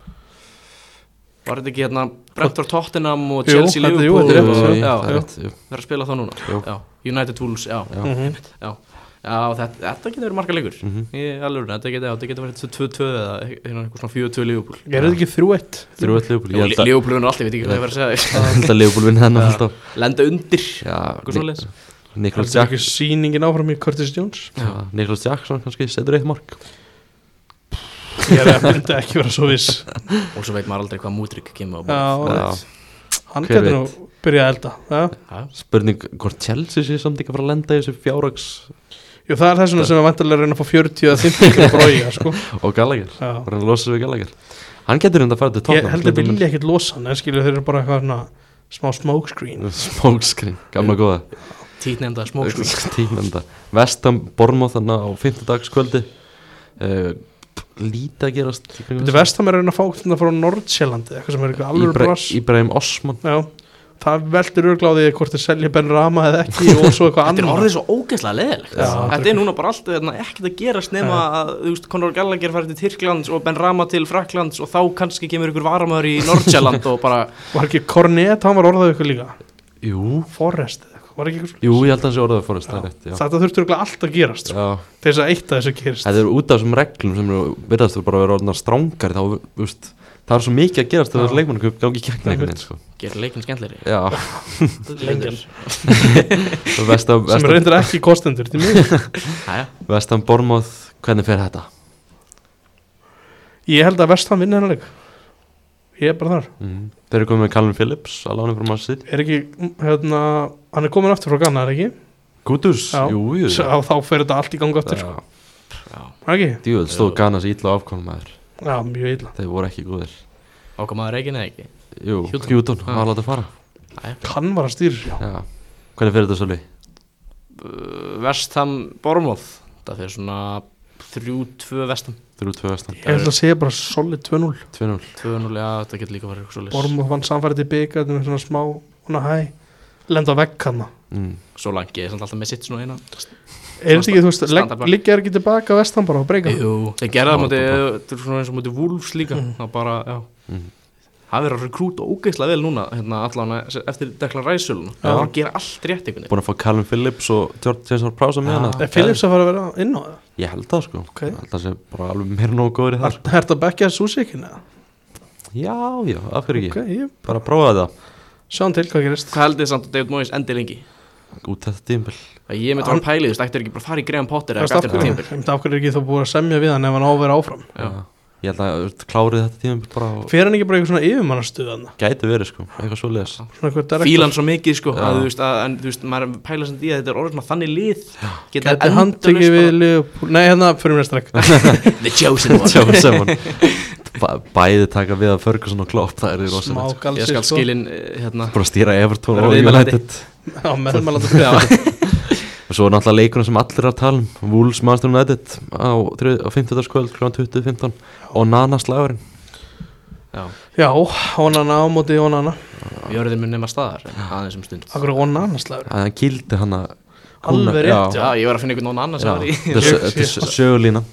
S3: Var þetta ekki hérna Brentford Tottenham og
S2: Jú,
S3: Chelsea
S2: þetta- jú,
S3: Liverpool
S2: þetta er rétt,
S1: Jú,
S3: og-
S1: jú,
S3: Já,
S1: það er
S3: já.
S1: rétt, jú.
S3: Við erum að spila það núna
S1: Jú.
S3: já. United Wolves, já Já,
S1: Já.
S2: Mhm.
S3: já. já þetta, þetta getur verið marga leikur
S1: Mm. Mhm.
S3: Í alveg, þetta getur, já, þetta getur verið 2-2 eða hérna einhver svona 4-2 Liverpool
S2: Er þetta ekki 3-1?
S1: Þrjú eitt Leopold Ég held að-
S3: Liverpool vinnur alltaf, ég veit ekki hvað ég var að segja
S1: ég held að Leopold vinna þennan
S3: Já.
S1: alltaf
S3: Lenda undir, eitthvað
S1: Já,
S3: svoleiðis
S1: Nicholas
S2: Heldur ekki
S1: Jackson
S2: sýningin áfram í Curtis Jones
S1: Já, Nicholas Jackson kannski setur eitt mark
S2: Ég er að mynda ekki vera svo viss
S3: Og svo veit maður aldrei hvað mútrygg kemur á borð.
S2: Já,
S1: Já.
S2: hann
S1: Hver
S2: getur nú byrjað að elda Já.
S3: Já.
S1: Spurning hvort Chelsea sé samt ekki að fara að lenda í þessu fjárags
S2: Jú, það er þess vegna sem við vantarlega reyna að fá 40 að 50 að brója sko
S1: og Gallagher
S2: Já
S1: bara hann losið við Gallagher Hann getur hérna að fara til
S2: ég
S1: Tottenham
S2: heldur
S1: Slipper
S2: vilja ekkert losa hann en skilur þeir eru bara eitthvað svona smá smokescreen
S1: minn. Smokescreen, gamla góða
S3: Títnefnda smóksvík
S1: tímenda Vestam Bormóð þannig á 5. dagskvöldi uh, Líta að gerast í kringum
S2: Þetta
S1: þessu.
S2: vestam er að reyna að fá þetta frá Nordsjælandi eitthvað sem er eitthvað alveg
S1: Íbra-
S2: brass
S1: Íbrahim Osman
S2: Já, það veldur örgláði hvort þeir selja Ben Rama eða ekki og svo eitthvað
S3: Þetta er
S2: annað
S3: orðið svo ógeðslega leðilegt
S2: Já,
S3: Þetta er núna bara allt hérna, ekkert að gerast nema að þú veist, Conor Gallagher farið til Tyrklands og Ben Rama til Fraklands og þá kannski kemur ykkur varamöður í Nordsjælland og bara
S2: Var ekki Cornet, hann var orðað ykkur líka
S1: Jú,
S2: Forrest eða eitthvað, var ekki ykkur
S1: Jú ég held að hann sé orðaði fórist Það er rétt, já.
S2: Þetta þurftur örgláði allt að gerast sko,
S1: já
S2: til þess að eitt að þessu gerist
S1: Þetta er út af þessum reglum sem eru- virðast þú bara að vera orðnar strángari þá, þú veist, það er svo mikið að gerast þegar
S2: Já.
S1: þessu leikmannu gangi í gegn einhvern veginn sko.
S3: gera leikin skemmtleri
S1: Já,
S2: Lengjan.
S1: vestam,
S2: sem
S1: vestam,
S2: reyndir ekki kostendur til mig
S3: Jæja,
S1: vestam Bormóð Hvernig fer þetta?
S2: Ég held að vestam vinna hennar leik Ég er bara þar
S1: Mm. Þeir eru komið með Callum Phillips að lána frá maður sitt
S2: Er ekki, hérna, hann er komin aftur frá Ghana, er ekki?
S1: Gútus,
S2: Já.
S1: jú, jú
S2: Svo, þá fer þetta allt í gangi aftur,
S1: Já.
S3: já,
S2: sko. ekki?
S1: Djúvel stóð Ganas ítla afkvæmum maður
S2: Já, mjög illa
S1: Þeir voru ekki góðir
S3: okkar maður reikin eða ekki
S1: Jú,
S3: Hjúton.
S1: Hjúton,
S3: Já.
S1: hann var að láta fara
S2: Kann var að stýra já.
S1: Já. Hvernig fer þetta svo leið?
S3: Vestham Bormóð Það fyrir svona 3-2 Vestham
S1: 3-2 vestan,
S2: Ég ætla að segja bara solid 2-0
S1: 2-0
S3: 2-0, já, þetta getur líka verið svo leys
S2: Bormóð vann samfærið til bygga Þetta er svona smá, svona hæ Lenda á vegg hann
S1: mm.
S3: Svo langi, ég er samt alltaf með sitt svona hérna. eina
S2: Er þetta ekki, þú veist, legg-
S3: Standard bar.
S2: liggja er ekki tilbaka Vestan bara og breyka
S3: Jú, þeir gerða það
S1: Já,
S3: móti,
S1: bara.
S3: þetta er svona eins og móti Wolves líka,
S2: Mm.
S3: það bara, já
S1: Mhm.
S3: Það verður að rekrúta ógeðslega vel núna, hérna allan eftir dekla ræsölun Það var að gera allt rétt einhvern veginn
S1: Búin að fá Callum Phillips og George Jason Prása með
S3: Já.
S1: hana
S2: Er Philips að fara að vera inn á það?
S1: Ég held það sko
S2: Ok.
S1: Ég held það sé bara alveg meira nógu góður í það sko.
S2: Er þetta að bekja Susikin eða?
S1: Já, já, af hverju
S2: Ok,
S1: ekki
S2: ég
S1: Bara að prófa það
S2: sjáum til hvað gerist
S3: Hvað heldur þið samt að David Moyes endi lengi?
S1: Út þetta tímpil
S3: Að ég myndi að
S2: Hann-
S3: vera pælið, þú veist, ættir ekki bara að fara í Graham Potter eða
S2: Veist, af
S3: eitthvað eftir þetta
S2: hverju
S3: tímpil
S2: einmitt, af hverju er ekki þá búið að semja við hann ef hann á að vera áfram?
S3: Já.
S1: Ég held að þú veist, klárið þetta tímpil bara og
S2: Fer hann ekki bara eitthvað svona yfirmannastuð hann?
S1: Gæti verið sko, eitthvað svo leiðis
S2: Svona eitthvað direktor?
S3: Fílan svo mikið, sko,
S1: Já.
S3: að, þú veist, að, en þú veist, maður pæla sem því að þetta er orðin að þannig lið Geta
S2: Gæti hann tekið
S3: endalaust
S2: við Liverpool Nei, hérna, fyrir mér strekk
S3: bara- The Chosen One
S1: Sjá sem hann Bæ- Bæði taka við að Ferguson og Klopp Það er í
S2: Smá
S1: rosalegt sko.
S3: Ég
S2: galsið
S3: skal skilin, eh, hérna
S1: Bara að stýra Everton
S3: Vera
S1: og
S3: viðmælandi.
S1: United
S2: Já, meðmælandi
S3: Já,
S1: Og svo er náttúrulega leikurinn sem allir er að tala um Wolves Master United á, þrið- á 50. kvöld kl. 20.15 og Nana slagurinn
S3: já,
S2: Já, onana á móti onana
S3: jörðin mun nema staðar, en aðeins um stund
S2: Akkur onana slagur
S1: að hann kildi hann að
S2: Alveg rétt,
S3: Já, ég var að finna einhvern annan sem var í
S1: Þetta er sö- þetta er sö- sögulína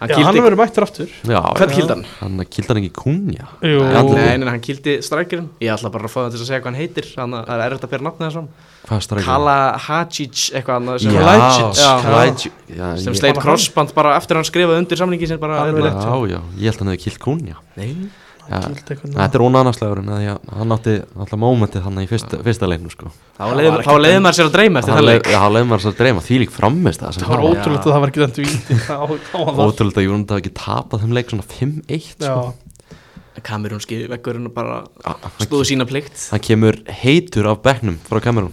S3: Hann
S2: Já,
S3: kýldi-
S2: hann verður mættur aftur
S1: Já,
S3: Hvern
S1: já.
S3: kýldi hann?
S1: hann kýldi hann ekki kunja
S2: Jú.
S3: Nei, nei, hann kýldi strækirinn Ég ætla bara að fá það til að segja hvað hann heitir Þannig að það er erfitt að bera nafnið þessum
S1: Hvað strækir?
S3: Kala Hadjic eitthvað annað sem,
S2: Kalajic.
S1: Já,
S3: Já.
S1: Kalajic. Já,
S3: sem
S1: ég-
S3: sleit crossband bara eftir að hann skrifaði undir samningi sem bara
S2: Alveg
S3: hérna.
S2: rétt.
S1: Já, já, ég held að hann hefði kýlt kunja
S3: Nei,
S1: Já.
S2: Hann kýldi eitthvað
S1: Þetta er ónanaslegurinn að því að hann átti alltaf mómentið hann í fyrsta, fyrsta leiknum sko.
S3: Þá leiði- þá leiði maður sér að dreyma eftir
S1: Hann
S3: það
S1: leik,
S3: leik
S1: já, hann leiði maður svo að dreyma því lík framist það sem
S2: Það var
S1: var.
S2: ótrúlegt að það var ekki dæmt víti á, á hann þar.
S1: Ótrúlegt að Júnund hafi ekki tapað þeim leik svona 5-1
S2: Já,
S1: sko.
S3: Kamerúnski vekkurinn bara
S1: Ah, hann,
S3: stóðu sína plikt
S1: hann kemur heitur af bekknum frá kamerun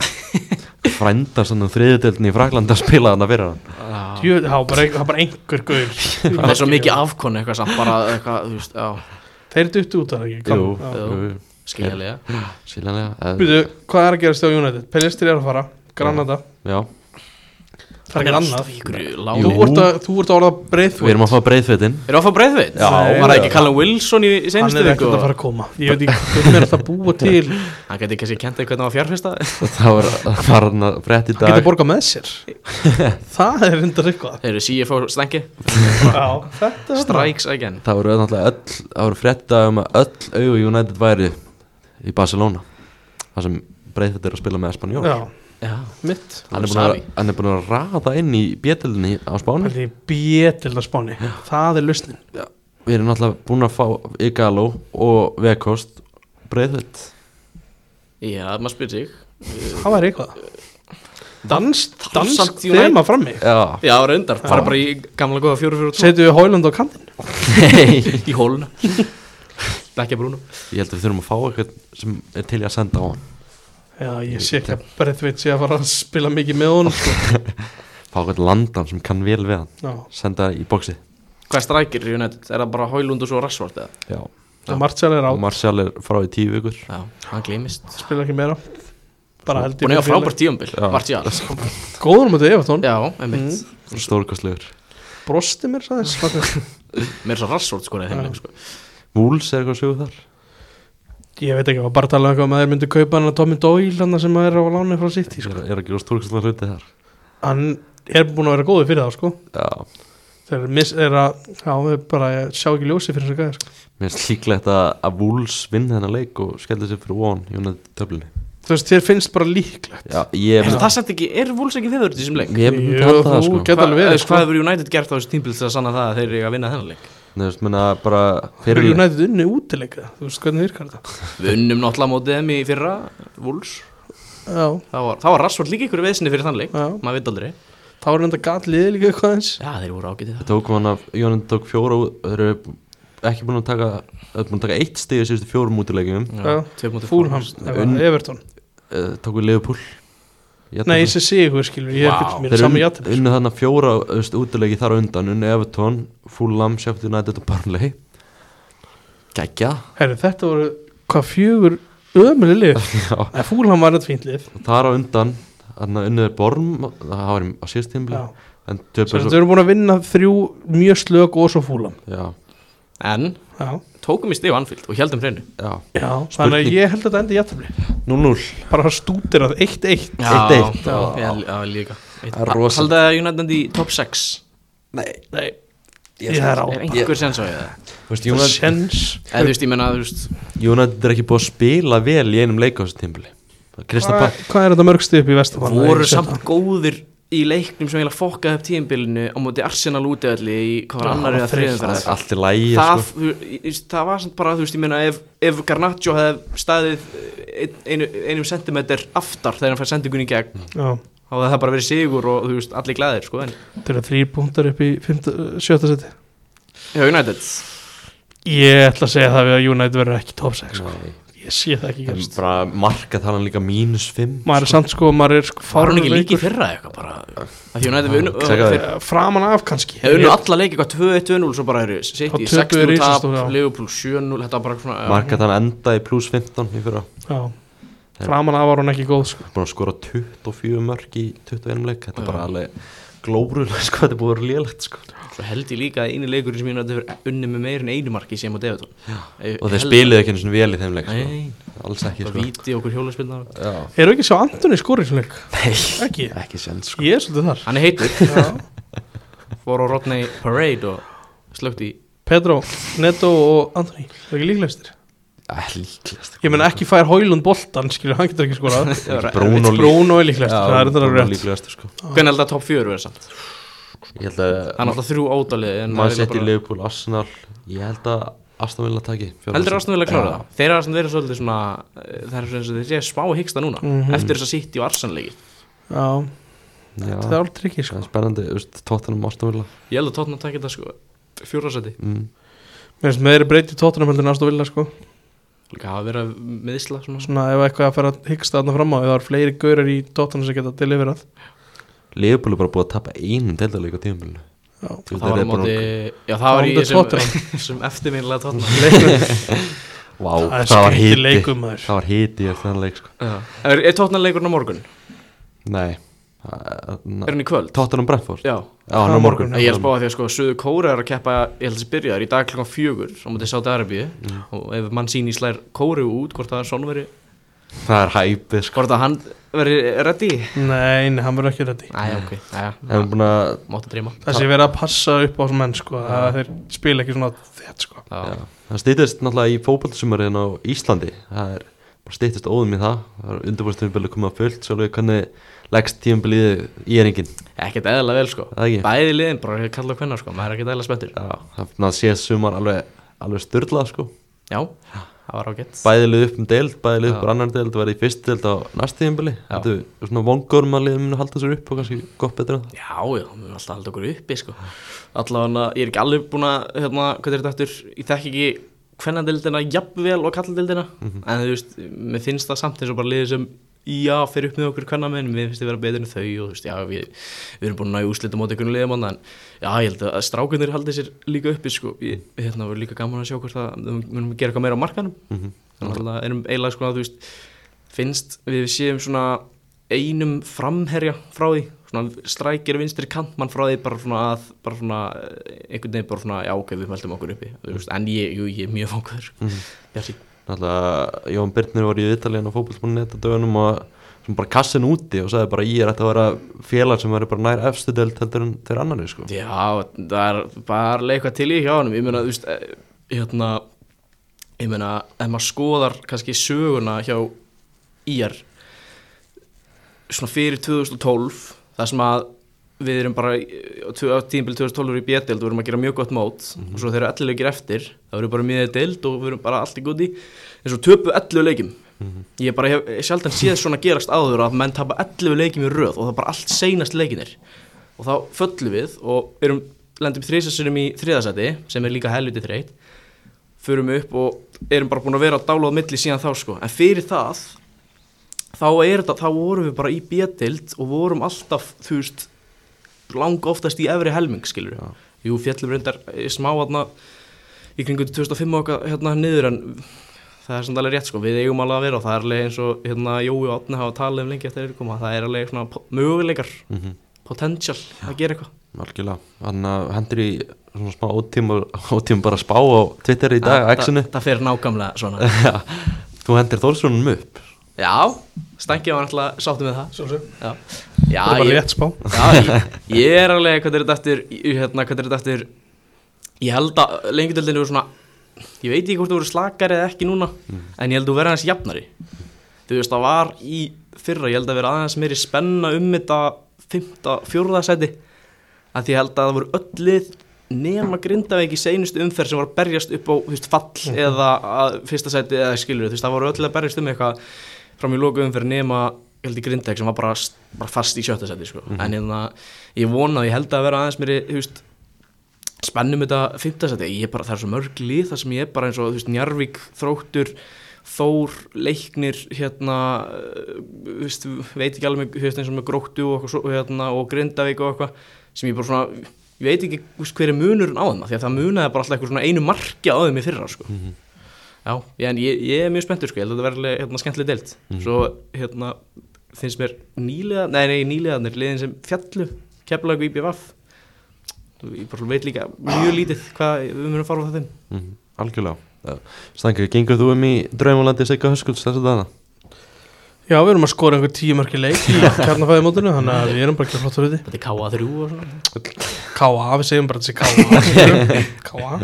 S1: Frænda svona þriðutöldin í Fraklandi að spila hann að vera hann
S3: Ah.
S2: Jú, það var bara, það var bara einhver gaur
S3: Það er svo mikið afkonu eitthvað samt bara eitthvað, þú veist, á,
S2: Þeir duttu út af það ekki
S1: Jú,
S2: Já.
S1: jú, jú,
S3: skiljaðlega
S1: sílanlega
S2: Býtu, hvað er að gerast á United? Pelistri er að fara, Granada
S1: Já,
S2: Það er ekki annað
S1: Jú.
S2: Þú
S3: Við
S2: ert að, þú ert að orða
S1: við
S2: breiðfúr
S1: erum að fá breiðfettin
S3: erum að fá breyðveit
S1: Já.
S3: Var það ekki Callum Wilson í í
S2: Hann
S3: seinustu
S2: er
S3: viku?
S2: ekkert að fara að koma Ég veit ekki hvernig er þetta að búa til Hann
S3: Hann geti kannski kent eitthvað hvernig hann var fjárfesta
S1: Það var, var hann að brett í dag
S2: getur borgað með sér Það er reyndar eitthvað
S3: Þeir eru CFO stengi
S2: Já, þetta er
S3: Strikes again
S1: Það voru náttúrulega öll, það voru frétta um að öll augu United væri í Barcelona Það sem Breiðfeldt er að spila með Espanjól
S2: Já,
S3: Já
S2: mitt
S1: hann, er búinn að- hann er búin að raða inn í bjetelinni á Spáni
S2: Pældi bjetilda spáni Það er lausnin
S1: Við erum náttúrulega búin að fá Igalo og Vekost Breiðfeldt
S3: Já, maður spyr sig
S2: Það væri eitthvað Dansk, dansk
S3: Samt United-
S2: þema frammi
S1: Já
S3: Já, reyndar, fara bara í gamla góða fjóru fjóru tvo
S2: Setjum við Hóland á kantinn
S3: Í hóluna Bekkja brúnu
S1: Ég held að við þurfum að fá eitthvað sem er til í að senda á hann
S2: Já, ég sé ekki að Breðveit sé að fara að spila mikið með honum sko.
S1: Fá eitthvað landan sem kann vel við hann
S2: Já,
S1: Senda í bóksi
S3: Hvað strækir í United? Er það bara Hólund og svo Rassvort eða?
S1: Já
S2: það Martial er á
S1: Marcial er frá í tíu vikur
S3: Já, hann gleymist
S2: Spila ekki meira Bara held
S3: Búin að eiga frábært tíumbil,
S1: Já.
S3: Martial
S2: Góður mútið Evertón
S3: Já, einmitt
S1: Stórkostlegur
S2: Brosti mér sæðis
S3: Mér er svo Rassvort sko
S2: Já.
S3: þeim leik sko
S1: Wools er eitthvað sögur þar
S2: Ég veit ekki, ég var bara að tala um eitthvað Maður myndi kaupa hann að Tommy Doyle Hann sem er á láni frá City
S1: Ég
S2: sko.
S1: er, er að gera stórkostlega hluti þar
S2: Hann er búin að vera góður fyrir það sko.
S1: Já
S2: Þegar miss er að Já, við bara ég sjá ekki ljósi fyrir þessu gæði sko.
S1: Mér finnst líklegt að, að Wolves vinn þennan leik og skella sér fyrir von í unnaði töflunni.
S2: Þú veist, þér finnst bara líklegt
S1: Já, ég
S3: En það sent ekki, er Wolves ekki viður í þessum leik?
S1: Ég myndi halda það
S2: þú
S1: sko
S2: gæti alveg
S3: Hvað-
S2: verið
S3: veist,
S2: sko.
S3: Hvað hefur United gert á þessu tímpil til að sanna það að þeir eru að vinna þennan leik?
S1: Nei, þú veist, menna bara
S2: Þeir
S1: fyrir
S2: United unni útileika Þú veist hvernig virkar þetta
S3: Við unnum náttúrulega mótið þeim í fyrra, Wolves
S2: Já,
S3: Það var, það var Rassvort líka ykkur veðsynni fyrir þann leik
S2: já
S3: Maður veit aldrei
S2: Þá er enda gat liðið líka eitthvað eins
S3: Já, þeir voru ágætið það
S1: Tókum hann af, Jónin tók fjóra út Þeir eru ekki búin að taka Þeir eru búin að taka eitt stig í síðustu fjórum útilegjum
S2: Já.
S3: tvö mótið
S2: Fúlham,
S3: Forest.
S1: Unn-
S2: Evertón
S1: uh, Tókum við Liverpool Jafntefli.
S2: Nei, ég sé sigur skilur Ég er
S3: Vá,
S2: fyrir mér
S1: Þeir
S2: saman
S1: unnu
S2: játtir
S1: unnu þarna fjóra þú veist, útilegi þar á undan Unni Everton, Fulham, Sheffield United og Burnley Gægja
S2: Herru, þetta voru hvað fjögur ömuleg lið En Fúlham var þetta fínt lið
S1: Þar á undan Þannig að unniður Borm Það var í- á síðustu tímli
S2: Já.
S1: En
S2: Svo
S1: töpur
S2: þetta eru búin að vinna þrjú mjög slök og svo Fúlham
S1: Já,
S3: En
S2: Já,
S3: tókum í stig á Anfield og heldum hreinu
S1: já
S2: já Þannig að ég held að þetta endi játtir
S1: 0-0
S2: Bara stútir að 1-1
S1: Eitt eitt.
S3: Já,
S1: Já.
S3: já, já, líka
S1: Það er rosalegt.
S3: Haldið að United endi í top 6
S1: Nei,
S2: Nei, ég er á
S3: Er einhver sens á ég það?
S1: veist,
S2: Það er
S1: United,
S2: sens
S3: Eða þú veist, ég menna, þú veist
S1: United er ekki búið að spila vel í einum leik á þessu tímli Kristna
S2: Hvað
S1: Park
S2: hvað er þetta mörgstu upp í Vestafann?
S3: voru samt góðir í leiknum sem eiginlega fokkaði upp tíðinbílinu á móti Arsenal útöðli í hvað var
S2: Já,
S3: annar eða
S2: það var
S3: þriðum
S1: Það er
S3: fyrir
S1: allt í lægi
S3: það,
S1: sko.
S3: þú- ég- ég- það var samt bara, þú veist, ég meina ef, ef Garnaccio hefði staðið ein, einu, einum sentimeter aftar þegar hann fær sendingun í gegn
S2: Já,
S3: þá hefði það bara verið sigur og þú veist, allir glæðir sko, en
S2: þetta eru þrý punktar upp í fimmta- sjötta seti
S3: Já, United
S2: Ég ætla að segja það við að United verður ekki top 6 sko.
S1: Nei.
S2: Ég sé það ekki
S1: En
S2: gerst
S1: bara marka talan líka mínus 5
S2: Maður er samt sko, maður er sko
S3: var hún ekki
S2: fáránlegur.
S3: líki fyrra eitthvað bara að því United við unnu
S1: Segðu það.
S3: þeir
S2: Eh, Framan af kannski
S3: þeir unnu alla leiki eitthvað 2-1-2-0 svo bara eru sitt
S2: Þá
S3: í
S2: töpuðu
S3: 6-0 tap,
S2: risastóru, já.
S3: Liverpool 7-0 þetta var bara svona já.
S1: Marka talan enda í pluss 15 í fyrra
S2: Já. Framan af var hún ekki góð sko.
S1: búin að skora 24 mörg í 21 leik þetta er bara alveg glórulega sko, þetta er búin að vera lélegt sko.
S3: Svo held ég líka að eini leikurinn sem ég náttúrulega hefur unni með meir en einu marki sem á Devatón
S1: og þeir spiluðu ekki eins og vel í þeim leik sko.
S3: Nei,
S1: alls ekki
S3: það
S1: sko.
S3: víti okkur hjólaspilna
S1: Já.
S2: Eru ekki að sjá Antoni skorið svona leik?
S1: Nei,
S2: Ekki?
S1: ekki sens sko.
S2: Ég er svolítið þar
S3: Hann er heitur,
S2: Já.
S3: fór á Rodney Parade og slögt í
S2: Pedro, Neto og Anthony Það er ekki líklegstir
S1: Eh, líklegast
S2: Ég menna ekki fær Hólund boltan skilur, hann getur ekki skorað
S1: Bruno lík-
S2: Bruno er líklegstir, það er þetta
S1: Bruno
S2: alveg rétt
S1: líklegast sko.
S3: Hvernig held að top 4 verður samt?
S1: Ég held að
S3: Það er alltaf þrjú ódalið
S1: Man seti Liverpool, Arsenal Ég held að Aston Villa taki
S3: Heldur Arsenal vilja klára
S1: Já.
S3: það? Þeir eru svona verið svolítið svona eh, Það er svona þeir séu smá hyggsta núna
S2: Mhm.
S3: Eftir þess að sitt í Arsenal-leiki
S2: Já,
S1: Já,
S2: þetta er alveg tryggi
S1: það
S2: sko.
S1: er spennandi, þú veist, Tottenham Aston Villa
S3: Ég held að Tottenham takir þetta sko Fjórðarsæti
S1: mm.
S2: Mér finnst meðri breyti tóttunum heldur en Aston Villa sko.
S3: Líka hafa verið meðisla svona
S2: Svona ef eitthvað að fara að hyggsta þarna fram á Það er fleiri gaurar í tóttunum sem geta deliverað
S1: Liverpool er bara búið að tapa einum deildarleik á tímabilinu
S2: Já.
S1: Þú veist,
S3: Það
S1: þeir
S3: var á
S1: eru búin
S3: móti
S1: að-
S3: Já það var í
S2: Móti
S3: sem, sem eftirminnilega Tottenham
S2: Leikur-
S1: Vá,
S2: Það er
S1: það var
S2: skrítið
S1: hiti
S2: leikum maður
S1: Það var hiti eftir þann leik sko
S3: Já. Er, er Tottenham leikurinn á morgun?
S1: Nei það-
S3: Er
S1: na-
S3: hann í kvöld?
S1: Tottenham Brentford
S3: Já
S1: Já, hann
S2: á
S1: á morgun
S2: morgun,
S3: Ég er að spáða því að sko Suðu Kóra er að keppa Ég held að þessi byrjaðar í dag klokkan fjögur Á móti Sáti Arabíu Og ef mann sín í slær Kóru út Hvort að hann veri
S1: Það er hæpið sko
S3: Hvort að hann veri ready
S2: Nei, nei, hann verður ekki reddi
S3: Æja ok
S1: Það er
S3: Æja
S1: búin að
S3: Máttu dreyma
S2: Það sé verið að passa upp á þessum menn sko. að Þeir spila ekki svona þett sko.
S3: Já.
S1: Já, það stýttist náttúrulega í fótballsumarinn á Íslandi það er bara stýttist óðum í það það er undirbúrstíðumbilið komið að fullt svolítið hvernig leggst tíðumbilið í eringin
S3: Ekkert eðla vel sko
S1: það er ekki
S3: Bæði liðin bara hefur kallað hvenna sko Maður er ekkert eðla spenntur
S1: Já, það sé sumar alveg, alveg styrlað sko
S3: Já Það var ágætt
S1: bæði lið upp um deild, bæði lið upp
S3: Já.
S1: úr annar deild verði í fyrst deild á næst tíðumbili
S3: Já.
S1: þetta er svona vongur um að liðum munu halda sér upp og kannski gott betra en það
S3: Já, já, við erum alltaf að halda okkur uppi sko. Allavega, ég er ekki alveg búin að hérna, hvað er þetta eftir, ég þekk ekki kvennadeildina jafnvel og kalladildina en þú veist, mér finnst það samt eins og bara liðið sem, já, fer upp með okkur kvennamenn, mér finnst þið vera betur en þau og þú veist, já, við, við erum búin að ná í úslitum á einhvern liðum annan, já, ég held að strákunir haldið sér líka uppi, sko ég, hérna, við erum líka gaman að sjá hvort að við munum gera eitthvað meira á markanum
S1: Mhm.
S3: þannig að það erum eiginlega sko að þú veist finnst við séum svona einum framherja frá því svona strækir vinstri kantmann frá því bara svona að bara svona eh, einhvern veginn bara svona já ok við meldum okkur uppi Þú veist, en ég, jú, ég er mjög fangur
S1: Mhm.
S3: Bjarti,
S1: náttúrulega Jón Birnir var í Ítalíðan á fótballsumarinn þetta dögunum og sem bara kassin úti og sagði bara ég er ætti að vera félag sem verður bara nær efstu deild heldur en þeir annari sko
S3: já það er bara leikvað til í hjá honum ég meina þú veist eh, hérna ég meina ef maður skoðar kannski söguna hjá íjar svona fyrir 2012 það sem að við erum bara í- á tvö- á tímbil 2012 erum við í B-deild og við erum að gera mjög gott mót og svo þeir eru 11 leikir eftir það eru bara miðið deild og við erum bara allt í góði eins og töpu 11 leikim ég bara hef sjaldan séð svona gerast áður að menn tapa 11 leikim í röð og það er bara allt seinast leikinir og þá föllum við og erum lendum þriðsessunum í þriðasæti sem er líka helviti þreytt förum upp og erum bara búin að vera dálóð milli síðan þá sko, en fyrir það þá er þetta, þá vorum við bara í B-dild og vorum alltaf, þú veist lang oftast í efri helming, skilur
S1: Já.
S3: Jú, fjallum reyndar eh, smá hérna í kringu 2005 og okkar hérna niður en það er samt alveg rétt sko, við eigum alveg að vera og það er alveg eins og hérna Jói og Átni hafa talið um lengi eftir að þeir koma, það er alveg svona po- möguleikar,
S1: mm -hmm.
S3: potential að gera eitthvað.
S1: algjörlega, hann uh, hendur í svona smá ótíma, ótíma bara spá á Twitter í dag,
S3: Það-
S1: X-inu
S3: Það, það fer nákvæmlega svona.
S1: þú hendur Þórsrúnum upp
S3: Já, Stengi var náttúrulega sáttum með það.
S2: Sjálfsög
S3: Já, já
S2: Það er bara
S3: ég-
S2: rétt spá
S3: Já, ég, ég er alveg, hvað er þetta eftir, ég- hérna, hvað er þetta eftir, ég held að lengjutöldinu voru svona, ég veit ekki hvort þú voru slakari eða ekki núna, en ég held að þú verið aðeins jafnari. Þú veist, það var í fyrra, ég held að vera aðeins meiri spenna um þetta fymta, fjórða seti, að ég held að það voru öll lið nema Grindavík í seinustu umferð sem var að berjast upp á þú veist, fall eða að fyrsta seti eða skilur, þú veist, það voru öll að berjast um eitthvað fram í loku umferð nema ég held í Grindavík sem var bara, bara fast í sjötta seti sko. en hérna, ég vona að ég held að vera aðeins meiri þú veist, spennum þetta fymta seti, ég er bara, það er svo mörg lið þar sem ég er bara eins og þú veist, Njarvík, Þróttur Þór, Leiknir hérna, eh, þú veist, veit ekki alveg með, þú veist, eins og með Gróttu og, eitthvað svo, hérna, og Grindavík og eitthvað sem ég bara svona, ég veit ekki þú veist, hver er munurinn á þeim, af því að það munaði bara alltaf eitthvað svona einu marki á þeim í fyrra sko. Já, ég- en ég, ég er mjög spenntur sko, ég held að þetta verði alveg, hérna, skemmtileg deilt Svo hérna finnst mér nýlega, nei nei nýlegaðanir, liðin sem fjallu, keflaðu í BVF Ég bara veit líka mjög lítið hvað við munum fara á það þeim
S1: mm -hmm. algjörlega, uh, Stangur, gengur þú um í draumalandi Sigga Höskulds þessu dana?
S2: Já, við erum að skora einhver tíu mörki leik í kjarnafæðimótinu, þannig að við erum bara ekki flott fyrir
S3: Þetta er KA3 og svona
S2: því K.A. við segjum bara þessi K.A. K.A.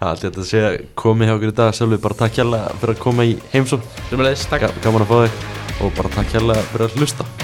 S1: Allt þetta sé að komið hjá okkur í dag Sjálfur bara takk hérlega fyrir að koma í heimsum
S3: Sjömmulegis, takk
S1: Gaman að fá þig Og bara takk hérlega fyrir að hlusta